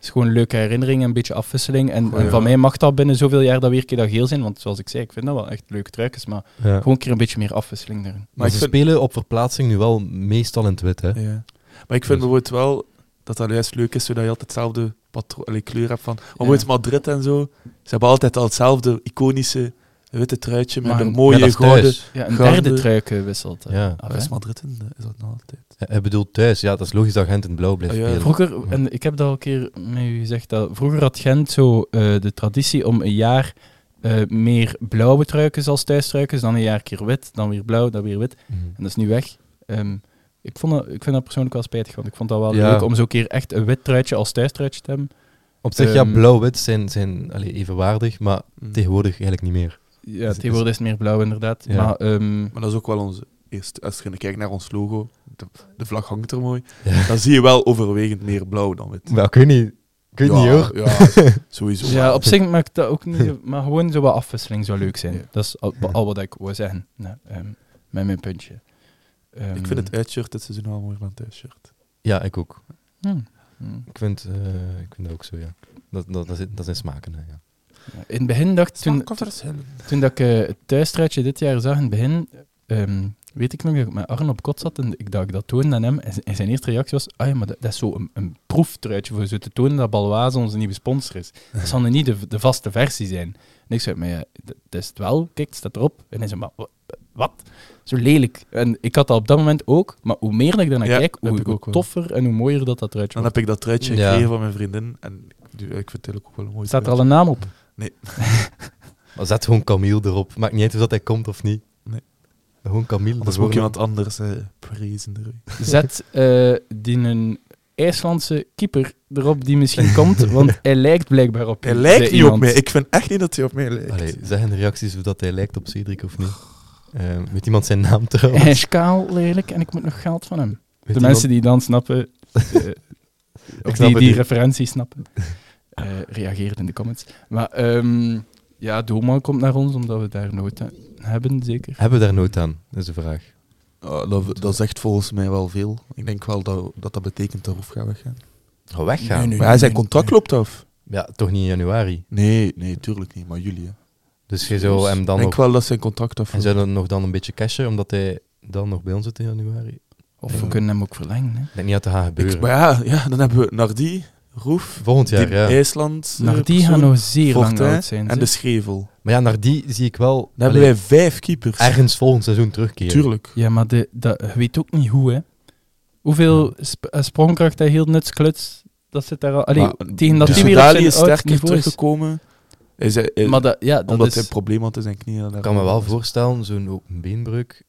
Speaker 3: is gewoon een leuke herinnering en een beetje afwisseling. En,
Speaker 2: Goh,
Speaker 3: en
Speaker 2: ja.
Speaker 3: van mij mag dat binnen zoveel jaar dat weer een keer dat geel zijn. Want zoals ik zei, ik vind dat wel echt leuke truitjes. Maar
Speaker 1: Ja.
Speaker 3: gewoon een keer een beetje meer afwisseling daarin.
Speaker 1: Maar
Speaker 2: ik
Speaker 1: ze
Speaker 2: vind-
Speaker 1: spelen op verplaatsing nu wel meestal in het wit, hè? Dus-
Speaker 2: Ja. Maar ik vind bijvoorbeeld wel dat dat juist leuk is, zodat je altijd hetzelfde patro- allee, kleur hebt. Van,
Speaker 3: Ja.
Speaker 2: Oh, maar ooit Madrid en zo, ze hebben altijd al hetzelfde iconische witte truitje met
Speaker 3: Maar
Speaker 2: een
Speaker 3: een-
Speaker 2: mooie
Speaker 1: dat is thuis.
Speaker 2: gouden...
Speaker 3: Ja, een
Speaker 2: Gaan
Speaker 3: derde
Speaker 2: we-
Speaker 3: trui gewisseld. eh,
Speaker 1: Ja.
Speaker 3: af,
Speaker 2: Ah, is
Speaker 3: hè.
Speaker 2: Madrid in, eh, is dat nog altijd?
Speaker 1: Hij hij bedoelt thuis. Ja, dat is logisch dat Gent in het blauw blijft
Speaker 2: Ah, ja.
Speaker 1: spelen.
Speaker 3: Vroeger, en ik heb dat al een keer met u gezegd, dat vroeger had Gent zo eh, de traditie om een jaar eh, meer blauwe truikens als thuistruikens, dan een jaar keer wit, dan weer blauw, dan weer wit.
Speaker 1: Mhm.
Speaker 3: En dat is nu weg. Ehm, ik, vond dat, ik vind dat persoonlijk wel spijtig, want ik vond dat wel
Speaker 1: Ja.
Speaker 3: leuk om zo'n keer echt een wit truitje als thuistruitje te hebben.
Speaker 1: Op zich, ja,
Speaker 3: Ehm,
Speaker 1: blauw-wit zijn, zijn allee, evenwaardig, maar
Speaker 2: Mm.
Speaker 1: tegenwoordig eigenlijk niet meer.
Speaker 3: Ja, tegenwoordig is het meer blauw inderdaad.
Speaker 1: Ja.
Speaker 3: Maar ehm,
Speaker 2: Maar dat is ook wel onze eerste... Als je kijkt naar ons logo, de, de vlag hangt er mooi,
Speaker 1: Ja.
Speaker 2: dan zie je wel overwegend meer blauw dan wit.
Speaker 1: Maar ik weet niet, ik weet
Speaker 2: Ja,
Speaker 1: niet hoor.
Speaker 2: Ja, sowieso.
Speaker 3: ja, op zich maakt dat ook niet... zo- Maar gewoon zo wat afwisseling zou leuk zijn.
Speaker 2: Ja.
Speaker 3: Dat is al, al wat ik wou zeggen. Nou, ehm, met mijn puntje. Ehm,
Speaker 2: Ik vind het uitshirt dit seizoen wel mooier dan het thuisshirt.
Speaker 1: Ja, ik ook.
Speaker 3: Hmm. Hmm.
Speaker 1: Ik vind, eh, ik vind dat ook zo, ja. Dat, dat, dat, zit- dat zijn smaken, hè, ja.
Speaker 3: Ja, In het begin dacht toen, toen dat ik eh, het thuisstruitje dit jaar zag, in het begin, ehm, weet ik nog dat ik met Arno op kot zat en ik dacht dat toonde aan hem. En z- en zijn eerste reactie was, ah ja, maar dat, dat is zo een, een proeftruitje voor zo te tonen dat Balwaze onze nieuwe sponsor is. Dat zal nu niet de, de vaste versie zijn. En ik zei, maar ja, dat dat is het wel, kijk, het staat erop. En hij zei, maar wa- wat? Zo lelijk. En ik had dat op dat moment ook, maar hoe meer dat ik daarnaar
Speaker 2: Ja,
Speaker 3: kijk,
Speaker 2: heb
Speaker 3: hoe,
Speaker 2: ik
Speaker 3: hoe
Speaker 2: ook wel.
Speaker 3: toffer en hoe mooier dat dat truitje
Speaker 2: Dan
Speaker 3: wordt.
Speaker 2: heb ik dat truitje
Speaker 1: Ja.
Speaker 2: gekregen van mijn vriendin. En ik doe- ik vind het eigenlijk ook wel een mooi
Speaker 3: Staat er al
Speaker 2: truitje.
Speaker 3: een naam op?
Speaker 1: Maar zet gewoon Camille erop. Maakt niet uit of dat hij komt of niet.
Speaker 2: Nee.
Speaker 1: Gewoon Camille
Speaker 2: Anders moet
Speaker 1: ervoor.
Speaker 2: ik iemand anders eh, prezen. erbij.
Speaker 3: Zet eh, die een IJslandse keeper erop die misschien komt, want hij lijkt blijkbaar op
Speaker 2: Hij
Speaker 3: i-
Speaker 2: lijkt
Speaker 3: bij
Speaker 2: niet op
Speaker 3: iemand.
Speaker 2: mij. Ik vind echt niet dat hij op mij lijkt.
Speaker 1: Allee, zeg in de reacties of dat hij lijkt op Cedric of niet. Eh, weet iemand zijn naam trouwens?
Speaker 3: Hij is kaal, lelijk, en ik moet nog geld van hem.
Speaker 1: Weet
Speaker 3: de
Speaker 1: iemand-
Speaker 3: mensen die dan snappen, eh, of
Speaker 1: snap
Speaker 3: die
Speaker 1: het
Speaker 3: die
Speaker 1: niet.
Speaker 3: referentie snappen, eh reageer in de comments. Maar ehm, ja, Doelman komt naar ons omdat we daar nood aan hebben, zeker.
Speaker 1: Hebben we daar nood aan? Dat is de vraag.
Speaker 2: Oh, dat, dat zegt volgens mij wel veel. Ik denk wel dat dat, dat betekent dat Roef gaat weggaan.
Speaker 1: Oh, weggaan?
Speaker 2: maar hij zijn contract loopt af.
Speaker 1: Ja, toch niet in januari.
Speaker 2: Nee, nee, tuurlijk niet. Maar jullie, hè.
Speaker 1: Dus je zou hem dan
Speaker 2: Ik denk
Speaker 1: nog...
Speaker 2: wel dat zijn contract af
Speaker 1: En zou dan nog dan een beetje cashen, omdat hij dan nog bij ons zit in januari? Ik
Speaker 3: Of
Speaker 1: Ja.
Speaker 3: we kunnen hem ook verlengen. Hè.
Speaker 1: denk niet dat het gaat gebeuren.
Speaker 2: Ik- Maar ja, ja, dan hebben we Nardi, Roef,
Speaker 1: Volgend jaar,
Speaker 2: die
Speaker 1: ja.
Speaker 2: IJsland. eh,
Speaker 3: Maar die
Speaker 2: persoon,
Speaker 3: gaan nog zeer lang
Speaker 2: Fortin
Speaker 3: oud zijn. dus-
Speaker 2: En
Speaker 3: ze.
Speaker 2: de Schevel.
Speaker 1: Maar ja, naar die zie ik wel
Speaker 2: Dan hebben
Speaker 1: allee,
Speaker 2: wij vijf keepers.
Speaker 1: ergens volgend seizoen terugkeren.
Speaker 2: Tuurlijk.
Speaker 3: Ja, maar de, dat, je weet ook niet hoe, hè. Hoeveel sp- eh, sprongkracht hij heel nuts kluts, dat zit daar al... Allee,
Speaker 2: Maar,
Speaker 3: tegen dat
Speaker 2: dus
Speaker 3: hij weer op
Speaker 2: Soudali
Speaker 3: zijn
Speaker 2: is
Speaker 3: oud
Speaker 2: sterker
Speaker 3: niveau is.
Speaker 2: teruggekomen. Hij zei- eh,
Speaker 3: Maar dat, ja, dat
Speaker 2: omdat
Speaker 3: is...
Speaker 2: hij een probleem had in zijn knieën.
Speaker 1: Ik kan me
Speaker 3: Oh,
Speaker 1: wel voorstellen, zo'n ook een beenbreuk,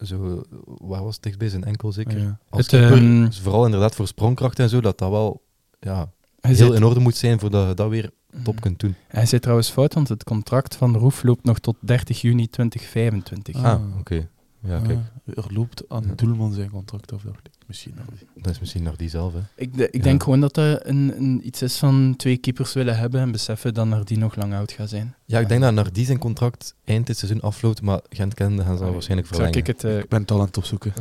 Speaker 1: zo, waar was het dichtst bij zijn enkel zeker?
Speaker 2: Ja.
Speaker 1: Als
Speaker 3: Het,
Speaker 1: keeper,
Speaker 3: ehm,
Speaker 1: dus vooral inderdaad voor sprongkracht en zo, dat dat wel ja,
Speaker 3: hij
Speaker 1: heel
Speaker 3: zit- Mm.
Speaker 1: in orde moet zijn voordat je dat weer top kunt doen.
Speaker 3: Hij zit trouwens fout, want het contract van Roef loopt nog tot 30 juni 2025.
Speaker 2: Ah.
Speaker 1: Ah, oké. Ja, kijk,
Speaker 2: Ah, er loopt aan
Speaker 1: Ja.
Speaker 2: Doelman zijn contract af, dacht ik. Misschien Nardi.
Speaker 1: dat is misschien naar die zelf, hè.
Speaker 3: Ik, de- ik
Speaker 1: Ja.
Speaker 3: denk gewoon dat dat een, een iets is van twee keepers willen hebben en beseffen dat er die nog lang oud gaat zijn.
Speaker 1: Ja, ik denk dat naar die zijn contract eind dit seizoen afloopt, maar Gent kende gaan ze dat waarschijnlijk
Speaker 3: Zal
Speaker 1: verlengen.
Speaker 3: ik het... eh,
Speaker 2: Ik ben het al aan het opzoeken.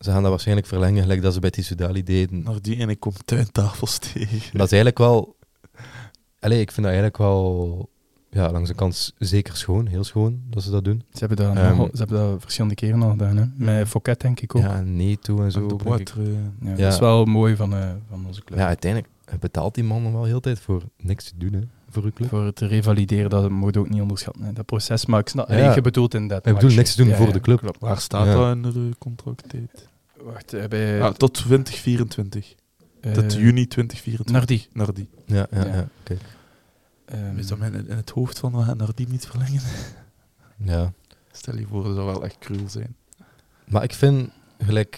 Speaker 1: Ze gaan dat waarschijnlijk verlengen, gelijk dat ze bij Tissoudali deden.
Speaker 2: Nardi en ik kom tuintafels tegen.
Speaker 1: Dat is eigenlijk wel... Allee, ik vind dat eigenlijk wel... Ja, langs de kant zeker schoon, heel schoon, dat ze dat doen.
Speaker 3: ze, hebben dat
Speaker 1: Ehm.
Speaker 3: nogal- ze hebben dat verschillende keren al gedaan, hè. Met Fouquet denk ik ook. Ja.
Speaker 1: Ja, nee toe en zo.
Speaker 2: Zo, de
Speaker 1: denk ik.
Speaker 2: boiter, eh,
Speaker 1: Ja.
Speaker 3: Dat is wel mooi van, eh, van onze club.
Speaker 1: Maar ja, uiteindelijk betaalt die man wel heel de tijd voor niks te doen, hè, voor uw club.
Speaker 3: Voor het te revalideren, dat moet je ook niet onderschatten. hè. Dat proces, maar ik snap...
Speaker 1: Ja.
Speaker 3: Nee, je bedoelt inderdaad...
Speaker 1: Ik bedoel,
Speaker 3: matchen.
Speaker 1: niks te doen
Speaker 3: Ja,
Speaker 1: voor
Speaker 3: ja.
Speaker 1: de club.
Speaker 2: Waar staat
Speaker 1: Ja.
Speaker 2: dat in de contracttijd?
Speaker 3: Wacht, eh, bij...
Speaker 2: Ah, tot 2024.
Speaker 3: eh,
Speaker 2: tot juni 2024.
Speaker 3: Naar die.
Speaker 2: Nardi.
Speaker 1: Ja, ja,
Speaker 3: Ja.
Speaker 1: ja. Kijk.
Speaker 3: ehm,
Speaker 2: Is dat men in in het hoofd van we gaan Nardi niet verlengen?
Speaker 1: Ja.
Speaker 2: Stel je voor, dat zou wel echt cruel zijn.
Speaker 1: Maar ik vind gelijk,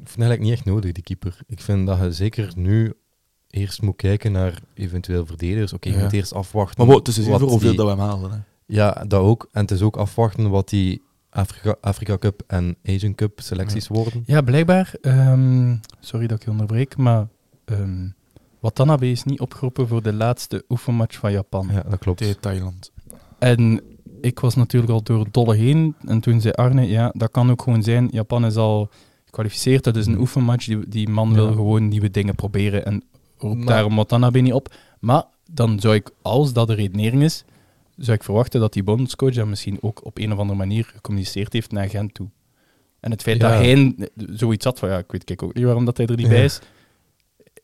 Speaker 1: ik vind gelijk niet echt nodig, die keeper. Ik vind dat je zeker nu eerst moet kijken naar eventueel verdedigers. Oké, je
Speaker 2: Ja.
Speaker 1: moet eerst afwachten.
Speaker 2: Maar mo, het is dus
Speaker 1: wat
Speaker 2: voor hoeveel
Speaker 1: die-
Speaker 2: dat we hem halen. Hè.
Speaker 1: Ja, dat ook. En het is ook afwachten wat die Afrika, Afrika Cup en Asian Cup selecties worden.
Speaker 3: Ja, blijkbaar. ehm, sorry dat ik je onderbreek, maar... ehm Watanabe is niet opgeroepen voor de laatste oefenmatch van Japan.
Speaker 1: Ja, dat klopt.
Speaker 2: Tegen Thailand.
Speaker 3: En ik was natuurlijk al door het dolle heen. En toen zei Arne, ja, dat kan ook gewoon zijn. Japan is al gekwalificeerd. Dat is een oefenmatch. Die, die man wil
Speaker 1: Mm. Ja.
Speaker 3: gewoon nieuwe dingen proberen. En roept
Speaker 1: Maar-
Speaker 3: daarom Watanabe niet op. Maar dan zou ik, als dat de redenering is, zou ik verwachten dat die bondscoach dat misschien ook op een of andere manier gecommuniceerd heeft naar Gent toe. En het feit
Speaker 1: Ja.
Speaker 3: dat hij zoiets had van, ja, ik weet kijk ook niet waarom dat hij er niet
Speaker 1: Ja.
Speaker 3: bij is.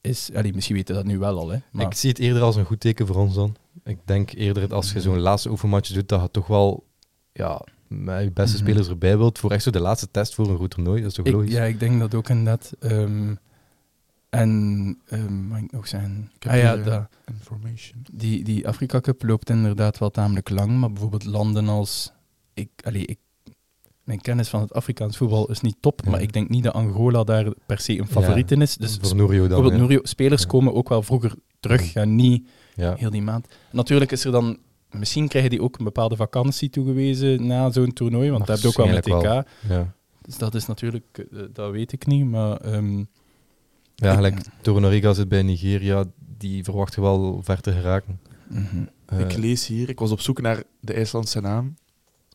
Speaker 3: is... Allee, misschien weten dat nu wel al, hè. Maar,
Speaker 1: Ik zie het eerder als een goed teken voor ons dan. Ik denk eerder dat als je zo'n laatste oefenmatch doet, dat je toch wel ja, met je beste
Speaker 3: Mhm.
Speaker 1: spelers erbij wilt voor echt zo de laatste test voor een goed toernooi. Dat is toch
Speaker 3: Ik-
Speaker 1: logisch?
Speaker 3: ja, ik denk dat ook inderdaad. ehm en, ehm, mag ik nog zeggen?
Speaker 2: Ik heb
Speaker 3: Ah ja,
Speaker 2: hier, eh,
Speaker 3: dat-
Speaker 2: Information.
Speaker 3: die, die Afrika Cup loopt inderdaad wel tamelijk lang, maar bijvoorbeeld landen als... Ik, allee, ik, mijn kennis van het Afrikaans voetbal is niet top,
Speaker 1: Ja.
Speaker 3: maar ik denk niet dat Angola daar per se een favoriet in is. Dus
Speaker 1: voor Nourio dan.
Speaker 3: bijvoorbeeld
Speaker 1: hè.
Speaker 3: Nourio, spelers
Speaker 1: Ja.
Speaker 3: komen ook wel vroeger terug, ja, niet
Speaker 1: Ja.
Speaker 3: heel die maand. Natuurlijk is er dan... Misschien krijgen die ook een bepaalde vakantie toegewezen na zo'n toernooi, want dat heb je ook wel met TK.
Speaker 1: Waarschijnlijk Ja.
Speaker 3: Dus dat is natuurlijk, eh, dat weet ik niet, maar ehm,
Speaker 1: Ja,
Speaker 3: Ik-
Speaker 1: gelijk Torunariga zit bij Nigeria, die verwacht je wel ver te geraken.
Speaker 3: Mhm.
Speaker 1: Eh,
Speaker 2: ik lees hier, ik was op zoek naar de IJslandse naam,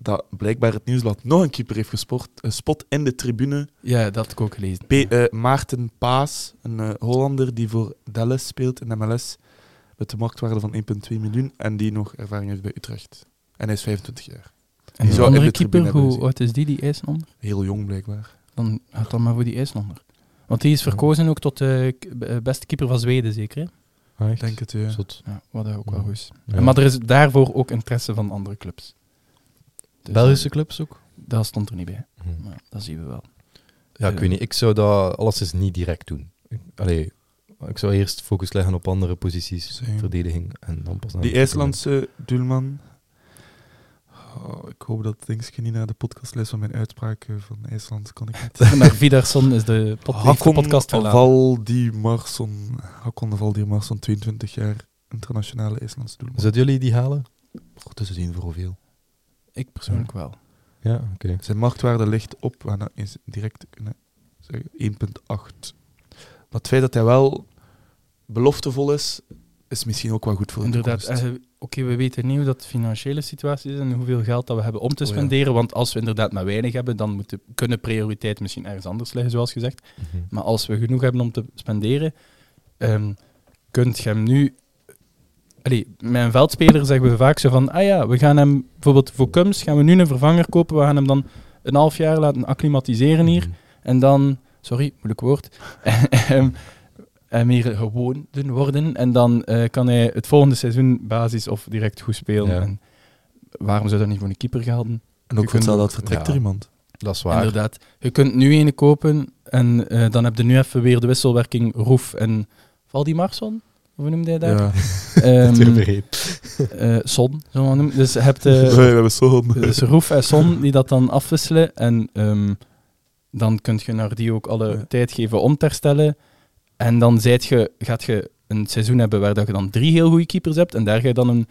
Speaker 2: dat blijkbaar het nieuwsblad nog een keeper heeft gesport, een spot in de tribune.
Speaker 3: ja, dat heb ik ook gelezen.
Speaker 2: P- eh, Maarten Paas, een eh, Hollander die voor Dallas speelt in de MLS, met een marktwaarde van 1,2 miljoen en die nog ervaring heeft bij Utrecht. En hij is 25 jaar.
Speaker 3: en die
Speaker 2: zou
Speaker 3: andere
Speaker 2: in de tribune
Speaker 3: keeper,
Speaker 2: hebben
Speaker 3: hoe
Speaker 2: gezien.
Speaker 3: oud is die, die IJslander?
Speaker 2: Heel jong blijkbaar.
Speaker 3: Dan gaat dat maar voor die IJslander. Want die is verkozen ook tot eh, de beste keeper van Zweden, zeker? Hè?
Speaker 1: ah,
Speaker 2: Ik
Speaker 1: echt?
Speaker 2: denk het,
Speaker 3: eh,
Speaker 2: ja.
Speaker 1: Zot.
Speaker 3: Ja, wat ook wel
Speaker 1: Ja.
Speaker 3: goed is.
Speaker 1: Ja.
Speaker 3: Maar er is daarvoor ook interesse van andere clubs. Dus,
Speaker 1: Belgische
Speaker 3: eh,
Speaker 1: clubs ook? Hm.
Speaker 3: Daar stond er niet bij, maar dat zien we wel.
Speaker 1: Ja,
Speaker 3: eh,
Speaker 1: ik weet niet. Ik zou dat alles eens niet direct doen. Ik- Allee, ik zou eerst focus leggen op andere posities,
Speaker 2: Same.
Speaker 1: verdediging en dan pas naar
Speaker 2: Die
Speaker 1: de
Speaker 2: IJslandse doelman. Oh, ik hoop dat Dingske niet naar de podcastlijst van mijn uitspraak eh, van IJsland kan ik niet.
Speaker 3: Naar Vidarsson is de, pod- heeft de podcast verlaten.
Speaker 2: Valdimarsson. Hakon Valdimarsson, 22 jaar. Internationale IJslandse doelman.
Speaker 1: Zouden jullie die halen?
Speaker 2: Oh, tussen zien voor hoeveel?
Speaker 3: Ik persoonlijk wel.
Speaker 1: Ja, oké.
Speaker 2: Zijn marktwaarde ligt op, we gaan dat eens direct kunnen zeggen, 1,8. Maar het feit dat hij wel beloftevol is, is misschien ook wel goed voor de
Speaker 3: Inderdaad,
Speaker 2: toekomst.
Speaker 3: eh, oké, we weten niet hoe dat de financiële situatie is en hoeveel geld dat we hebben om te
Speaker 2: Oh, ja.
Speaker 3: spenderen. Want als we inderdaad maar weinig hebben, dan moeten, kunnen prioriteiten misschien ergens anders liggen, zoals gezegd.
Speaker 1: Mhm.
Speaker 3: Maar als we genoeg hebben om te spenderen, ehm, kunt je hem nu... Allee, met een veldspeler zeggen we vaak zo van, ah ja, we gaan hem bijvoorbeeld voor Cums, gaan we nu een vervanger kopen, we gaan hem dan een half jaar laten acclimatiseren hier.
Speaker 1: Mhm.
Speaker 3: En dan, sorry, moeilijk woord, Ehm, hem hier gewoon doen worden. En dan eh, kan hij het volgende seizoen basis of direct goed spelen.
Speaker 1: Ja.
Speaker 3: En waarom zou dat niet voor een keeper gelden?
Speaker 2: en ook
Speaker 3: je
Speaker 2: voor
Speaker 3: kunt-
Speaker 2: dat vertrekt
Speaker 1: ja.
Speaker 2: er iemand.
Speaker 1: Dat is waar.
Speaker 3: Inderdaad. Je kunt nu ene kopen en eh, dan heb je nu even weer de wisselwerking Roef en Valdimarsson. Hoe noemde hij daar?
Speaker 2: Ja.
Speaker 1: Dat
Speaker 3: Ehm,
Speaker 1: is weer breed.
Speaker 3: eh, Son, zo maar noemen. Dus je hebt... eh,
Speaker 2: we hebben zo'n...
Speaker 3: dus Roef en Son die dat dan afwisselen. En ehm, dan kun je naar die ook alle
Speaker 2: Ja.
Speaker 3: tijd geven om te herstellen. En dan zijt je, gaat je een seizoen hebben waar dat je dan drie heel goede keepers hebt. En daar ga je dan een,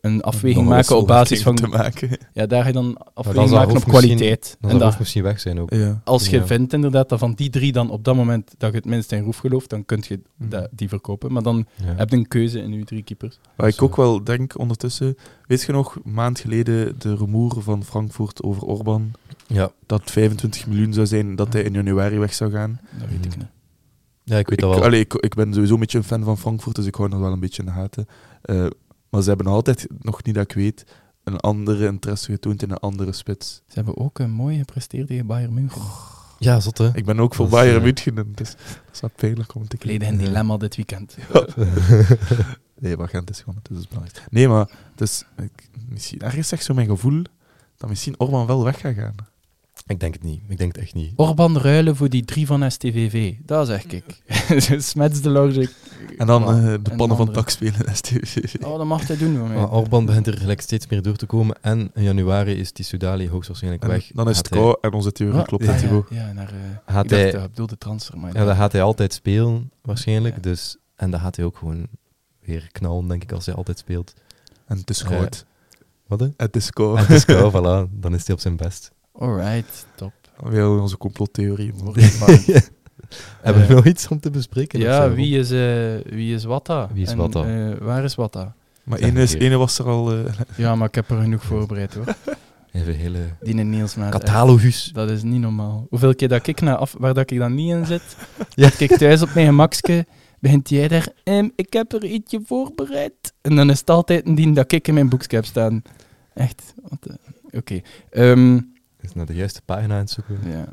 Speaker 3: een afweging
Speaker 2: Nog wel
Speaker 3: maken op basis
Speaker 2: te
Speaker 3: van...
Speaker 2: maken.
Speaker 3: Ja, daar ga je dan afweging
Speaker 1: zal
Speaker 3: maken op
Speaker 1: Roef misschien-
Speaker 3: kwaliteit.
Speaker 1: Dan
Speaker 3: en
Speaker 1: zou
Speaker 3: dat,
Speaker 1: Hoef misschien weg zijn ook.
Speaker 2: Ja.
Speaker 3: als je
Speaker 1: ja.
Speaker 3: vindt inderdaad dat van die drie dan op dat moment dat je het minst in Roef gelooft, dan kun je
Speaker 1: Mhm.
Speaker 3: dat- die verkopen. Maar dan
Speaker 1: Ja.
Speaker 3: Eh, heb je een keuze in je drie keepers.
Speaker 2: Waar ik
Speaker 1: Zo.
Speaker 2: ook wel denk ondertussen, weet je nog, een maand geleden de rumoer van Frankfurt over Orban,
Speaker 1: Ja.
Speaker 2: dat 25 miljoen zou zijn dat hij in januari weg zou gaan.
Speaker 3: Dat weet ik
Speaker 1: Mhm.
Speaker 3: niet.
Speaker 1: ja, ik weet
Speaker 2: Ik,
Speaker 1: dat wel.
Speaker 2: allee, ik, ik ben sowieso een beetje een fan van Frankfurt, dus ik hou nog wel een beetje in de gaten. Eh, maar ze hebben altijd, nog niet dat ik weet, een andere interesse getoond in een andere spits.
Speaker 3: Ze hebben ook een mooi gepresteerd tegen Bayern München.
Speaker 1: Ja, zot hè.
Speaker 2: Ik ben ook voor
Speaker 1: Dat is,
Speaker 2: Bayern
Speaker 1: eh,
Speaker 2: München, en het is, het is wat pijnlijk om te
Speaker 3: Ik leed
Speaker 2: kijken.
Speaker 3: een dilemma dit weekend.
Speaker 2: Nee, maar Gent is gewoon, het is dus belangrijk. Nee, maar het is, ik, misschien, ergens zegt zo mijn gevoel dat misschien Orban wel weg gaat gaan.
Speaker 1: Ik denk het niet. Ik denk het echt niet.
Speaker 3: Orban ruilen voor die drie van STVV. Dat zeg ik. Smets de logic.
Speaker 2: En dan
Speaker 3: Voilà.
Speaker 2: eh,
Speaker 3: En
Speaker 2: de pannen van
Speaker 3: andere.
Speaker 2: tak spelen, STV.
Speaker 3: Oh, dat mag hij doen. hoor.
Speaker 1: Maar Orban begint er gelijk steeds meer door te komen. En in januari is die Sudali hoogstwaarschijnlijk
Speaker 2: En
Speaker 1: weg.
Speaker 2: dan is
Speaker 1: Gaat
Speaker 2: het kou en onze theorie
Speaker 3: Ah,
Speaker 2: klopt
Speaker 3: ja,
Speaker 2: dat
Speaker 3: ja,
Speaker 2: Thibaut.
Speaker 3: Ja, naar, eh
Speaker 1: Gaat
Speaker 3: ik dacht,
Speaker 1: hij-
Speaker 3: eh, ik bedoel de transfer, maar
Speaker 1: hij- Ja, dat gaat hij altijd spelen, waarschijnlijk.
Speaker 3: Ja.
Speaker 1: Dus, en dat gaat hij ook gewoon weer knallen, denk ik, als hij altijd speelt.
Speaker 2: En het is koud.
Speaker 1: Wat hè?
Speaker 2: Het is koud.
Speaker 1: En het is kou, voilà. Dan is hij op zijn best.
Speaker 3: Alright, top.
Speaker 2: Weer onze complottheorie.
Speaker 1: Hebben we
Speaker 3: Eh.
Speaker 1: nog iets om te bespreken? of
Speaker 3: Ja,
Speaker 1: zo?
Speaker 3: wie is, eh wie is Watta?
Speaker 1: Wie is
Speaker 3: En,
Speaker 1: Watta?
Speaker 3: eh, waar is Watta?
Speaker 2: Maar
Speaker 1: Ja,
Speaker 2: ene, is,
Speaker 1: hier.
Speaker 2: ene was er al... eh,
Speaker 3: Ja, maar ik heb er genoeg voorbereid hoor.
Speaker 1: Even een hele
Speaker 3: Die in Niels Maas, Ah, echt.
Speaker 1: catalogus.
Speaker 3: Dat is niet normaal. Hoeveel keer dat ik naar af, waar dat ik dan niet in zit,
Speaker 1: Ja.
Speaker 3: dat ik thuis op mijn gemakske, begint jij daar, "Ehm, ik heb er ietsje voorbereid. En dan is het altijd een dien dat ik in mijn boekje heb staan. Echt, wat de- Oké. Ehm,
Speaker 1: Is naar de juiste pagina aan het zoeken.
Speaker 3: ja.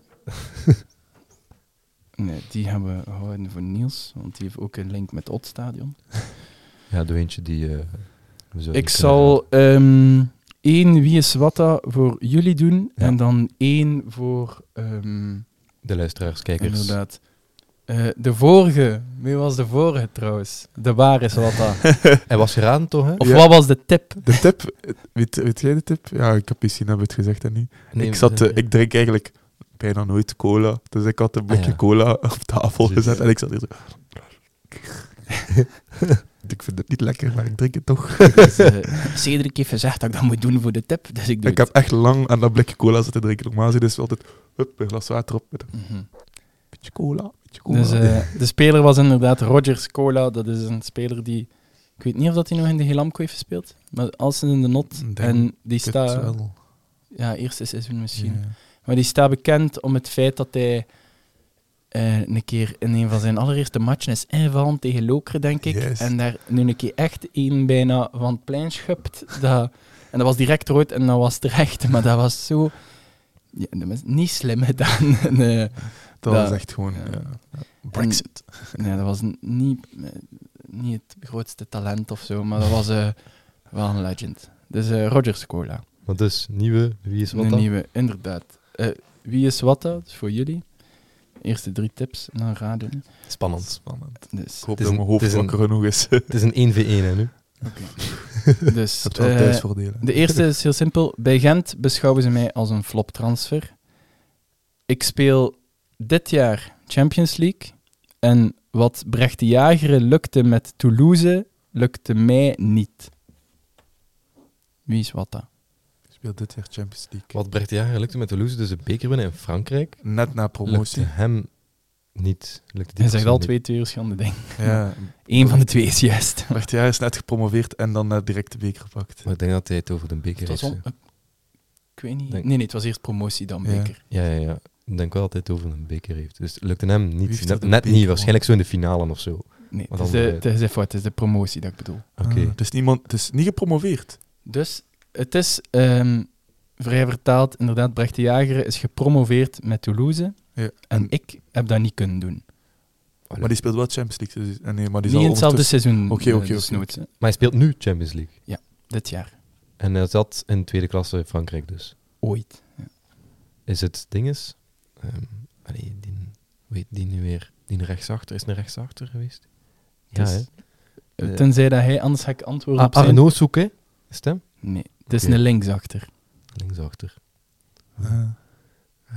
Speaker 3: Nee, die hebben we gehouden voor Niels, want die heeft ook een link met het stadion.
Speaker 1: Ja, doe eentje die... eh, we zouden
Speaker 3: Ik
Speaker 1: kunnen
Speaker 3: zal ehm, één Wie is Watta voor jullie doen
Speaker 1: Ja.
Speaker 3: en dan één voor... ehm,
Speaker 1: raden. De luisteraars, kijkers.
Speaker 3: Inderdaad. Eh, de vorige, wie was de vorige trouwens? De waar is Watta.
Speaker 1: Hij was geraden toch, hè?
Speaker 3: Of
Speaker 2: Ja.
Speaker 3: wat was de tip?
Speaker 2: De tip, eh, weet, weet jij de tip? Ja, ik heb misschien hebben we het gezegd en niet.
Speaker 1: Nee,
Speaker 2: ik, zat,
Speaker 1: eh,
Speaker 2: eh, ik drink eigenlijk bijna nooit cola. Dus ik had een blikje
Speaker 1: Ah, ja.
Speaker 2: cola op tafel
Speaker 1: Precies.
Speaker 2: gezet en ik zat hier zo. ik vind het niet lekker, maar ik drink het toch.
Speaker 3: Dus, eh, Cedric heeft gezegd dat ik dat moet doen voor de tip, dus ik doe
Speaker 2: Ik
Speaker 3: het.
Speaker 2: heb echt lang aan dat blikje cola zitten drinken. Normaal is het altijd hup, een glas water op met een
Speaker 3: Mhm.
Speaker 2: beetje cola. Beetje cola.
Speaker 3: Dus eh, de speler was inderdaad Rogers Cola. Dat is een speler die... Ik weet niet of dat hij nog in de Helamco heeft gespeeld, maar als in de not.
Speaker 2: Denk
Speaker 3: en die
Speaker 2: Ik
Speaker 3: staat...
Speaker 2: het wel.
Speaker 3: Ja, eerste seizoen misschien.
Speaker 2: Ja.
Speaker 3: Maar die staat bekend om het feit dat hij eh, een keer in een van zijn allereerste matchen is invallen tegen Lokeren, denk ik.
Speaker 2: Juist.
Speaker 3: En daar nu een keer echt één bijna van het plein schupt. Dat, en dat was direct rood en dat was terecht. Maar dat was zo... Ja, dat was niet slim gedaan. En, eh,
Speaker 2: Dat
Speaker 3: Ja.
Speaker 2: was echt gewoon
Speaker 3: Ja.
Speaker 2: ja. ja, Brexit.
Speaker 3: nee, dat was n- niet, eh, niet het grootste talent of zo. Maar dat was eh, wel een legend. Dus eh Rogers Cola.
Speaker 1: Want dus, nieuwe, wie is wat
Speaker 3: een
Speaker 1: dan?
Speaker 3: nieuwe, inderdaad. Eh, wie is wat dat? Voor jullie. Eerste drie tips, en dan raden.
Speaker 1: Spannend.
Speaker 2: Spannend.
Speaker 3: Dus,
Speaker 2: Ik
Speaker 1: Het is
Speaker 2: hoop dat mijn
Speaker 1: een- het
Speaker 2: hoofd
Speaker 1: is een-
Speaker 2: wakker genoeg is. Dat
Speaker 1: Het is een 1v1 hè, nu.
Speaker 3: dus
Speaker 2: is wel
Speaker 3: eh,
Speaker 2: thuisvoordelen.
Speaker 3: de eerste is heel simpel. Bij Gent beschouwen ze mij als een flop transfer. Ik speel dit jaar Champions League. En wat Brecht de Jager lukte met Toulouse, lukte mij niet. Wie is wat dat?
Speaker 2: speelt dit jaar Champions League.
Speaker 1: Wat Brecht de Jager lukte met Toulouse, dus de beker winnen in Frankrijk.
Speaker 2: Net na promotie.
Speaker 1: Lukte hem niet. Lukte die
Speaker 3: Hij zegt
Speaker 1: persoon
Speaker 3: al
Speaker 1: niet.
Speaker 3: twee verschillende dingen.
Speaker 2: Ja,
Speaker 3: Eén van de twee is juist.
Speaker 2: Bert Jaar is net gepromoveerd en dan net direct de beker gepakt.
Speaker 1: Maar ik denk dat hij het over de beker
Speaker 3: Het was
Speaker 1: heeft.
Speaker 3: om- ik weet niet.
Speaker 1: Denk-
Speaker 3: Nee, nee, het was eerst promotie dan
Speaker 2: Ja.
Speaker 3: beker.
Speaker 1: Ja, ja, ja. Ik denk wel dat hij het over een beker heeft. Dus het lukte hem
Speaker 2: heeft
Speaker 1: niet.
Speaker 2: er
Speaker 1: Net,
Speaker 2: de
Speaker 1: net
Speaker 2: beker
Speaker 1: niet. Waarschijnlijk zo in de finale of zo. Oké.
Speaker 3: Nee,
Speaker 1: Wat
Speaker 3: het is,
Speaker 1: dan
Speaker 3: de,
Speaker 1: weer?
Speaker 3: het is even wat, het is de promotie dat ik bedoel.
Speaker 2: Ah, het, is niemand, het is niet gepromoveerd.
Speaker 3: Dus het is ehm, vrij vertaald, inderdaad, Brecht de Jager is gepromoveerd met Toulouse.
Speaker 2: Ja.
Speaker 3: En ik heb dat niet kunnen doen.
Speaker 2: Maar die speelt wel Champions League. Dus, eh, nee, maar die
Speaker 3: niet in
Speaker 2: zal
Speaker 3: hetzelfde
Speaker 2: ondertussen-
Speaker 3: seizoen.
Speaker 2: Oké,
Speaker 3: eh,
Speaker 2: oké,
Speaker 3: dus
Speaker 2: oké,
Speaker 3: nooit, hè.
Speaker 1: Maar hij speelt nu Champions League.
Speaker 3: Dit jaar.
Speaker 1: En hij zat in tweede klasse in Frankrijk dus.
Speaker 3: Ooit.
Speaker 1: Is het dinges? ehm allee, die, weet die nu weer? Die rechtsachter? Is een rechtsachter geweest? Ja,
Speaker 3: Dus-
Speaker 1: hè?
Speaker 3: Eh,
Speaker 1: Eh.
Speaker 3: Tenzij dat hij, anders ga ik antwoorden
Speaker 1: Ah,
Speaker 3: op zijn...
Speaker 1: Arno zoeken, hè? Is het hem?
Speaker 3: Nee, het is
Speaker 1: Oké.
Speaker 3: een linksachter.
Speaker 1: Linksachter.
Speaker 2: Ah.
Speaker 1: Eh,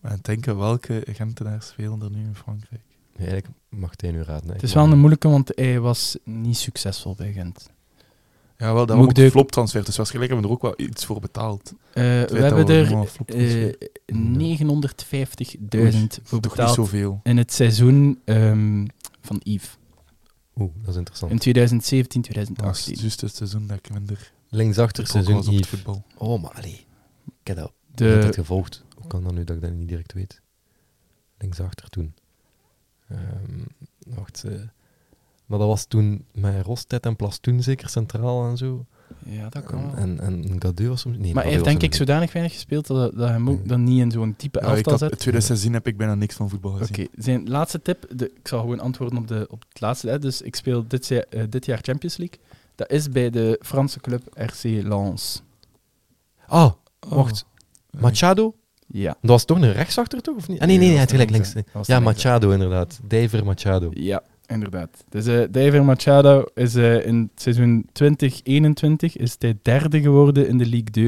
Speaker 2: Maar denken welke Gentenaars spelen er nu in Frankrijk?
Speaker 1: nee, eigenlijk mag hij nu raden. hè.
Speaker 3: Het
Speaker 1: Ik
Speaker 3: is wel
Speaker 1: mag-
Speaker 3: een moeilijke, want hij was niet succesvol bij Gent.
Speaker 2: Ja, wel,
Speaker 3: Moet
Speaker 2: daarom
Speaker 3: ik
Speaker 2: ook
Speaker 3: de-
Speaker 2: de... floptransfer. Dus waarschijnlijk hebben we er ook wel iets voor betaald.
Speaker 3: Eh,
Speaker 2: Het
Speaker 3: we
Speaker 2: feit dat
Speaker 3: hebben er
Speaker 2: normaal floptransfer-
Speaker 3: eh, 950.000 voor
Speaker 2: Toch niet
Speaker 3: betaald
Speaker 2: zoveel.
Speaker 3: in het seizoen ehm, van Yves.
Speaker 1: Oeh, dat is interessant.
Speaker 3: In 2017,
Speaker 2: Dat was
Speaker 3: 2018.
Speaker 2: juist het seizoen dat ik minder
Speaker 1: Linksachter
Speaker 2: betrokken was
Speaker 1: seizoen
Speaker 2: op het
Speaker 1: Yves.
Speaker 2: voetbal.
Speaker 1: Oh, maar allee. Ik heb dat altijd
Speaker 3: De,
Speaker 1: gevolgd. Hoe kan dat nu dat ik dat niet direct weet? Linksachter toen. Ehm, wacht. eh, maar dat was toen met Rostet en Plastoen zeker centraal en zo.
Speaker 3: ja, dat kan
Speaker 1: En,
Speaker 3: wel.
Speaker 1: en, en Gadeu was soms... Nee,
Speaker 3: maar hij
Speaker 1: Gadeu
Speaker 3: heeft denk ik
Speaker 1: was hem
Speaker 3: zodanig weinig gespeeld dat, dat hij hem ook
Speaker 1: Nee.
Speaker 3: dan niet in zo'n type
Speaker 2: Ja, ik
Speaker 3: elftal
Speaker 2: had,
Speaker 3: zet.
Speaker 2: in 2016 heb ik bijna niks van voetbal gezien.
Speaker 3: Oké, zijn laatste tip. De, ik zal gewoon antwoorden op, de, op het laatste. Hè. Dus ik speel dit, jaar- eh, dit jaar Champions League. Dat is bij de Franse club RC Lens.
Speaker 1: niet. Ah,
Speaker 2: Oh.
Speaker 1: wacht.
Speaker 2: Nee.
Speaker 1: Machado?
Speaker 3: Ja.
Speaker 1: Dat was toch een rechtsachter, toch? Of niet? Ah, nee,
Speaker 2: Nee,
Speaker 1: nee, nee,
Speaker 2: dat
Speaker 1: hij
Speaker 2: was
Speaker 1: had gelijk
Speaker 2: de
Speaker 1: links.
Speaker 3: was de
Speaker 1: Ja,
Speaker 3: links, hè.
Speaker 1: Machado inderdaad. Diver Machado.
Speaker 3: Ja, inderdaad. Dus eh David Machado is eh, in het seizoen 2021 is hij derde geworden in de Ligue 2.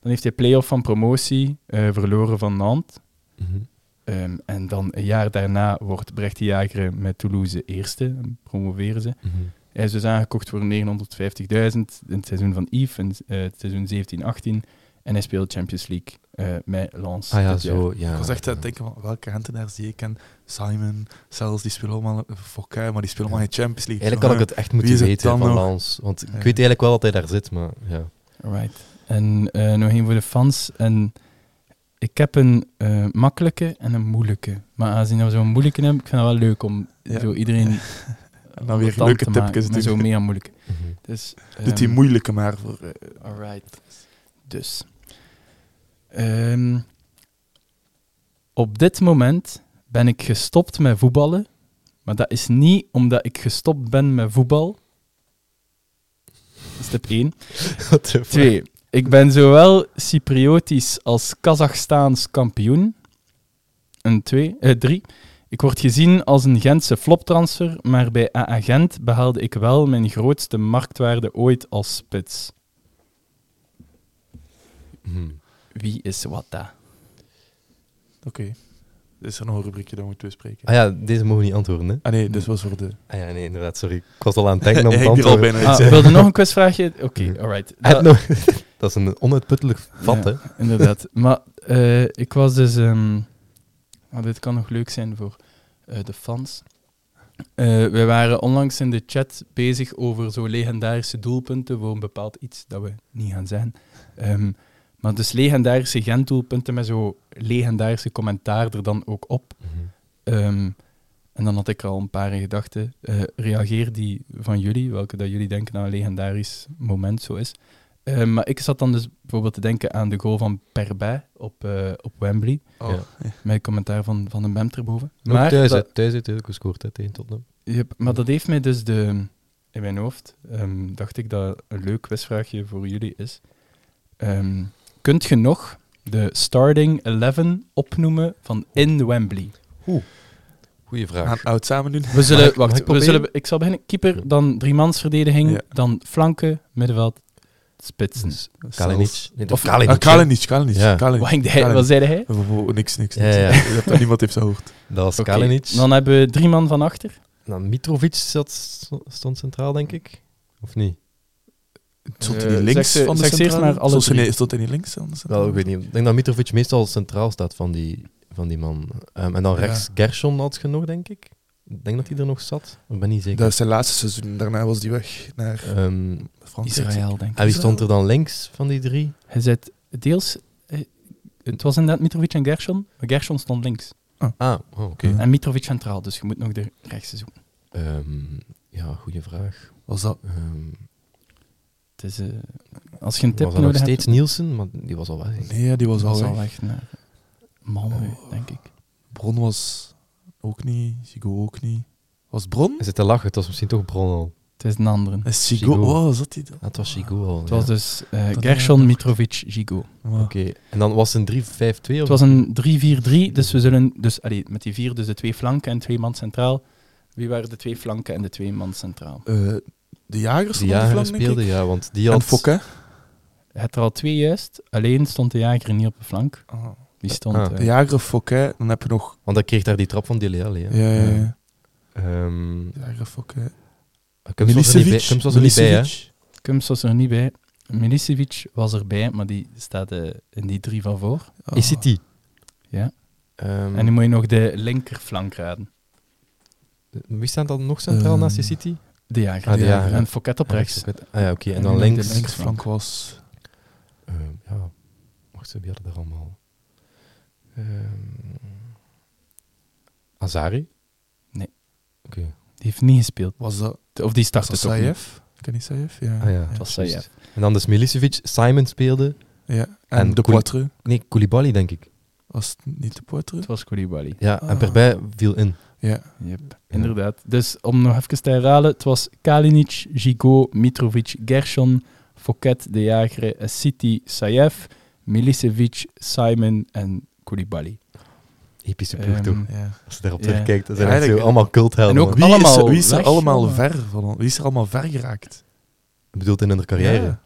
Speaker 3: Dan heeft hij play-off van promotie eh, verloren van Nantes.
Speaker 1: Mhm.
Speaker 3: Ehm, en dan een jaar daarna wordt Brecht de Jager met Toulouse eerste. en Promoveren ze.
Speaker 1: Mhm.
Speaker 3: Hij is dus aangekocht voor 950.000 in het seizoen van Yves, in eh, het seizoen 17-18. En hij speelt Champions League eh, met Lens.
Speaker 1: Ah ja,
Speaker 3: dit jaar.
Speaker 1: zo. Ja,
Speaker 2: Ik was echt eh, aan
Speaker 1: ja.
Speaker 2: het denken, van, welke Gentenaars die ik ken? Simon, zelfs, die spelen allemaal voor maar die spelen allemaal in Champions League.
Speaker 1: Eigenlijk had ik het echt moeten
Speaker 2: is het
Speaker 1: weten
Speaker 2: dan
Speaker 1: van
Speaker 2: nog?
Speaker 1: Lans. Want ik
Speaker 2: Ja.
Speaker 1: weet eigenlijk wel dat hij daar zit, maar ja.
Speaker 3: Right. En eh, nog één voor de fans. En ik heb een eh, makkelijke en een moeilijke. Maar aangezien we zo'n moeilijke hebben, ik vind het wel leuk om
Speaker 2: Ja.
Speaker 3: zo iedereen...
Speaker 2: En dan weer
Speaker 3: aan
Speaker 2: leuke
Speaker 3: te maken,
Speaker 2: tipjes
Speaker 3: Maar
Speaker 2: doen.
Speaker 3: zo meer aan moeilijke.
Speaker 1: Mhm.
Speaker 3: Dus,
Speaker 2: eh, Doet die
Speaker 3: ehm,
Speaker 2: moeilijke maar voor... eh,
Speaker 3: Alright. Dus. Ehm, op dit moment ben ik gestopt met voetballen. Maar dat is niet omdat ik gestopt ben met voetbal. Step 1.
Speaker 1: What the fuck?
Speaker 3: Twee. Ik ben zowel Cypriotisch als Kazachstaans kampioen. En twee, eh, drie. Ik word gezien als een Gentse floptransfer, maar bij AA Gent behaalde ik wel mijn grootste marktwaarde ooit als spits.
Speaker 1: Mhm.
Speaker 3: Wie is wat daar?
Speaker 2: Is er nog een rubriekje dat we moeten bespreken?
Speaker 1: Ah ja, deze mogen we niet antwoorden, hè?
Speaker 2: Ah nee, dit was voor de...
Speaker 1: Ah ja, nee, inderdaad, sorry. Ik was al aan het denken om
Speaker 2: Ik
Speaker 1: het
Speaker 2: die er al
Speaker 1: antwoord.
Speaker 2: bijna
Speaker 3: Ah,
Speaker 2: iets, hè.
Speaker 3: wilde nog een quizvraagje? Oké, alright.
Speaker 1: Ah,
Speaker 3: Dat-
Speaker 1: no. dat is een onuitputtelijk vat,
Speaker 3: Ja,
Speaker 1: hè?
Speaker 3: Inderdaad. Maar eh, ik was dus. ehm, ah, dit kan nog leuk zijn voor eh, de fans. Eh wij waren onlangs in de chat bezig over zo legendarische doelpunten voor een bepaald iets dat we niet gaan zeggen. Ehm, maar dus legendarische Gent-doelpunten met zo legendarische commentaar er dan ook op. Ehm, en dan had ik al een paar in gedachten. Eh, reageer die van jullie, welke dat jullie denken dat een legendarisch moment zo is. Eh, maar ik zat dan dus bijvoorbeeld te denken aan de goal van Perbij op, eh, op Wembley.
Speaker 1: Oh. Ja.
Speaker 3: Mijn commentaar van, van een Bem erboven.
Speaker 1: Maar thuis,
Speaker 3: dat,
Speaker 1: hè, thuis heeft hij ook gescoord hè, tegen Tottenham.
Speaker 3: Jep, maar dat heeft mij dus de, in mijn hoofd, ehm, dacht ik dat een leuk quizvraagje voor jullie is. Ehm, kunt je nog de starting 11 opnoemen van in Wembley?
Speaker 1: Goeie
Speaker 2: We
Speaker 1: vraag.
Speaker 2: gaan oud samen doen.
Speaker 3: We zullen,
Speaker 1: Mag ik- mag
Speaker 3: wacht,
Speaker 1: ik
Speaker 3: ik, we
Speaker 1: proberen?
Speaker 3: zullen, ik zal beginnen. Keeper, dan driemansverdediging,
Speaker 2: Ja.
Speaker 3: dan flanken, middenveld, spitsen.
Speaker 1: Dus
Speaker 2: Mm.
Speaker 1: Kalinic. Nee, of
Speaker 2: Ah,
Speaker 1: Kalinic. hè.
Speaker 2: Kalinic, Kalinic.
Speaker 1: Ja.
Speaker 2: Kalinic.
Speaker 3: Wat, ging hij-
Speaker 2: Kalinic.
Speaker 3: wat zei hij?
Speaker 2: Oh, oh, oh, niks, niks.
Speaker 1: Ja,
Speaker 2: niks.
Speaker 1: ja.
Speaker 2: Ik heb dat niemand heeft gehoord.
Speaker 1: Dat was
Speaker 3: Oké,
Speaker 1: Kalinic.
Speaker 3: Dan hebben we drie man van achter.
Speaker 1: Nou, Mitrovic zat, stond centraal, denk ik. Of niet?
Speaker 2: Stond
Speaker 3: Eh,
Speaker 2: hij niet links
Speaker 3: zeg ze-
Speaker 2: van de
Speaker 3: zeg ze eerst
Speaker 2: centrale?
Speaker 3: maar alle
Speaker 2: Stond hij
Speaker 3: drie.
Speaker 2: niet- Stond hij niet links van de centrale?
Speaker 1: Nou, ik weet niet. Ik denk dat Mitrovic meestal centraal staat van die, van die man. Ehm, en dan
Speaker 2: Ja.
Speaker 1: rechts Gershon had je nog, denk ik. Ik denk dat hij er nog zat. Ik ben niet zeker.
Speaker 2: Dat is zijn laatste seizoen. Daarna was hij weg naar
Speaker 1: Ehm,
Speaker 2: Frankrijk.
Speaker 3: Israël, denk ik.
Speaker 1: en wie stond er dan links van die drie?
Speaker 3: Hij zei deels... eh, Het was inderdaad Mitrovic en Gershon, maar Gershon stond links.
Speaker 1: Ah, oh, oké.
Speaker 2: Ja.
Speaker 3: En Mitrovic centraal, dus je moet nog de rechtse zoeken.
Speaker 1: Ehm, ja, goede vraag.
Speaker 2: Was dat?
Speaker 1: Ehm,
Speaker 3: Het is, eh, als je een tip
Speaker 1: was er nog
Speaker 3: nodig
Speaker 1: steeds
Speaker 3: hebt,
Speaker 1: Nielsen, maar die was al weg. denk ik.
Speaker 2: Nee, die was al
Speaker 3: was al
Speaker 2: weg.
Speaker 3: weg naar Malmö, denk ik.
Speaker 2: Bron was ook niet. Sigo ook niet. Was Bron?
Speaker 1: Hij zit te lachen, het was misschien toch Bron al.
Speaker 3: Het is een andere.
Speaker 2: En Sigo.
Speaker 1: Sigo.
Speaker 2: Oh, zat hij
Speaker 1: Ah, het was Chigo al.
Speaker 3: Het
Speaker 1: ja.
Speaker 3: was dus eh,
Speaker 2: Dat
Speaker 3: Gershon,
Speaker 2: inderdaad.
Speaker 3: Mitrovic, Gigo.
Speaker 2: dan?
Speaker 1: Oké, en dan was het een 3-5-2
Speaker 3: Het
Speaker 1: of
Speaker 3: was een 3-4-3, dus we zullen dus, allee, met die vier, dus de twee flanken en twee man centraal. Wie waren de twee flanken en de twee man centraal?
Speaker 2: Eh, de jagers
Speaker 1: die
Speaker 2: stond op de
Speaker 1: jaren
Speaker 2: flank, denk
Speaker 1: speelde,
Speaker 2: ik.
Speaker 1: ja, want die
Speaker 2: En
Speaker 1: had...
Speaker 2: Fokke.
Speaker 3: Je had er al twee juist, alleen stond de jager niet op de flank. Die stond...
Speaker 1: Ah.
Speaker 3: eh,
Speaker 2: De jager, Fokke. Dan heb je nog...
Speaker 1: Want hij kreeg daar die trap van Dele Alli.
Speaker 2: Ja,
Speaker 1: hè.
Speaker 2: ja, ja.
Speaker 1: Ehm,
Speaker 2: De jager, Fokke.
Speaker 1: Kums was er niet bij-
Speaker 2: Milicevic.
Speaker 1: Kums was er niet bij, hè?
Speaker 2: Milicevic.
Speaker 3: Kums was er niet bij. Milicevic was erbij, maar die staat eh, in die drie van voor.
Speaker 2: Oh.
Speaker 1: Ah. Is het die?
Speaker 3: Ja.
Speaker 1: Ehm,
Speaker 3: En nu moet je nog de linkerflank raden.
Speaker 1: Wie staat dan nog centraal
Speaker 2: Eh,
Speaker 1: naast je City?
Speaker 3: De jager.
Speaker 1: Ah, de jager.
Speaker 3: En Fouquet Ehm, op rechts.
Speaker 1: Ah ja, oké. En
Speaker 3: En
Speaker 1: dan
Speaker 3: dan de
Speaker 1: links...
Speaker 3: links.
Speaker 2: Linksflank was...
Speaker 1: Ehm, ja. Wacht, ze hadden daar allemaal... Ehm, Azari?
Speaker 3: Nee.
Speaker 1: Oké.
Speaker 3: Die heeft niet gespeeld.
Speaker 2: Was dat...
Speaker 3: Of die startte
Speaker 2: Was
Speaker 3: toch niet.
Speaker 2: dat Ken je Saïef? Ja.
Speaker 1: Ah ja,
Speaker 3: Het was
Speaker 1: juist.
Speaker 3: Saïef.
Speaker 1: En dan dus Milicevic, Simon speelde...
Speaker 2: Ja. En,
Speaker 1: En
Speaker 2: de
Speaker 1: Koen-
Speaker 2: Poitre.
Speaker 1: Nee, Koulibaly, denk ik.
Speaker 2: Was het niet de Poitre?
Speaker 3: Het was Koulibaly.
Speaker 1: Ja, en
Speaker 2: Ah.
Speaker 1: Perbij viel in.
Speaker 2: Ja.
Speaker 3: Yep. Inderdaad. Dus om nog even te herhalen, het was Kalinic, Gigo, Mitrovic, Gershon, Fouquet, De Jager, City, Sayev, Milicevic, Simon en Koulibaly.
Speaker 1: Epische ploeg,
Speaker 3: Ehm,
Speaker 1: toch?
Speaker 2: ja.
Speaker 1: Als je daarop
Speaker 3: ja.
Speaker 1: terugkijkt, dan zijn
Speaker 2: Ja,
Speaker 1: het zo
Speaker 2: eigenlijk-
Speaker 1: allemaal culthelden.
Speaker 3: En ook-
Speaker 1: man.
Speaker 2: Wie,
Speaker 3: Allemaal
Speaker 2: is er, wie is er
Speaker 3: weg,
Speaker 2: allemaal
Speaker 3: allemaal.
Speaker 2: ver van? Wie is er allemaal ver geraakt?
Speaker 1: Ik bedoel, in hun carrière.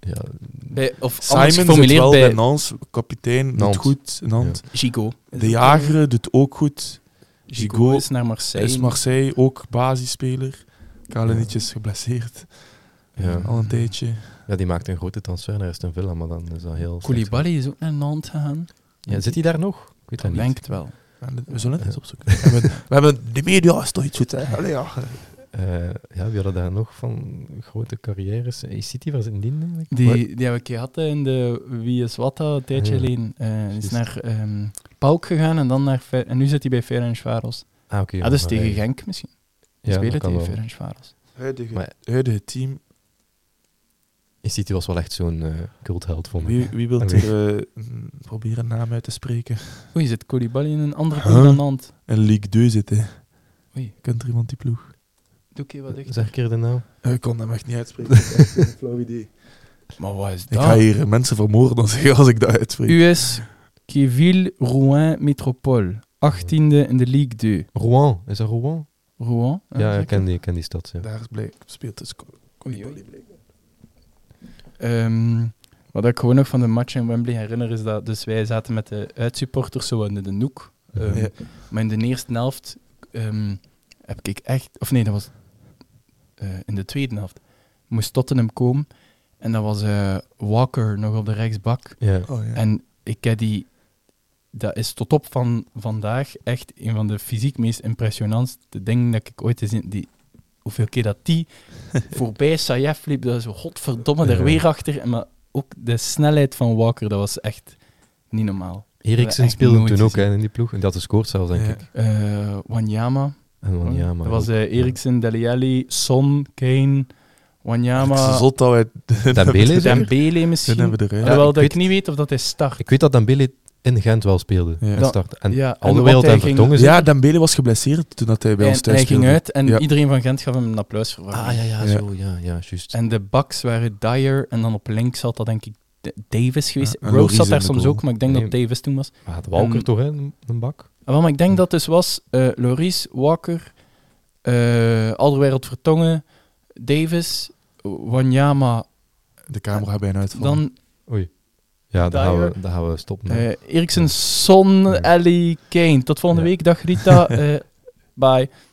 Speaker 1: Ja.
Speaker 3: Bij, of
Speaker 2: Simon
Speaker 3: anders
Speaker 2: zit
Speaker 3: geformuleerd
Speaker 2: wel bij
Speaker 3: bij
Speaker 2: Nans, kapitein, doet
Speaker 1: Nantes.
Speaker 2: goed. Nantes.
Speaker 3: Gigo.
Speaker 2: De Jager doet ook goed.
Speaker 3: Gigo
Speaker 2: Gigo
Speaker 3: is naar Marseille.
Speaker 2: Is Marseille ook basisspeler. Kalinic is geblesseerd.
Speaker 1: Ja.
Speaker 2: Al een tijdje.
Speaker 1: Ja, die maakte een grote transfer naar Aston Villa, maar dan is dat heel... slecht.
Speaker 3: Koulibaly is ook naar Nantes gegaan.
Speaker 1: Ja, zit hij daar nog? Ik weet dat
Speaker 3: Ik
Speaker 1: niet.
Speaker 3: denk het wel.
Speaker 2: We zullen het eens opzoeken. we, hebben, we hebben- de media is toch iets goed, hè? Allee, ja.
Speaker 1: Eh, ja, wie hadden daar nog van grote carrières? Hey, City was in Dien, eigenlijk.
Speaker 3: Die,
Speaker 1: Maar-
Speaker 3: die hebben we een keer gehad hè, in de Wie is wat al een tijdje
Speaker 1: Ja.
Speaker 3: geleden. Eh, die is
Speaker 1: Juist.
Speaker 3: naar ehm Pauk gegaan en dan naar... Fe- en nu zit hij bij Ferencvaros.
Speaker 1: Ah, oké.
Speaker 3: ah, dus
Speaker 1: maar
Speaker 3: tegen
Speaker 1: hij-
Speaker 3: Genk misschien. Die
Speaker 1: Ja, dat
Speaker 3: spelen
Speaker 1: kan
Speaker 3: tegen
Speaker 1: wel.
Speaker 3: Ferencvaros.
Speaker 2: Huidige,
Speaker 1: Maar-
Speaker 2: huidige team
Speaker 1: City was wel echt zo'n eh, cultheld, vond ik.
Speaker 2: Wie, wie wil
Speaker 1: Oké.
Speaker 2: er eh, proberen een naam uit te spreken?
Speaker 3: Oei, zit Koulibaly in een andere
Speaker 2: Huh?
Speaker 3: ploeg dan Nant?
Speaker 2: Een League 2 zitten.
Speaker 3: Oei.
Speaker 2: Kent er iemand die ploeg?
Speaker 3: Doe ik wat dicht.
Speaker 1: Zeg een keer de naam.
Speaker 2: Eh, Ik kon hem echt niet uitspreken. Ah. dat is echt een flauw idee.
Speaker 3: Maar wat is
Speaker 2: Ik
Speaker 3: dat?
Speaker 2: ga hier mensen vermoorden als ik, als ik dat uitspreek.
Speaker 3: US Keville Rouen Métropole. 18e in de Ligue 2.
Speaker 1: Rouen, is dat Rouen?
Speaker 3: Rouen? eh,
Speaker 1: ja,
Speaker 3: zeg
Speaker 1: ik ken
Speaker 3: ik?
Speaker 1: die, ik ken die stad. Ja.
Speaker 2: Daar is blij. Speelt dus Ko-
Speaker 3: Oei, oei.
Speaker 2: Koulibaly, blijkbaar.
Speaker 3: Ehm, wat ik gewoon nog van de match in Wembley herinner is dat dus wij zaten met de uitsupporters zo in de noek. Ehm,
Speaker 1: Eh,
Speaker 2: Ja.
Speaker 3: Maar in de eerste helft ehm, heb ik echt, of nee, dat was eh, in de tweede helft, moest Tottenham komen en dat was eh, Walker nog op de rechtsbak.
Speaker 1: Ja.
Speaker 2: Oh, ja.
Speaker 3: En ik heb die, dat is tot op van vandaag echt een van de fysiek meest impressionantste dingen dat ik ooit gezien die Hoeveel keer dat die voorbij Sayef liep, dat is zo, godverdomme, daar
Speaker 1: Ja.
Speaker 3: weer achter. En Maar ook de snelheid van Walker, dat was echt niet normaal.
Speaker 1: Eriksen
Speaker 3: echt
Speaker 1: speelde
Speaker 3: nooit
Speaker 1: toen ook
Speaker 3: gezien.
Speaker 1: hè, in die ploeg. En dat is scoort zelfs, denk
Speaker 2: Ja.
Speaker 1: ik.
Speaker 3: Eh, Wanyama.
Speaker 1: En Wanyama.
Speaker 3: dat was
Speaker 1: ook.
Speaker 3: eh Eriksen, Dele Alli, Son, Kane,
Speaker 2: Het is
Speaker 3: Wanyama,
Speaker 2: Zot dat wij...
Speaker 1: Dembele zeker?
Speaker 3: Dembele
Speaker 2: Dan
Speaker 3: misschien.
Speaker 2: hebben we eruit.
Speaker 1: Ja,
Speaker 3: Terwijl
Speaker 1: ik
Speaker 3: dat ik
Speaker 1: weet-
Speaker 3: niet weet of dat hij start.
Speaker 1: Ik weet dat Dembele in Gent wel speelde.
Speaker 2: Ja.
Speaker 1: En,
Speaker 3: Ja.
Speaker 1: start. en
Speaker 3: Ja, en
Speaker 1: al de
Speaker 3: wat
Speaker 1: wereld
Speaker 3: hij
Speaker 1: en
Speaker 3: ging-
Speaker 1: vertongen
Speaker 2: Ja, Dembele was geblesseerd toen dat hij bij
Speaker 3: En
Speaker 2: ons thuis
Speaker 3: hij ging
Speaker 2: speelde.
Speaker 3: uit en
Speaker 2: Ja.
Speaker 3: iedereen van Gent gaf hem een applaus voor.
Speaker 1: Ah, ja, ja,
Speaker 2: Ja.
Speaker 1: zo. Ja, ja, juist.
Speaker 3: En de backs waren Dyer en dan op links had dat denk ik D- Davis geweest.
Speaker 2: en
Speaker 3: Rose
Speaker 2: Lloris
Speaker 3: zat daar
Speaker 2: in de
Speaker 3: soms
Speaker 2: goal.
Speaker 3: ook, maar ik denk
Speaker 1: Nee.
Speaker 3: dat Davis toen was.
Speaker 1: Maar had Walker
Speaker 3: en-
Speaker 1: toch, hè? Een een bak?
Speaker 3: Ah, wel, maar ik denk
Speaker 1: Ja.
Speaker 3: dat dus was eh Loris, Walker, eh Alderwereld Vertongen, Davis, Wanyama,
Speaker 2: De camera bijna uitvallen.
Speaker 3: dan
Speaker 1: Oei. Ja, daar gaan,
Speaker 3: Dyer.
Speaker 1: we, daar gaan we stoppen.
Speaker 3: eh Eriksen, Son,
Speaker 1: Ja.
Speaker 3: Ellie, Kane. Tot volgende
Speaker 1: Ja.
Speaker 3: week. Dag Rita. Eh, bye.